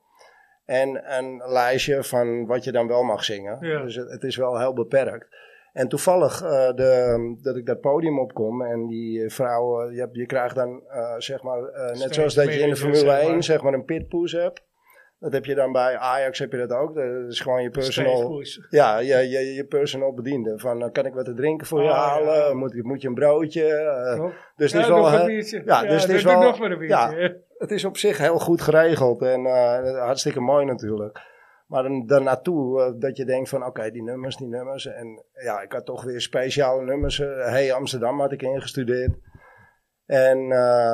En een lijstje van wat je dan wel mag zingen. Ja. Dus het, het is wel heel beperkt. En toevallig eh, de, dat ik dat podium opkom en die vrouw, eh, je, hebt- je krijgt dan eh, zeg maar, eh, net Stage zoals dat je in de manager, Formule zeg maar. 1 zeg maar een pitpoes hebt. Dat heb je dan bij Ajax heb je dat ook. Dat is gewoon je personal, Steegkoers. ja, je, je, je personal bediende. Van, eh, kan ik wat te drinken voor je Ah, ja. halen? Moet, ik- moet je een broodje? Eh, Klopt. dus het Ja, is wel, nog een hè, biertje. ja, dus het doe is ik wel- nog maar een biertje. hè. het is op zich heel goed geregeld. En eh, hartstikke mooi natuurlijk. Maar dan, daarnaartoe eh, dat je denkt van, oké, die nummers, die nummers. En ja, ik had toch weer speciale nummers. eh, hey Amsterdam had ik ingestudeerd. En eh,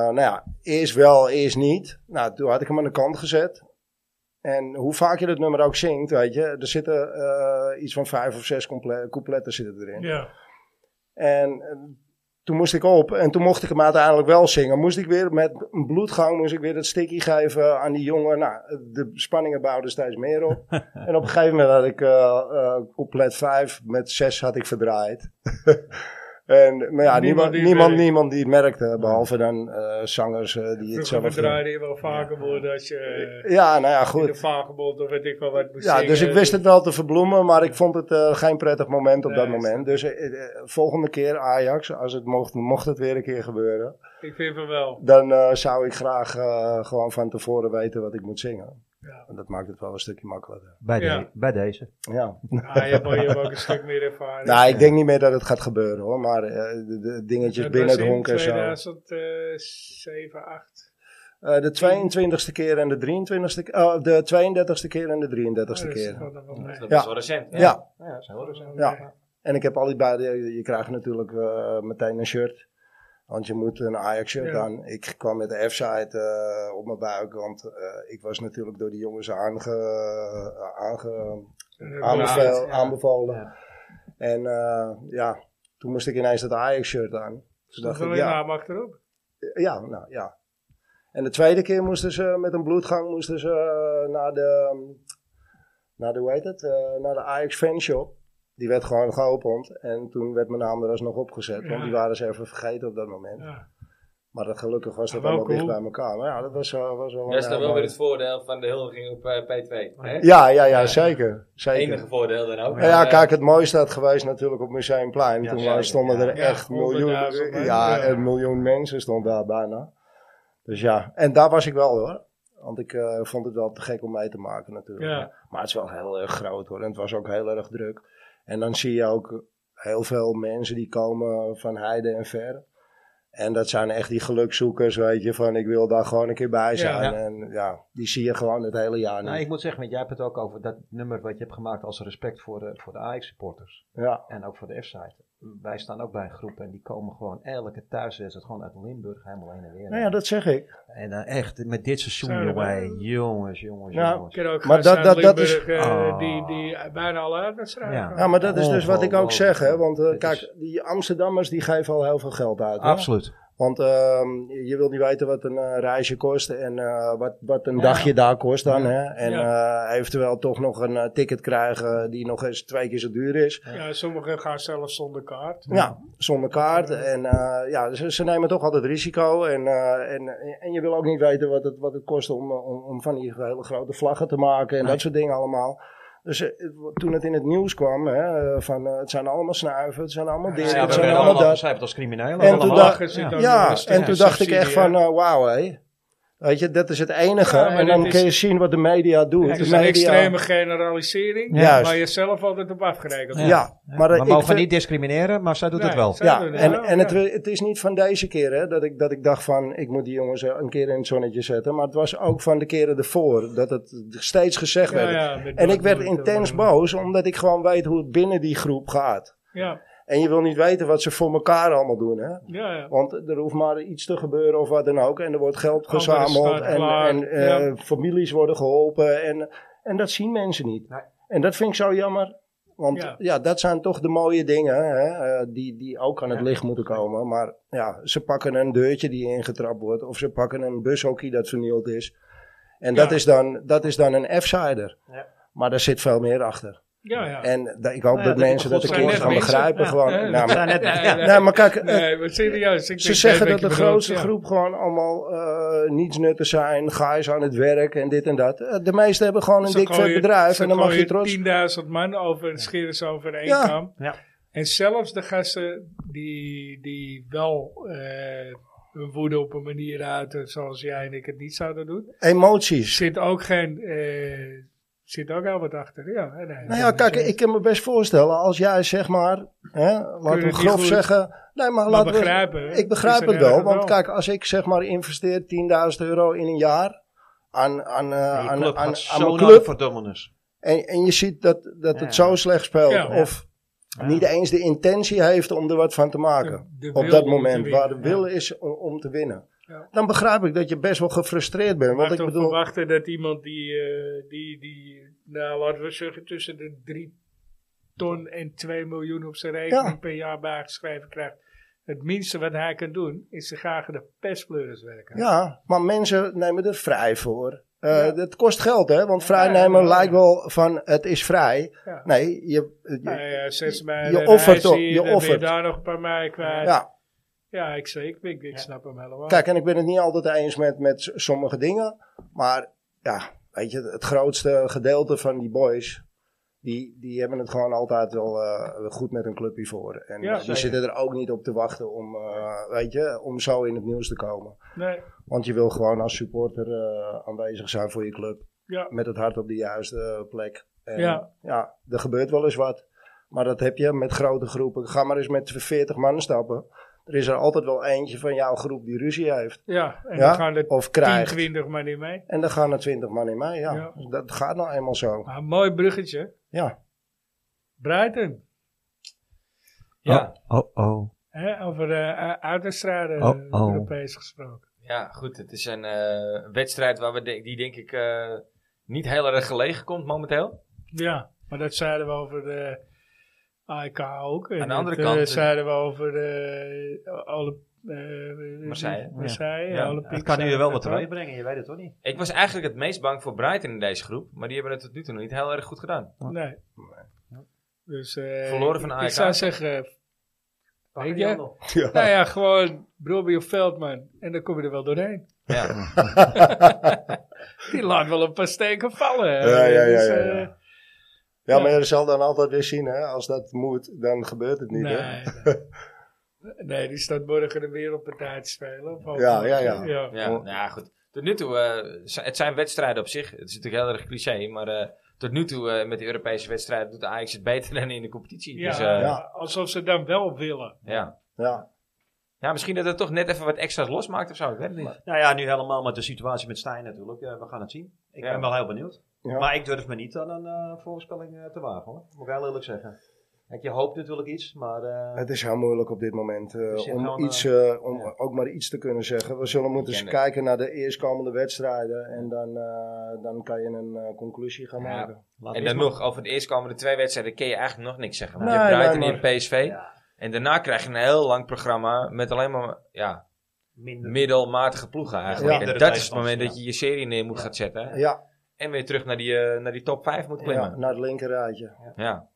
nou ja, eerst wel, eerst niet. Nou, toen had ik hem aan de kant gezet. En hoe vaak je dat nummer ook zingt, weet je. Er zitten eh, iets van vijf of zes comple- coupletten zitten erin. Ja. En eh, toen moest ik op. En toen mocht ik hem uiteindelijk wel zingen. Moest ik weer met een bloedgang moest ik weer dat stikkie geven aan die jongen. Nou, de spanningen bouwden steeds meer op. en op een gegeven moment had ik eh eh, couplet 5 met 6 had ik verdraaid. en maar ja, Niemand niemand, niemand, die het niemand, merkte. die het merkte. Behalve dan eh, zangers eh, die Vroeger het zelf doen. draaide je wel vaker worden als je eh, Ja, nou ja, in de goed. vagebond of weet ik wel wat moest Ja, dus ik zingen. wist het wel te verbloemen, maar ik vond het eh, geen prettig moment op Nee, dat is moment. Dus eh, eh, volgende keer Ajax, als het mocht, mocht het weer een keer gebeuren. Ik vind van wel. dan eh, zou ik graag eh, gewoon van tevoren weten wat ik moet zingen. Ja. En dat maakt het wel een stukje makkelijker. Bij, de- Ja. bij deze. Ja. Ah, je hebt, je hebt ook een stuk meer ervaring. nou, ik denk niet meer dat het gaat gebeuren hoor, maar eh, de, de dingetjes Dat was binnen in dronken en zo. 2007, 8. Eh, de 22e keer en de 23e keer, eh, de 32e keer en de 33e dus keer. Dat is Ja. wel recent. Ja. Ja, dat is heel recent. Ja. en ik heb al die beide, je, je krijgt natuurlijk eh, meteen een shirt. Want je moet een Ajax-shirt Ja. aan. Ik kwam met de F-site eh, op mijn buik. Want eh, ik was natuurlijk door die jongens aange, aange, aanbevel, ja. aanbevolen. En eh, ja, toen moest ik ineens dat Ajax-shirt aan. Toen dacht ik, ja, naam achterop. ja, nou ja. En de tweede keer moesten ze met een bloedgang moesten ze, eh, naar de, naar de, hoe heet het, eh, naar de Ajax fanshop. Die werd gewoon geopend en toen werd mijn naam er alsnog opgezet. Ja. Want die waren ze even vergeten op dat moment. Ja. Maar dat, gelukkig was dat Wel allemaal dicht cool. bij elkaar. Maar ja, dat was, eh, was wel Dat is dan een heel wel weer mooi- het voordeel van de huldiging op eh, P2. Hè? Ja, ja, ja, zeker. zeker. Enige voordeel dan ook. Ja, Nou ja, Eh, kijk, het mooiste had geweest natuurlijk op Museumplein. Ja, Toen zeker, stonden er Oh, ja. echt Ja, miljoen, honderdduizend mensen. ja, Ja. een miljoen mensen stond daar bijna. Dus ja, en daar was ik wel hoor. Want ik eh, vond het wel te gek om mee te maken natuurlijk. Ja. Maar het is wel heel erg groot hoor. En het was ook heel erg druk. En dan zie je ook heel veel mensen die komen van heide en ver. En dat zijn echt die gelukzoekers, weet je, van ik wil daar gewoon een keer bij Ja. zijn. Ja. En ja, die zie je gewoon het hele jaar niet. Nou, ik moet zeggen, want jij hebt het ook over dat nummer wat je hebt gemaakt als respect voor de, voor de eh, Ajax-supporters. ja. En ook voor de F-site. wij staan ook bij een groep en die komen gewoon elke thuiswedstrijd gewoon uit Limburg helemaal heen en weer. Nou ja, dat zeg ik. En dan echt, met dit seizoen, Zijn er jongen, wel- jongens, jongens, Nou, Ik jongens. ken ook Maar maar dat- dat, dat- dat is- Ah. eh, die, die eh, bijna alle uitwedstrijden. Ja. Ja, maar dat is dus wat ik ook zeg. Hè? Want eh, Oh, Dit is- kijk, die Amsterdammers die geven al heel veel geld uit. hè. Absoluut. Want ehm, je wilt niet weten wat een eh, reisje kost en eh, wat, wat een dagje daar kost dan. Hè? En eh, eventueel toch nog een eh, ticket krijgen die nog eens twee keer zo duur is. Ja, sommigen gaan zelfs zonder kaart. Ja, zonder kaart. En eh, ja, ze, ze nemen toch altijd risico. En, eh, en, en je wil ook niet weten wat het, wat het kost om, eh, om, om van die hele grote vlaggen te maken en dat soort dingen allemaal. Dus eh, het- toen het in het nieuws kwam, hè, eh, van eh, het zijn allemaal snuiven, het zijn allemaal dit, Ja, het we zijn werden allemaal dat. het als criminelen. En toen dacht- Lachen zit Ja. dan nog Ja, een stukje en toen dacht ik echt subsidie, hè. van, eh, wauw hé. Weet je, dat is het enige. Ja, maar en dan dit kun je is- zien wat de media doet. Het de is een media, extreme generalisering, Ja. waar je zelf altijd op afgerekend Ja, wordt. maar, eh, we mogen vind- niet discrimineren, maar zij doet het Nee, wel. zij Ja, doen het en, wel, en ja. het, het is niet van deze keer hè, dat, ik, dat ik dacht van ik moet die jongens eh, een keer in het zonnetje zetten. Maar het was ook van de keren ervoor dat het steeds gezegd werd. ja, met En ik dat werd moet, eh, intens maar- boos omdat ik gewoon weet hoe het binnen die groep gaat. Ja, En je wil niet weten wat ze voor elkaar allemaal doen. Hè? ja, ja. Want er hoeft maar iets te gebeuren of wat dan ook. En er wordt geld Andere gezameld staat en, klaar, en eh, ja. families worden geholpen. En, en dat zien mensen niet. Nee. En dat vind ik zo jammer. Want ja. Ja. dat zijn toch de mooie dingen hè, eh, die, die ook aan het licht moeten komen. Maar ja, ze pakken een deurtje die ingetrapt wordt. Of ze pakken een bushokje dat vernield is. En dat, Ja. is, dan, dat is dan een F-sider. Ja. Maar daar zit veel meer achter. ja, ja. En da- ik hoop Nou ja, dat, dat is mensen dat een goed, keer zijn gaan net mensen. begrijpen. Ja. Gewoon. Ja. Nou, maar, Nee, nee, nou, maar kijk, eh, Nee, maar serieus. Ik ze denk zeggen dat weet de wat je grootste bedoelt, groep gewoon allemaal eh nietsnutten zijn, gaais aan het werk en dit en dat. Eh, de meeste hebben gewoon ja. een Ze dik vet gooien- bedrijf ze en dan mag je gooien trots. 10.000 man over, scheren ze over één Ja. kam. Ja. En zelfs de gasten die, die wel eh, hun woede op een manier uiten zoals jij en ik het niet zouden doen, Emoties. zit ook geen... eh, zit ook al wat achter. Ja, nee, nee. eh, Nou ja, kijk, ik kan me best voorstellen als jij zeg maar, hè, laten we het niet grof goed, zeggen. Nee, maar, Maar laten we. begrijpen, hè? Ik begrijp Is er het wel, ergens want kijk, als ik zeg maar investeer 10.000 euro in een jaar aan, aan, eh, aan, aan, aan, mijn club. En, en je ziet dat, dat het zo slecht speelt. Ja. Of niet eens de intentie heeft om er wat van te maken. De- de op wil dat om te moment. winnen, Waar de ja. wil is om, om te winnen. Ja. Dan begrijp ik dat je best wel gefrustreerd bent. Maar Want ik toch bedoel, verwachten dat iemand die, eh, die, die, nou laten we zeggen, tussen de 3 ton en 2 miljoen op zijn rekening Ja. per jaar bijgeschreven krijgt. Het minste wat hij kan doen, is te graag de pestpleuris werken. ja, maar mensen nemen er vrij voor. Eh, Ja. Het kost geld, hè? Want Ja, vrijnemen ja, ja. lijkt wel van het is vrij. Ja. Nee, je, je- Nou ja, zes je mij offert toch, je offert. daar nog een paar mij kwijt. Ja, ja. ik, zeg, ik, ik, ik snap hem helemaal. Kijk, en ik ben het niet altijd eens met, met s- sommige dingen. Maar ja, weet je, het grootste gedeelte van die boys. Die, die hebben het gewoon altijd wel eh, goed met een clubje voor. En Ja, eh, die zeker. zitten er ook niet op te wachten om, eh, weet je, om zo in het nieuws te komen. Nee, Want je wil gewoon als supporter eh, aanwezig zijn voor je club. Ja. Met het hart op de juiste eh, plek. En, Ja. ja, er gebeurt wel eens wat. Maar dat heb je met grote groepen. Ga maar eens met 40 man stappen. Er is er altijd wel eentje van jouw groep die ruzie heeft. ja, en Ja, dan gaan er of 10, krijgt. 20 maar niet mee. En dan gaan er 20 man in mee. Ja. Ja. Dat gaat nou eenmaal zo. Maar een mooi bruggetje. Ja. Brighton, Ja, Oh, oh. hè, over eh uitwedstrijden Oh, eh, oh. Europees gesproken. ja, goed. Het is een eh, wedstrijd waar we de- die denk ik eh, niet heel erg gelegen komt momenteel. Ja, maar dat zeiden we over de AEK ook. En Aan de andere dat, kant, eh, eh, zeiden we over de alle, eh Marseille. Marseille, Ja. Olympique, Het kan nu zeiden wel we wat dat teweeg ook. brengen, je weet het toch niet? Ik was eigenlijk het meest bang voor Brighton in deze groep. Maar die hebben het tot nu toe nog niet heel erg goed gedaan. Nee. Dus, eh, Verloren van E ik- AEK. Ik zou zeggen, weet je, Ja. nou ja, gewoon Robbie of Veldman. En dan kom je er wel doorheen. Ja, Die laat wel een paar steken vallen. hè. Ja, ja, ja, Dus, ja, eh, ja. maar je zal dan altijd weer zien, hè? als dat moet, dan gebeurt het niet. nee, Hè? nee. Nee, die staat morgen er weer op een tijd te spelen. of Ja, ja, ja. ja. ja, nou ja, goed. Tot nu toe, eh, z- het zijn wedstrijden op zich. Het is natuurlijk heel erg cliché, maar eh, tot nu toe eh, met de Europese wedstrijden doet de Ajax het beter dan in de competitie. Ja, Dus, eh, ja. ja. alsof ze dan wel willen. Ja. Ja. misschien dat het toch net even wat extra's losmaakt of zo. Ik weet het niet. Nou ja, nu helemaal met de situatie met Stijn natuurlijk. Ja, we gaan het zien. Ik Ja. ben wel heel benieuwd. Ja. Maar ik durf me niet aan een eh, voorspelling eh, te wagen hoor. Moet ik heel eerlijk zeggen. Kijk, je hoopt natuurlijk iets, maar eh, Het is heel moeilijk op dit moment eh, Dus je om, gaat, iets, eh, om ook maar iets te kunnen zeggen. We zullen moeten eens ken kijken naar de eerstkomende wedstrijden. En dan, eh, dan kan je een eh, conclusie gaan Ja. maken. laten En we dan eens nog, over de eerstkomende twee wedstrijden kun je eigenlijk nog niks zeggen. Want Nee, je hebt Brighton nee, in PSV. En daarna krijg je een heel lang programma met alleen maar ja, maar minder. middelmatige ploegen eigenlijk. Ja. En dat is het moment dat je je serie neer moet gaan zetten. Ja, En weer terug naar die, eh, naar die top 5 moet ja, klimmen. naar het linkerrijtje. Ja.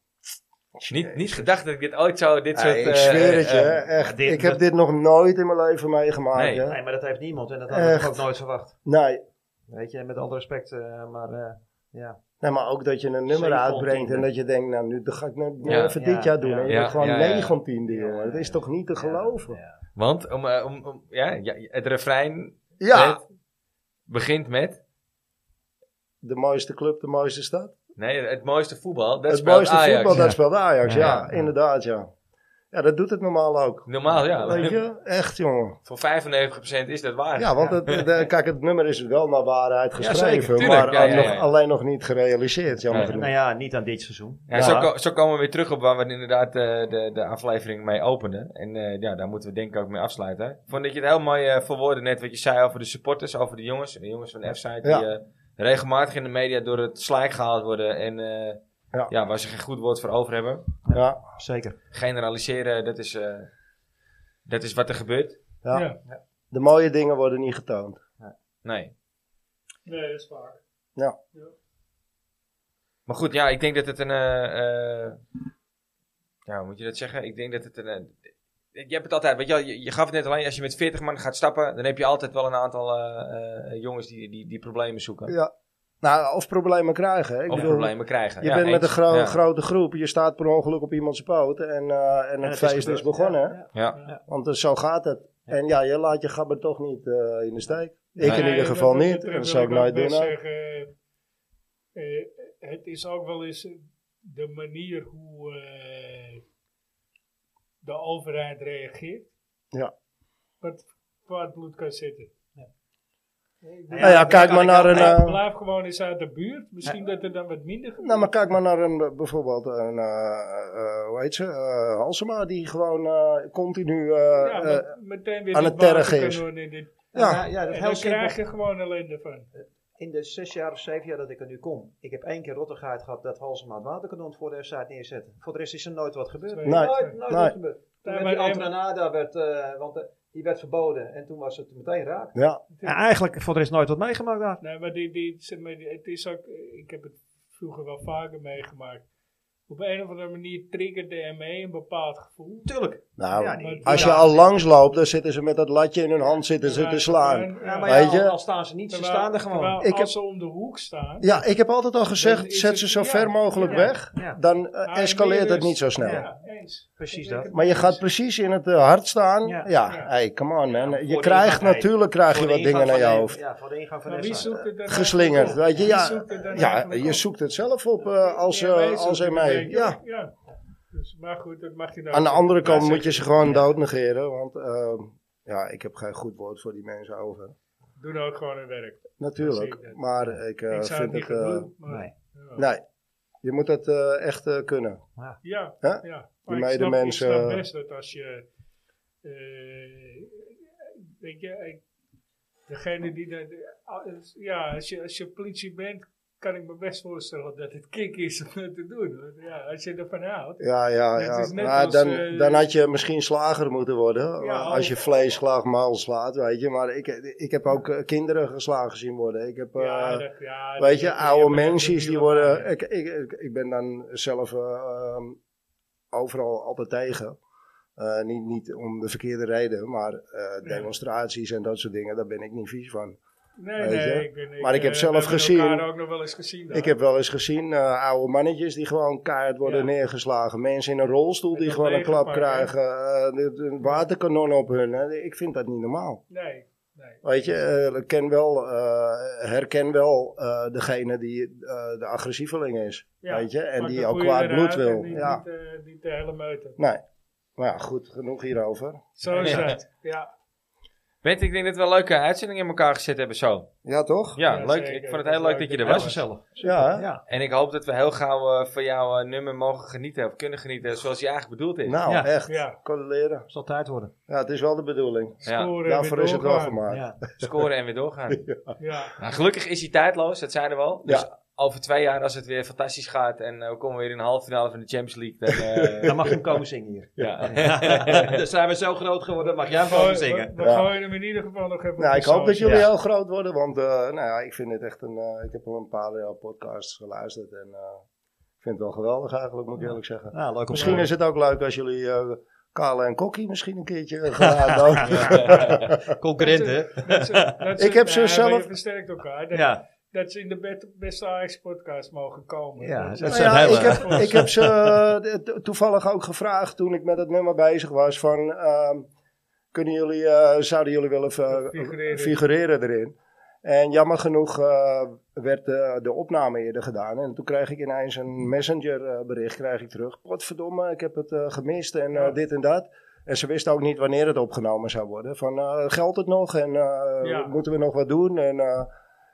Niet, niet gedacht dat ik dit ooit zou, dit soort... Hey, ik eh, zweer het je, eh, echt. dit- ik heb dat- dit nog nooit in mijn leven meegemaakt. Nee, hè. Nee, maar dat heeft niemand en dat had ik Echt. ook nooit verwacht. Nee. Weet je, met alle respect, eh, maar eh, ja. Nee, maar ook dat je een nummer Zeven uitbrengt en tiende. dat je denkt, nou nu dat ga ik nou, nou Ja, even ja, dit jaar doen. ja. en je Ja, bent gewoon ja, ja. 19e, jongen. Dat is toch niet te geloven? Ja. Want om, eh, om, om, ja, ja, het refrein Ja, met- begint met... de mooiste club, de mooiste stad. Nee, het mooiste voetbal. Dat het speelt mooiste Ajax. voetbal, dat speelt Ajax. Ja, Ja, ja. inderdaad, ja. Ja, dat doet het normaal ook. Normaal, ja. Weet je, echt jongen. Voor 95% is dat waar. Ja, want het, de- kijk, het nummer is wel naar waarheid Ja, geschreven, zeker, tuurlijk. maar Ja, ja, nog- ja. alleen nog niet gerealiseerd, jammer Nee. genoeg. Nou ja, niet aan dit seizoen. Ja, Ja. Zo, ko- zo komen we weer terug op waar we inderdaad eh, de, de aflevering mee openden. En eh, ja, daar moeten we denk ik ook mee afsluiten. Ik vond dat je het heel mooi eh verwoordde net wat je zei over de supporters, over de jongens. De jongens van de F-site die Ja. eh, regelmatig in de media door het slijk gehaald worden. En eh, ja. Ja. waar ze geen goed woord voor over hebben. Ja, Zeker. Generaliseren, dat is, eh, dat is wat er gebeurt. ja. Ja. De mooie dingen worden niet getoond. Nee. Nee, dat is waar. Maar goed, ja, ik denk dat het een... eh, eh, ja, hoe moet je dat zeggen? Ik denk dat het een... eh, je hebt het altijd, weet je, wel, je, je gaf het net alleen, als je met 40 man gaat stappen, dan heb je altijd wel een aantal eh, eh, jongens die, die, die problemen zoeken. Ja. Nou, of problemen krijgen. hè. Ik of bedoel, problemen krijgen. Je Ja, bent met eens. een gro- Ja. grote groep, je staat per ongeluk op iemands poot en, eh, en, het, feest is, gebeurd. begonnen. Ja, hè. ja. Ja. Want eh, zo gaat het. En ja, je laat je gabber toch niet eh, in de steek. Ik Nee, in ieder dat- geval dat- niet. dat Dat wil zou ik nooit ook doen. best ook. zeggen. Eh, het is ook wel eens eh, de manier hoe eh, de overheid reageert. Ja. Wat kwaad bloed kan zitten. Ik bedoel, Nou ja, kijk kan maar ik naar wel- een... blijf- eh, blijf gewoon eens uit de buurt. Misschien dat er dan wat minder gebeurt. Nou, maar kijk maar naar een, bijvoorbeeld een, eh, eh, hoe heet ze, Eh, Halsema, die gewoon eh, continu, eh, ja, eh, maar meteen weer aan die het tergen waterkanon is. in dit- Ja. ja, ja, dat En is heel dan simpel. krijg je gewoon ellende van. In de zes jaar of zeven jaar dat ik er nu kom, ik heb één keer rottigheid gehad dat Halsema het waterkanon voor de f neerzetten. Voor de rest is er nooit wat gebeurd. Nee. Nooit, nooit Nee. wat gebeurd. Toen Nee, werd maar- die Antranada, werd, eh, want eh, die werd verboden en toen was het meteen raak. ja, eigenlijk voor de rest nooit wat meegemaakt daar. Nee, maar, die, die, zeg maar, die- het is ook, ik heb het vroeger wel vaker meegemaakt. Op een of andere manier triggerde er mee E een bepaald gevoel. Tuurlijk. nou, Ja, die- als je ja. al langs loopt, dan zitten ze met dat latje in hun hand zitten ze Ja, te slaan. en- Ja, maar Weet ja, je? al, al staan ze niet, ze terwijl- staan er gewoon. terwijl Ik als heb- ze om de hoek staan. Ja, ik heb altijd al Dan gezegd, is zet het- ze zo ja, ver mogelijk ja. weg, Ja. dan eh, Ah, en escaleert meer het dus. niet zo snel. Ja, eens. Precies Ik denk dat. het Maar je ook gaat eens. precies in het eh, hart staan. Ja. Ja, Ja. hey, come on man. voor je de krijgt, ingang- natuurlijk krijg je Voor de wat dingen ingang naar je van de- hoofd. Ja, voor de ingang van Maar de wie f zoekt het dan Geslingerd, eigenlijk weet je, op? Wie ja. zoekt het dan Ja, eigenlijk je op? zoekt het zelf op eh, als, Ja, wij eh als zoeken en het, mij. denk ik. Ja. ja. Dus, maar goed, dat mag je nou Aan de zeggen. andere kant Ja, moet je zeg, ze gewoon doodnegeren, want ehm, ja, ik heb geen goed woord voor die mensen over. Doen nou ook gewoon hun werk. Natuurlijk, Zeker. maar ik eh, ik zou het vind niet het... gaan eh, doen, maar- nee. ja. nee, je moet het eh, echt eh, kunnen. Ja, Hè? ja. Maar ik, Die snap, ik medemensen- snap best dat als je... eh, weet je, ik- degene die... dat- als- ja, als je, als je politie bent, kan ik me best voorstellen dat het kick is om dat te doen. Want Ja, als je ervan houdt. Ja, ja, Het ja. is net Maar als, dan, eh, dan had je misschien slager moeten worden, Ja, als je vlees, slag, maal slaat, weet je. Maar ik, ik heb ook eh, kinderen geslagen zien worden. Ik heb... ja, eh, dat- ja, dat- Weet je, dat- oude dat- dat- mensen dat- die dat- worden. Ik, ik, ik, ik ben dan zelf eh, ehm, overal altijd tegen. Eh, niet, niet om de verkeerde reden, maar eh, demonstraties en dat soort dingen, daar ben ik niet vies van. Nee, weet je. nee. Ik ben, Maar ik heb eh, zelf we hebben gezien- elkaar ook nog wel eens gezien. daar. Ik heb wel eens gezien eh, oude mannetjes die gewoon keihard worden Ja. neergeslagen. Mensen in een rolstoel Met die een gewoon een klap legerpak, hè? krijgen. eh, de- de- een waterkanon op hun. hè. Ik vind dat niet normaal. Nee, nee. Weet je, eh, ik ken wel, eh, herken wel eh, degene die eh, de agressieveling is. Ja, weet je, en pak die de al goeie kwaad bloed eruit en wil. Niet, Ja. niet, eh, niet de hele meute. Nee. Maar ja, goed, genoeg hierover. Zo is Ja. dat. Ja. Bent, ik denk dat we een leuke uitzending in elkaar gezet hebben zo. Ja, toch? Ja, Ja, leuk. zeker. Ik vond het heel Dat is leuk leuk. dat je er Ja, was. was gezellig. Ja, hè? Ja. En ik hoop dat we heel gauw eh, van jouw eh, nummer mogen genieten of kunnen genieten zoals je eigenlijk bedoeld is. Nou, Ja. echt. Ja, Kon leren. Zal tijd worden. Ja, het is wel de bedoeling. ja, scoren. Daarvoor weer is het wel doorgaan. gemaakt. Ja. scoren en weer doorgaan. Ja, Nou, gelukkig is hij tijdloos, dat zeiden we al. Dus over twee jaar, als het weer fantastisch gaat en eh, we komen weer in de halve finale van de Champions League, dan... eh, Dan mag je hem komen zingen hier. ja. Dan zijn we zo groot geworden, mag jij hem Gooi- komen we, zingen. we Ja. gooien hem in ieder geval nog even op Nou, de ik hoop dat saus. jullie ja. heel groot worden, want eh, nou ja, ik vind het echt een. eh, ik heb al een paar eh, podcasts geluisterd en eh, ik vind het wel geweldig eigenlijk, moet ik eerlijk zeggen. Nou, leuk om te Misschien horen. is het ook leuk als jullie eh Kale en Kokkie misschien een keertje eh, gelaten ook. Concurrent, hè? Dat ze- dat ze- Ik heb nou, ze maar zelf- Je versterkt elkaar. Dat, Ja. dat ze in de bet- beste Ajax-podcast mogen komen. Ja, Dat is- dat Nou zijn ja, hele- ik, heb, ik heb ze eh, to- toevallig ook gevraagd toen ik met het nummer bezig was van... ehm, kunnen jullie, eh, zouden jullie willen eh, Figureren. figureren erin? En jammer genoeg eh, werd eh, de opname eerder gedaan. En toen kreeg ik ineens een messenger eh, bericht krijg ik terug. Potverdomme, ik heb het eh, gemist en eh, Ja. dit en dat. En ze wisten ook niet wanneer het opgenomen zou worden. Van, eh, geldt het nog? En eh, Ja. moeten we nog wat doen? En, eh,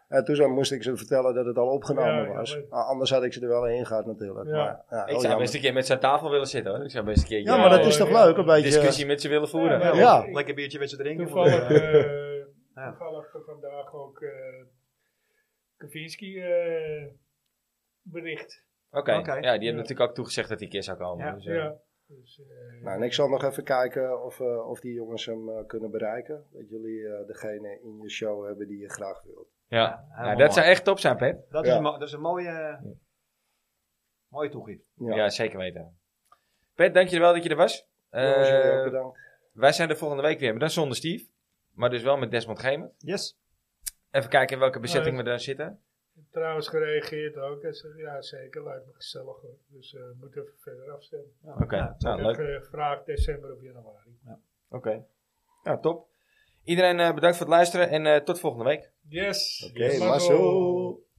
en toen zo moest ik ze vertellen dat het al opgenomen Ja, ja, was. leuk. A- Ah, Anders had ik ze er wel in gehad natuurlijk. Ja. Maar, ja, Oh, Ik heel zou jammer. best een keer met zijn tafel willen zitten hoor. Ik zou best een keer ja, maar dat Ja, is toch ja. leuk? Een een beetje... discussie met ze willen voeren. Ja, Ja. ik- Lekker biertje met ze drinken. Toevallig, eh Ja. toevallig vandaag ook eh Kavinsky eh, bericht. Oké, Oké. ja, die hebben Ja. natuurlijk ook toegezegd dat die een keer zou komen. Ja. dus, Ja. eh, Dus, eh, Nou, en ik zal nog even kijken of, eh, of die jongens hem eh, kunnen bereiken. Dat jullie eh, degene in je show hebben die je graag wilt. ja. Ja, Nou, helemaal dat mooi. zou echt top zijn, Pet. Dat is Ja. een mo- dat is een mooie... Mooie toegift. Ja, Ja. zeker weten. Pet, dankjewel dat je er was. Jongens, jullie ook Eh, bedankt. wij zijn er volgende week weer, maar dan zonder Steve. Maar dus wel met Desmond Gemert. Yes. Even kijken in welke bezetting Nee. we daar zitten. Trouwens gereageerd ook. Hij zegt, ja zeker, lijkt me gezellig hoor. Dus eh we moeten even verder afstemmen. Oké, nou leuk. Ik heb gevraagd december of januari. Oké. Ja, top. Iedereen eh, bedankt voor het luisteren en eh, tot volgende week. Yes. Oké, maar Mazzel. zo.